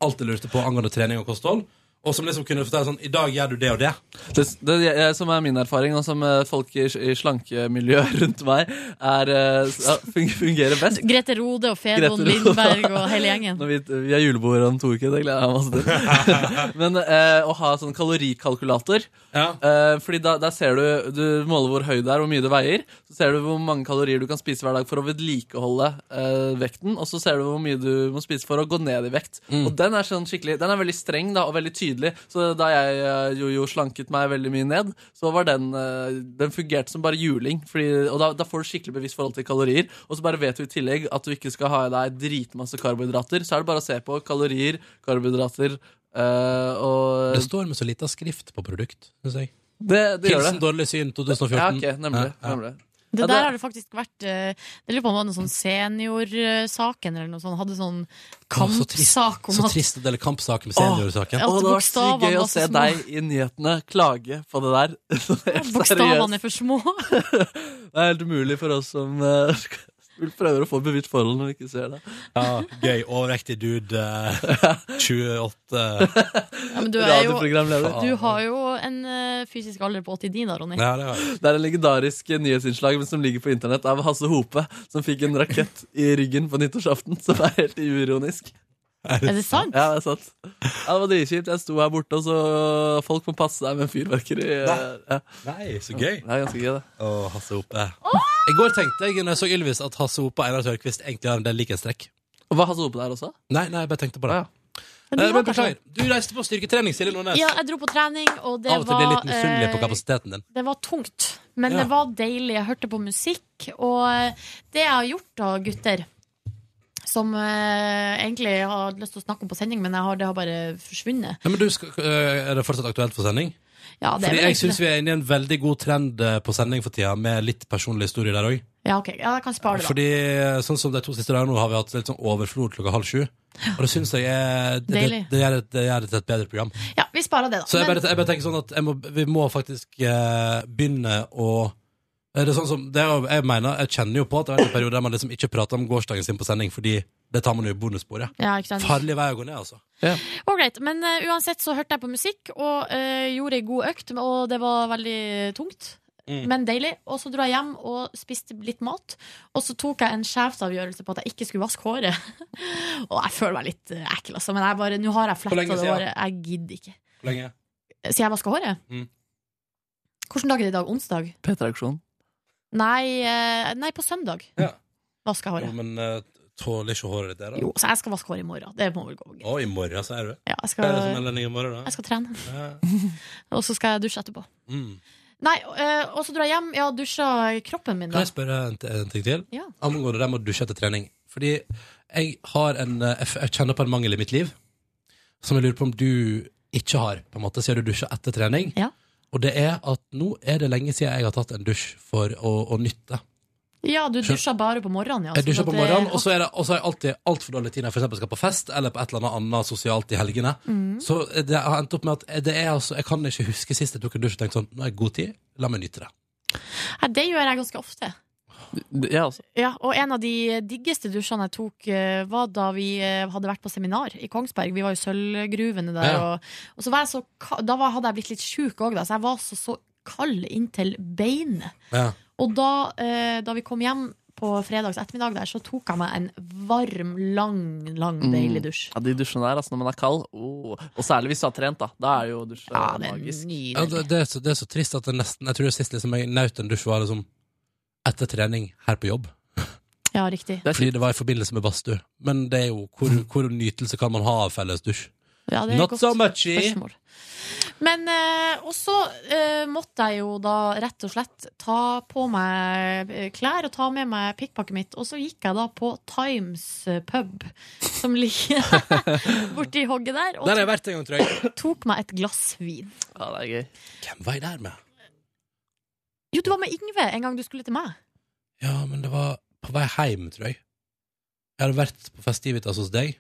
Speaker 2: alt jeg lurte på angående trening og kosthold. Og som liksom kunne fortelle sånn I dag gjør du det og det.
Speaker 3: Det, det jeg, som er min erfaring, og som eh, folk i, i slankemiljøet rundt meg er, eh, s- ja, fun- fungerer best
Speaker 4: Grete Rode og Fedon
Speaker 3: Grete Rode.
Speaker 4: Lindberg og hele gjengen.
Speaker 3: når vi, vi har julebord om to uker, det gleder jeg meg masse til. Men eh, å ha sånn kalorikalkulator
Speaker 2: Ja.
Speaker 3: eh, Fordi da, der ser du Du måler hvor høy du er, hvor mye du veier. Så ser du hvor mange kalorier du kan spise hver dag for å vedlikeholde eh, vekten. Og så ser du hvor mye du må spise for å gå ned i vekt. Og den er sånn skikkelig Den er veldig streng da og veldig tydelig. Så da jeg eh, jo, jo slanket meg veldig mye ned, så var den eh, Den fungerte som bare juling. Fordi, og da, da får du skikkelig bevisst forhold til kalorier. Og så bare vet du i tillegg at du ikke skal ha i deg dritmasse karbohydrater. Så er det bare å se på kalorier, karbohydrater eh, og
Speaker 2: Det står med så lita skrift på produkt, syns jeg.
Speaker 3: det, det gjør det.
Speaker 2: Hilsen dårlig syn 2014.
Speaker 3: Ja, ok, nemlig,
Speaker 2: Ja, ja.
Speaker 3: nemlig.
Speaker 4: Det
Speaker 3: Ja,
Speaker 4: der
Speaker 3: det-
Speaker 4: har det faktisk vært eh, Jeg lurer på om det var noe sånn seniorsaken eller noe sånt. Hadde sånn
Speaker 2: Å, så trist.
Speaker 4: kampsak om
Speaker 2: Så
Speaker 4: at
Speaker 2: trist å dele kampsak med seniorsaken.
Speaker 4: At
Speaker 3: Åh, det var så
Speaker 4: bokstavene
Speaker 3: gøy å
Speaker 4: var så
Speaker 3: se
Speaker 4: små.
Speaker 3: deg i nyhetene klage på det der. Helt seriøst.
Speaker 4: bokstavene er for små.
Speaker 3: Det er helt umulig for oss som eh, prøver å få bevisst forhold når vi ikke ser det.
Speaker 2: Ja, gøy, overvektig dude. eh, 28
Speaker 4: Ja, men du, er jo,
Speaker 3: Radioprogramleder.
Speaker 4: du har jo en eh, fysisk alder på 89 da, Ronny.
Speaker 2: Ja, det var det.
Speaker 3: Det er en legendarisk nyhetsinnslag men som ligger på internett av Hasse Hope, som fikk en rakett i ryggen på nyttårsaften, som er helt uironisk.
Speaker 4: Er det sant?
Speaker 3: Ja, det er sant. Ja, det var dritkjipt. Jeg sto her borte, og så folk må passe seg med fyrverkeri. Ja,
Speaker 2: Nei, så gøy.
Speaker 3: det er ganske gøy, det.
Speaker 2: Å, Hasse Hope. I går tenkte jeg når jeg så Ylvis, at Hasse Hope og Einar Tørkvist egentlig har en del likhetstrekk.
Speaker 3: Og var Hasse Hope der også?
Speaker 2: Nei, nei, jeg bare tenkte på det.
Speaker 3: Ja.
Speaker 4: Men
Speaker 2: Eh,
Speaker 4: du
Speaker 2: Men
Speaker 4: var
Speaker 2: beklager, du reiste på styrketrening, Silje Nordnes.
Speaker 4: Ja, jeg dro på trening, og det
Speaker 2: Av og til blir jeg
Speaker 4: var
Speaker 2: litt misunnelig på
Speaker 4: eh,
Speaker 2: kapasiteten din.
Speaker 4: Det var tungt, men
Speaker 2: Ja.
Speaker 4: det var deilig. Jeg hørte på musikk, og eh, det jeg har gjort da, gutter som eh, egentlig jeg har lyst til å snakke om på sending, men jeg har, det har bare forsvunnet.
Speaker 2: Nei, men du, skal, øh, Er det fortsatt aktuelt for sending?
Speaker 4: Ja,
Speaker 2: Fordi
Speaker 4: det er vel
Speaker 2: jeg
Speaker 4: egentlig
Speaker 2: syns vi er inne i en veldig god trend eh, på sending for tida, med litt personlig historie der òg.
Speaker 4: det. Ja, ok. Ja, jeg kan spare det, da.
Speaker 2: Fordi eh, sånn som de to siste dagene nå har vi hatt litt sånn overflod klokka halv sju. Og det syns jeg er det, det,
Speaker 4: Deilig.
Speaker 2: det, gjør et- det gjør det til et bedre program.
Speaker 4: Ja, vi sparer det, da.
Speaker 2: Så jeg
Speaker 4: Men-
Speaker 2: bare, jeg bare tenker sånn at jeg må, vi må faktisk eh, begynne å er det sånn som, det er, jo- jeg mener, jeg kjenner jo på at det har vært en periode der man liksom ikke prater om gårsdagen sin på sending, fordi det tar man jo i bonussporet.
Speaker 4: ja, ikke sant?
Speaker 2: Farlig vei å gå ned, altså.
Speaker 4: Ålreit. Men eh, uansett så hørte jeg på musikk og eh, gjorde ei god økt, men- og det var veldig tungt.
Speaker 2: Mm.
Speaker 4: Men deilig. Og så dro jeg hjem og spiste litt mat. Og så tok jeg en sjefsavgjørelse på at jeg ikke skulle vaske håret. og jeg føler meg litt eh, ekkel, altså. Men jeg bare, nå har jeg fletta
Speaker 2: lenge
Speaker 4: det
Speaker 2: siden?
Speaker 4: håret. Jeg gidder ikke.
Speaker 2: Hvor lenge?
Speaker 4: Så jeg vasker håret?
Speaker 2: Mm.
Speaker 4: Hvilken dag er det i dag? Onsdag?
Speaker 3: P3-aksjonen.
Speaker 4: Nei, eh, nei på søndag
Speaker 2: Ja.
Speaker 4: vasker jeg
Speaker 2: Jo,
Speaker 4: håret.
Speaker 2: men eh, tåler ikke håret ditt der, da?
Speaker 4: Jo, så jeg skal vaske håret i morgen. Det må vel gå greit.
Speaker 2: Å, i morgen, så er du.
Speaker 4: Ja, jeg
Speaker 2: Hva er det som
Speaker 4: skal,
Speaker 2: er lønning i morgen, da?
Speaker 4: jeg skal trene,
Speaker 2: Ja.
Speaker 4: og så skal jeg dusje etterpå.
Speaker 2: Mm.
Speaker 4: Nei, eh, og så drar jeg hjem. Ja, dusja kroppen min,
Speaker 2: Kan
Speaker 4: da.
Speaker 2: jeg spørre en, t- en ting til?
Speaker 4: Ja.
Speaker 2: Angående det med å dusje etter trening. Fordi jeg, har en, eh, jeg f- jeg kjenner på en mangel i mitt liv som jeg lurer på om du ikke har, på en måte, siden du dusjer etter trening.
Speaker 4: Ja.
Speaker 2: Og det er at nå er det lenge siden jeg har tatt en dusj for å, å nytte.
Speaker 4: Ja, du dusja bare på morgenen, ja.
Speaker 2: Jeg
Speaker 4: sånn
Speaker 2: dusjer
Speaker 4: at
Speaker 2: på
Speaker 4: det-
Speaker 2: morgenen, og så er det- og så har jeg alltid altfor dårlig tid når jeg for eksempel skal på fest eller på et eller annet annet sosialt i helgene.
Speaker 4: Mm.
Speaker 2: Så det har endt opp med at det er altså, jeg kan ikke huske sist jeg tok en dusj og tenkte sånn, nå har jeg god tid, la meg nyte det.
Speaker 4: Nei, det gjør jeg ganske ofte.
Speaker 3: Ja, altså.
Speaker 4: Ja, og en av de diggeste dusjene jeg tok, eh, var da vi eh, hadde vært på seminar i Kongsberg. Vi var jo sølvgruvene der,
Speaker 2: Ja.
Speaker 4: og, og så var jeg så, ka- da var, hadde jeg blitt litt sjuk òg, så jeg var så, så kald inntil beinet.
Speaker 2: Ja.
Speaker 4: Og da, eh, da vi kom hjem på fredags ettermiddag der, så tok jeg meg en varm, lang, lang,
Speaker 3: Mm.
Speaker 4: deilig dusj.
Speaker 3: Ja, de dusjene der, altså, når man er kald. Oh. Og særlig hvis du har trent, da. Da er det jo dusj
Speaker 4: Ja, det er
Speaker 3: magisk.
Speaker 2: Ja,
Speaker 4: nydelig.
Speaker 2: det, det, er så, det er så trist at det nesten Jeg tror det siste liksom, jeg nøt en dusj var liksom etter trening her på jobb.
Speaker 4: Ja, riktig.
Speaker 3: Det er
Speaker 2: Fordi det var i forbindelse med badstue. Men det er jo hvor, hvor nytelse kan man ha av felles dusj?
Speaker 4: Ja, det er et
Speaker 2: Not
Speaker 4: godt
Speaker 2: so eh? muchy!
Speaker 4: spørsmål. Men eh, Og så eh, måtte jeg jo da rett og slett ta på meg eh, klær og ta med meg pikkpakket mitt, og så gikk jeg da på Times eh, pub, som ligger borti hogget
Speaker 2: Der
Speaker 4: der,
Speaker 2: har
Speaker 4: og
Speaker 2: jeg vært en gang, tror jeg.
Speaker 4: tok meg et glass vin.
Speaker 3: Ja, det er gøy.
Speaker 2: Hvem var jeg der med?
Speaker 4: Jo, du var med Yngve en gang du skulle til meg.
Speaker 2: Ja, men det var på vei hjem, tror jeg. Jeg hadde vært på festivitas hos deg.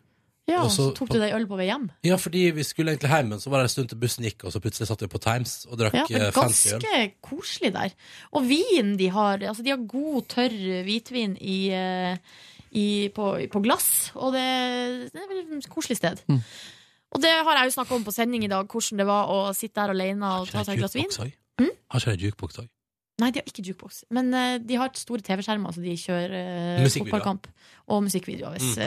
Speaker 4: Ja,
Speaker 2: Og
Speaker 4: og så
Speaker 2: så
Speaker 4: tok
Speaker 2: på-
Speaker 4: du deg en øl på vei hjem.
Speaker 2: Ja, fordi vi skulle egentlig hjem, men så var det en stund til bussen gikk, og så plutselig satt vi på Times og drakk
Speaker 4: Ja,
Speaker 2: eh,
Speaker 4: men
Speaker 2: fancy øl.
Speaker 4: ganske koselig der. Og vinen de har Altså, de har god, tørr hvitvin i, eh, i, på, på glass, og det, det er vel et koselig sted. Og det har jeg jo snakka om på sending i dag, hvordan det var å sitte der alene og ta
Speaker 2: Har
Speaker 4: seg et glass vin. Mm?
Speaker 2: ikke de jukebox òg?
Speaker 4: Nei, de har ikke jukebox, men eh, de har store TV-skjermer, så de kjører eh,
Speaker 2: Musikkvideoer.
Speaker 4: fotballkamp og musikkvideoer hvis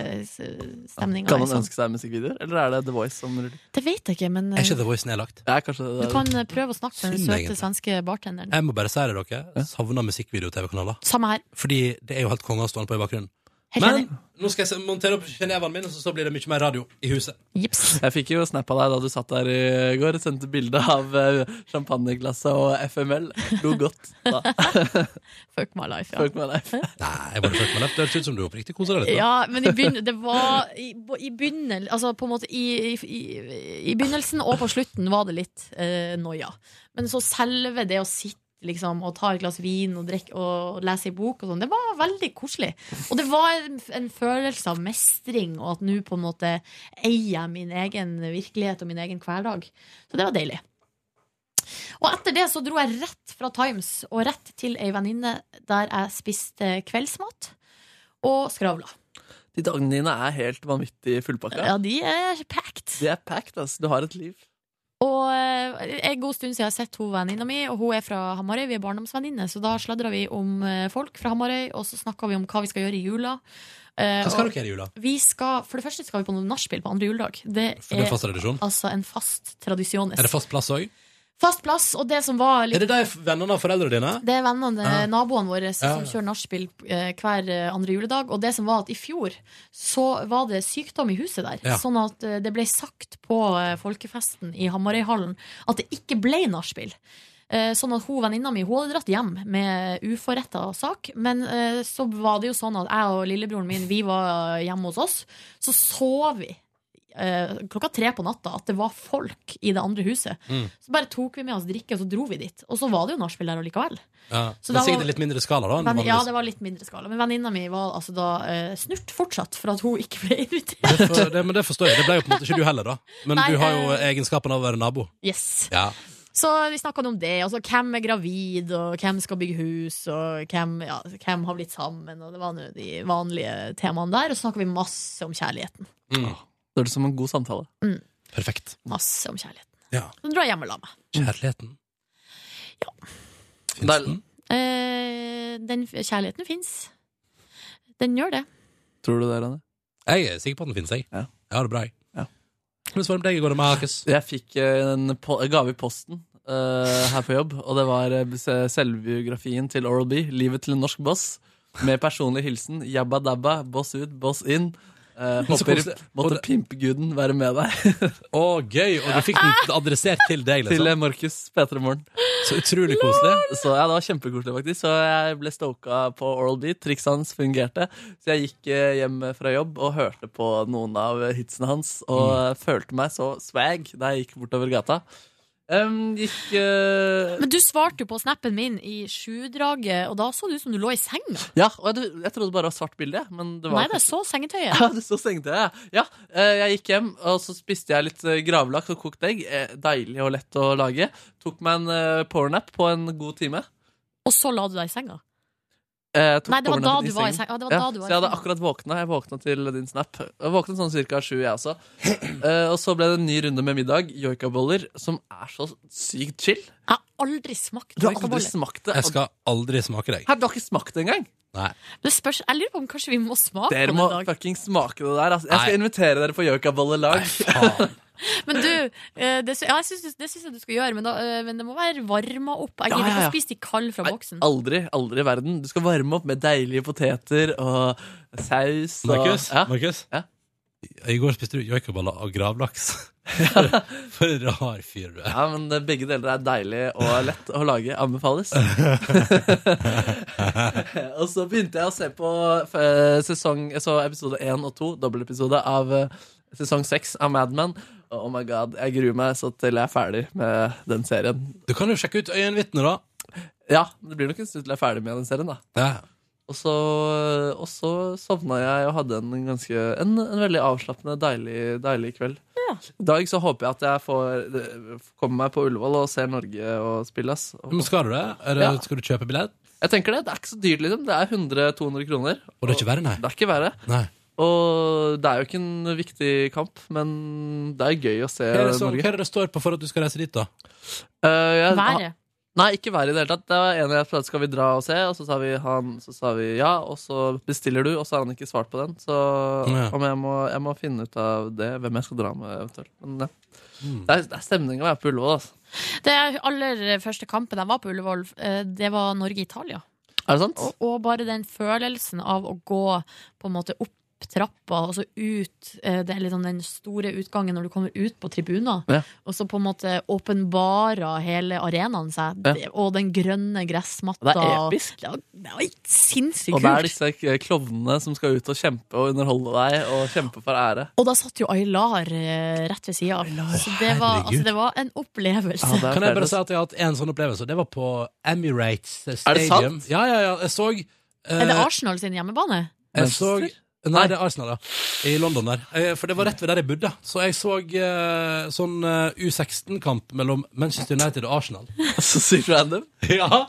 Speaker 4: mm. stemninga
Speaker 3: Kan
Speaker 4: er
Speaker 3: man
Speaker 4: sånn.
Speaker 3: ønske seg musikkvideoer, eller er det The Voice som ruller?
Speaker 4: Det vet jeg ikke, men eh,
Speaker 2: Er ikke The Voice nedlagt?
Speaker 3: Ja, kanskje det
Speaker 4: du kan eh, prøve å snakke med den
Speaker 2: Synd,
Speaker 4: søte
Speaker 2: egentlig.
Speaker 4: svenske bartenderen.
Speaker 2: Jeg må bare si det, dere. Savner musikkvideo-TV-kanaler.
Speaker 4: Samme her.
Speaker 2: Fordi det er jo helt konge å stå på i bakgrunnen.
Speaker 4: Helt
Speaker 2: Men
Speaker 4: enig.
Speaker 2: nå skal jeg se- montere opp genevaen min, og så- så blir det mye mer radio i huset.
Speaker 4: Jips.
Speaker 3: Jeg fikk jo snap av deg da du satt der i går og sendte bilde av eh, champagneglasset og FML. Lo godt da.
Speaker 4: Fuck my life, ja.
Speaker 3: Folk med deg.
Speaker 2: Nei, jeg bare følte meg lett. Det høres ut som du oppriktig koser deg litt. da.
Speaker 4: Ja, men i begyn- det var i, i begynnelsen Altså på en måte i, i, i- i begynnelsen og på slutten var det litt eh, noia. Men så selve det å sitte liksom, og ta et glass vin og, drikke, og lese ei bok og sånn, det var veldig koselig. Og det var en, en følelse av mestring, og at nå på en måte eier jeg min egen virkelighet og min egen hverdag. Så det var deilig. Og etter det så dro jeg rett fra Times og rett til ei venninne der jeg spiste kveldsmat og skravla.
Speaker 3: De dagene dine er helt vanvittig fullpakka.
Speaker 4: Ja, de er packed.
Speaker 3: De er packed, ass. Du har et liv.
Speaker 4: Og eh, en god stund siden jeg har sett hun venninna mi, og hun er fra Hamarøy. Vi er barndomsvenninner, så da sladra vi om eh, folk fra Hamarøy, og så snakka vi om hva vi skal gjøre i jula. Eh,
Speaker 2: Hva skal
Speaker 4: og
Speaker 2: dere gjøre i jula?
Speaker 4: vi skal, for det første skal vi på noe nachspiel på andre juledag. Det
Speaker 2: For det er
Speaker 4: er
Speaker 2: fast tradisjon.
Speaker 4: altså en fast tradisjones.
Speaker 2: Er det fast plass òg?
Speaker 4: fast plass, og det som var
Speaker 2: Er
Speaker 4: litt
Speaker 2: det de vennene av foreldrene dine?
Speaker 4: Det er vennene,
Speaker 2: Ja.
Speaker 4: naboene våre
Speaker 2: Ja, ja.
Speaker 4: som kjører nachspiel eh, hver eh, andre juledag. Og det som var at i fjor så var det sykdom i huset der.
Speaker 2: Ja.
Speaker 4: Sånn at eh, det ble sagt på eh, folkefesten i Hamarøyhallen at det ikke ble nachspiel. Eh, Sånn at hun venninna mi hun hadde dratt hjem med uforretta sak. Men eh, så var det jo sånn at jeg og lillebroren min Vi var hjemme hos oss. Så så vi eh, klokka tre på natta at det var folk i det andre huset.
Speaker 2: Mm.
Speaker 4: Så bare tok vi med oss drikke, og så dro vi dit. Og så var det jo nachspiel der allikevel.
Speaker 2: Ja.
Speaker 4: Så
Speaker 2: Men
Speaker 4: da
Speaker 2: sikkert
Speaker 4: var-
Speaker 2: i litt mindre skala, da. enn
Speaker 4: Men, ja,
Speaker 2: vanligvis.
Speaker 4: det var litt mindre skala. Men venninna mi var altså da eh, snurt fortsatt for at hun ikke ble invitert.
Speaker 2: Det for, det, men det forstår jeg. Det ble jo på en måte ikke du heller, da. Men
Speaker 4: Nei,
Speaker 2: du har jo
Speaker 4: eh,
Speaker 2: egenskapen av å være nabo.
Speaker 4: Yes.
Speaker 2: Ja.
Speaker 4: Så vi snakka om det. Altså, hvem er gravid, og hvem skal bygge hus, og hvem, ja, hvem har blitt sammen? Og det var nå de vanlige temaene der. Og så snakka vi masse om kjærligheten.
Speaker 2: Mm.
Speaker 3: Det høres ut som en god samtale.
Speaker 2: Perfekt.
Speaker 4: Masse om kjærligheten.
Speaker 2: Ja.
Speaker 4: Så dro jeg hjem og la meg.
Speaker 2: Kjærligheten.
Speaker 4: Ja.
Speaker 2: Fins den?
Speaker 4: Eh, den kjærligheten fins. Den gjør det.
Speaker 3: Tror du det, Ronny?
Speaker 2: Jeg er sikker på at den finnes, jeg.
Speaker 3: Ja.
Speaker 2: Jeg har det bra, jeg.
Speaker 3: Ja.
Speaker 2: Hvordan var det med deg i går, Markus?
Speaker 3: Jeg fikk eh, en po- en gave i posten eh, her på jobb, og det var eh, se- selvbiografien til Oral B, 'Livet til en norsk boss', med personlig hilsen 'jabba dabba, boss ut, boss inn'. Eh,
Speaker 2: Men så
Speaker 3: håper
Speaker 2: koselig. Og
Speaker 3: måtte
Speaker 2: det-
Speaker 3: pimpeguden være med deg.
Speaker 2: Å, gøy! Og du fikk den adressert til deg,
Speaker 3: Til
Speaker 2: liksom.
Speaker 3: eh, Markus P3 Morgen.
Speaker 2: Så utrolig koselig.
Speaker 3: Så ja, det var kjempekoselig, faktisk. Så jeg ble stoka på Oral B. Trikset hans fungerte. Så jeg gikk eh, hjem fra jobb og hørte på noen av hitsene hans, og
Speaker 2: Mm.
Speaker 3: eh, følte meg så swag da jeg gikk bortover gata. Em, gikk eh,
Speaker 4: Men du svarte jo på snappen min i sjudraget, og da så det ut som du lå i senga.
Speaker 3: Ja, og jeg, jeg trodde bare det var svart bilde, jeg, men det var
Speaker 4: Nei, det er så sengetøyet.
Speaker 3: ja, det så stengte jeg. Ja, eh, jeg gikk hjem, og så spiste jeg litt eh, gravlaks og kokt egg. Eh, Deilig og lett å lage. Tok meg en eh, powernap på en god time.
Speaker 4: Og så la du deg i senga.
Speaker 3: Eh, tok
Speaker 4: Nei, det var da
Speaker 3: powernappen
Speaker 4: du var i senga. Ja, det var da
Speaker 3: Ja,
Speaker 4: du
Speaker 3: så
Speaker 4: var
Speaker 3: jeg hadde
Speaker 4: i senga.
Speaker 3: akkurat våkna. Jeg våkna til din snap. Jeg våknet sånn cirka sju, jeg også. Eh, og så ble det en ny runde med middag. Joikaboller, som er så sykt chill.
Speaker 4: Jeg har aldri smakt
Speaker 3: Du har aldri
Speaker 4: joikaboller.
Speaker 3: smakt det.
Speaker 2: Jeg skal aldri smake deg.
Speaker 3: Her, du har ikke smakt det engang!
Speaker 2: Nei.
Speaker 4: Det spørs, jeg lurer på om kanskje vi må smake på
Speaker 3: Dere
Speaker 4: det
Speaker 3: må
Speaker 4: en dag.
Speaker 3: fucking smake det der. Altså. Jeg skal
Speaker 2: Nei.
Speaker 3: invitere dere på joikabollelag.
Speaker 2: Faen.
Speaker 4: Men du, eh, det, sy- ja, jeg syns, det syns jeg du skal gjøre, men, da, eh, men det må være varma opp. Jeg
Speaker 3: Ja,
Speaker 4: gidder
Speaker 3: ja,
Speaker 4: ikke
Speaker 3: ja.
Speaker 4: å spise de kald fra
Speaker 3: Nei,
Speaker 4: boksen.
Speaker 3: Aldri, aldri i verden. Du skal varme opp med deilige poteter og saus. Og,
Speaker 2: Markus?
Speaker 3: Ja.
Speaker 2: Markus?
Speaker 3: Ja.
Speaker 2: I går spiste du joikaballer og gravlaks. For en rar fyr du er.
Speaker 3: ja, men eh, begge deler er deilig og lett å lage. Anbefales. og så begynte jeg å se på eh, sesong, så episode én og to, dobbeltepisode av eh, sesong seks av Mad Men. Og Oh my god, jeg gruer meg så til jeg er ferdig med den serien.
Speaker 2: Du kan jo sjekke ut Øyenvitnet, da.
Speaker 3: Ja, det blir nok en stund til jeg er ferdig med den serien, da.
Speaker 2: Ja.
Speaker 3: Og så, og så sovna jeg og hadde en, ganske, en, en veldig avslappende, deilig, deilig kveld. I dag så håper jeg at jeg får komme meg på Ullevål og ser Norge og spille. ass. Og-
Speaker 2: Men skal du det? Er det
Speaker 3: Ja.
Speaker 2: skal du kjøpe billett?
Speaker 3: Jeg tenker Det det er ikke så dyrt, liksom. Det er 100-200 kroner.
Speaker 2: Og det er ikke verre, nei.
Speaker 3: Det er ikke verre.
Speaker 2: nei.
Speaker 3: Og det er jo ikke en viktig kamp, men det er gøy å se
Speaker 2: Hva er, det som, hva
Speaker 3: Norge.
Speaker 2: er det det står på for at du skal reise dit, da?
Speaker 3: Eh, jeg-
Speaker 4: Været.
Speaker 3: Nei, ikke været i det hele tatt. Det var en jeg prøvde, skal vi dra og se, og så sa vi han, så sa vi ja, og så bestiller du, og så har han ikke svart på den. Så
Speaker 2: Ja.
Speaker 3: om jeg, må, jeg må finne ut av det, hvem jeg skal dra med eventuelt. Men ja.
Speaker 2: Mm.
Speaker 3: det er, det er stemninga å være på Ullevål, altså.
Speaker 4: Det aller eh, første kampen jeg var på Ullevål, eh, det var Norge-Italia.
Speaker 3: Er det sant?
Speaker 4: Og, og bare den følelsen av å gå på en måte opp trappa og så ut eh, Det er liksom den store utgangen når du kommer ut på tribuner.
Speaker 3: Ja.
Speaker 4: Og så på en måte åpenbarer hele arenaen seg.
Speaker 3: Ja.
Speaker 4: Det- Og den grønne gressmatta.
Speaker 3: Det er episk.
Speaker 4: Det var, det var sinnssykt
Speaker 3: Og det er
Speaker 4: kult.
Speaker 3: disse k- klovnene som skal ut og kjempe og underholde deg og kjempe for ære.
Speaker 4: Og da satt jo Aylar eh, rett ved sida av. Så det var, altså,
Speaker 2: herregud.
Speaker 4: det var en opplevelse.
Speaker 3: Ja, det er
Speaker 2: Kan jeg bare
Speaker 3: flere-
Speaker 2: si at jeg har hatt en sånn opplevelse? Det var på Emirates Stadium.
Speaker 3: sant?
Speaker 2: Ja, ja, ja. Jeg så eh,
Speaker 4: er det Arsenal sin hjemmebane?
Speaker 2: Jeg så
Speaker 3: Manchester?
Speaker 2: Nei, det er Arsenal, ja. I London der. Eh, For det var rett ved der jeg bodde. Så jeg så eh, sånn eh, U16-kamp mellom Manchester United og Arsenal.
Speaker 3: Så sykt random.
Speaker 2: Ja!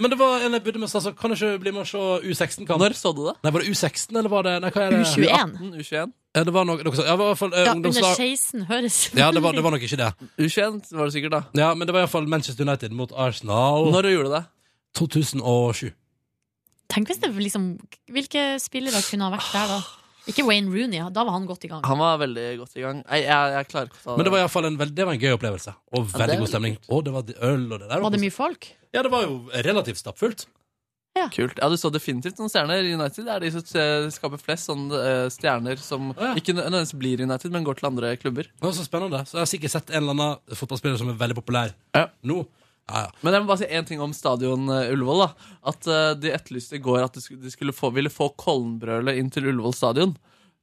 Speaker 2: Men det var en jeg bodde med som sa sånn, kan du ikke bli med og se U16-kamp?
Speaker 3: Når så du det? Mm,
Speaker 2: Nei, var det U16, eller var det Nei, hva er det?
Speaker 4: U21?
Speaker 3: 18, U21?
Speaker 2: Ja, det var noe, noe sånt. Ja, det var i hvert fall eh,
Speaker 4: Ja, under
Speaker 2: ungdomslag.
Speaker 4: 16 høres
Speaker 2: Ja, det var, det var nok ikke det.
Speaker 3: U21 var det sikkert, da.
Speaker 2: Ja, Men det var iallfall Manchester United mot Arsenal.
Speaker 3: Når gjorde du det?
Speaker 2: 2007.
Speaker 4: Tenk hvis det liksom Hvilke spillere kunne ha vært der da? Ikke Wayne Rooney, da var han godt i gang.
Speaker 2: Ah,
Speaker 3: Han var veldig godt i gang. Nei, jeg, jeg klarer ikke å ta
Speaker 2: Men det var, i hvert fall en, veld- det var en gøy opplevelse. Og
Speaker 3: det
Speaker 2: veldig
Speaker 3: er
Speaker 2: god stemning. Og det var øl og det der.
Speaker 4: Var det mye folk?
Speaker 2: Ja, det var jo relativt stappfullt.
Speaker 3: Kult. Ja, du så definitivt noen stjerner. United er de som eh, skaper flest sånne eh, stjerner som
Speaker 2: Å, ja.
Speaker 3: ikke nø- nødvendigvis blir United, men går til andre klubber.
Speaker 2: Det var så spennende. Så jeg har sikkert sett en eller annen fotballspiller som er veldig populær
Speaker 3: Ja.
Speaker 2: nå. Ja, ja.
Speaker 3: Men jeg må bare si én ting om stadion eh, Ullevål. da. At eh, de etterlyste i går at de skulle, de skulle få, ville få Kollenbrølet inn til Ullevål stadion.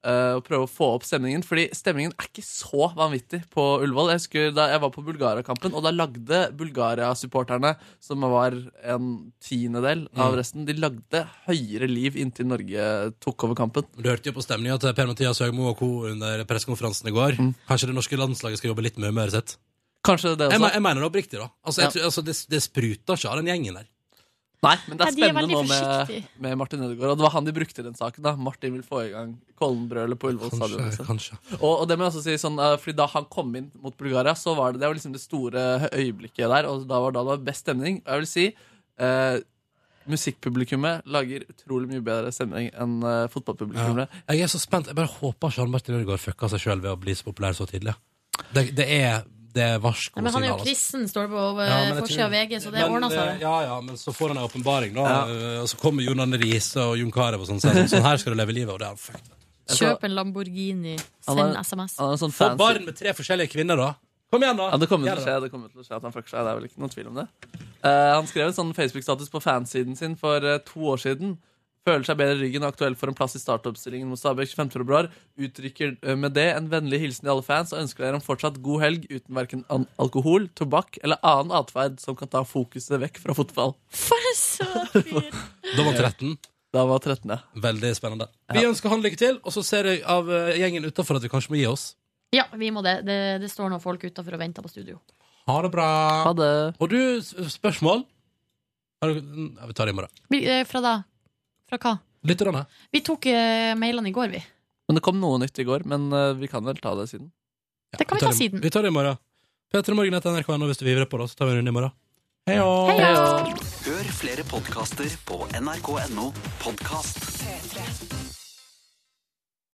Speaker 3: eh, og prøve å få opp stemningen. Fordi stemningen er ikke så vanvittig på Ullevål. Jeg husker da jeg var på Bulgaria-kampen, og da lagde Bulgaria-supporterne, som var en tiendedel
Speaker 2: Mm.
Speaker 3: av resten, de lagde høyere liv inntil Norge tok over kampen.
Speaker 2: Du hørte jo på stemninga til Per-Mathias Høgmo og co. under pressekonferansen i går.
Speaker 3: Mm.
Speaker 2: Kanskje det norske landslaget skal jobbe litt med humøret sitt?
Speaker 3: Kanskje det
Speaker 2: Jeg, me-
Speaker 3: også?
Speaker 2: jeg mener det oppriktig, da. Altså, jeg,
Speaker 3: Altså- Ja.
Speaker 2: tror- altså, det, det spruter ikke av den gjengen der.
Speaker 3: Nei, men det er
Speaker 4: Nei, de er
Speaker 3: spennende
Speaker 4: veldig
Speaker 3: nå med,
Speaker 4: forsiktige.
Speaker 3: med Martin Ødegaard. Og det var han de brukte i den saken. da Martin vil få i gang Kollenbrølet på Ullevål stadion.
Speaker 2: Kanskje,
Speaker 3: liksom.
Speaker 2: kanskje.
Speaker 3: Og, og det må jeg også si sånn, eh, fordi Da han kom inn mot Bulgaria, så var det, det var liksom det store øyeblikket der. Og da var da det var best stemning. Og jeg vil si eh, musikkpublikummet lager utrolig mye bedre stemning enn eh, fotballpublikummet.
Speaker 2: Jeg er så spent. Jeg bare håper ikke han Martin Ødegaard fucka seg sjøl ved å bli så populær så tidlig. Det, det er, det er varsko
Speaker 4: Nei, men han er
Speaker 2: signal,
Speaker 4: jo
Speaker 2: altså.
Speaker 4: kristen, står det på
Speaker 2: Ja,
Speaker 4: eh,
Speaker 2: men jeg
Speaker 4: forsida
Speaker 2: tror-
Speaker 4: av VG, så det
Speaker 2: Men,
Speaker 4: ordna
Speaker 2: eh,
Speaker 4: seg.
Speaker 2: Ja, ja, men så får han ei åpenbaring, da. Eh, Og så kommer Jon Arne Riise og Jon Carew og sånn. sier Sånn, sånn her skal du leve livet. Og det er han fucked.
Speaker 4: Kjøp en Lamborghini,
Speaker 3: Han
Speaker 4: send
Speaker 3: er-
Speaker 4: SMS.
Speaker 3: Han er en sånn
Speaker 2: Få
Speaker 3: fancy
Speaker 2: barn med tre forskjellige kvinner, da. Kom igjen, da.
Speaker 3: Ja, det kommer,
Speaker 2: Gjør
Speaker 3: til å skje, det kommer til å skje at han fucker seg. Det er vel ikke noen tvil om det. Eh, han skrev en sånn Facebook-status på fansiden sin for eh, to år siden. Føler seg bedre i ryggen og aktuell for en plass i startoppstillingen mot Stabæk 25. februar. Uttrykker eh, med det en vennlig hilsen til alle fans og ønsker dere en fortsatt god helg uten verken an alkohol, tobakk eller annen atferd som kan ta fokuset vekk fra fotball.
Speaker 4: For en søt fyr!
Speaker 2: Da var 13.
Speaker 3: Da var 13.
Speaker 2: Veldig spennende. Vi ønsker han lykke til, og så ser jeg av eh, gjengen utafor at vi kanskje må gi oss.
Speaker 4: Ja, vi må det. Det, det står noen folk utafor og venter på studio.
Speaker 2: Ha det bra.
Speaker 3: Ha det.
Speaker 2: Og du, s- spørsmål? Har du, ja, vi tar det i morgen.
Speaker 4: Vi, eh, Fra da? Fra hva?
Speaker 2: Lytterne?
Speaker 4: Vi tok eh, mailene i går, vi.
Speaker 3: Men det kom noe nytt i går, men eh, vi kan vel ta det siden.
Speaker 2: Ja,
Speaker 4: Det kan vi
Speaker 2: tar
Speaker 4: ta siden.
Speaker 2: Vi tar det i morgen. P3 Morgen etter NRK nå hvis du vil vivre på det, så tar vi en runde i morgen. Hei og-
Speaker 4: Hei, ja.
Speaker 7: Hør flere podkaster på nrk.no podkast.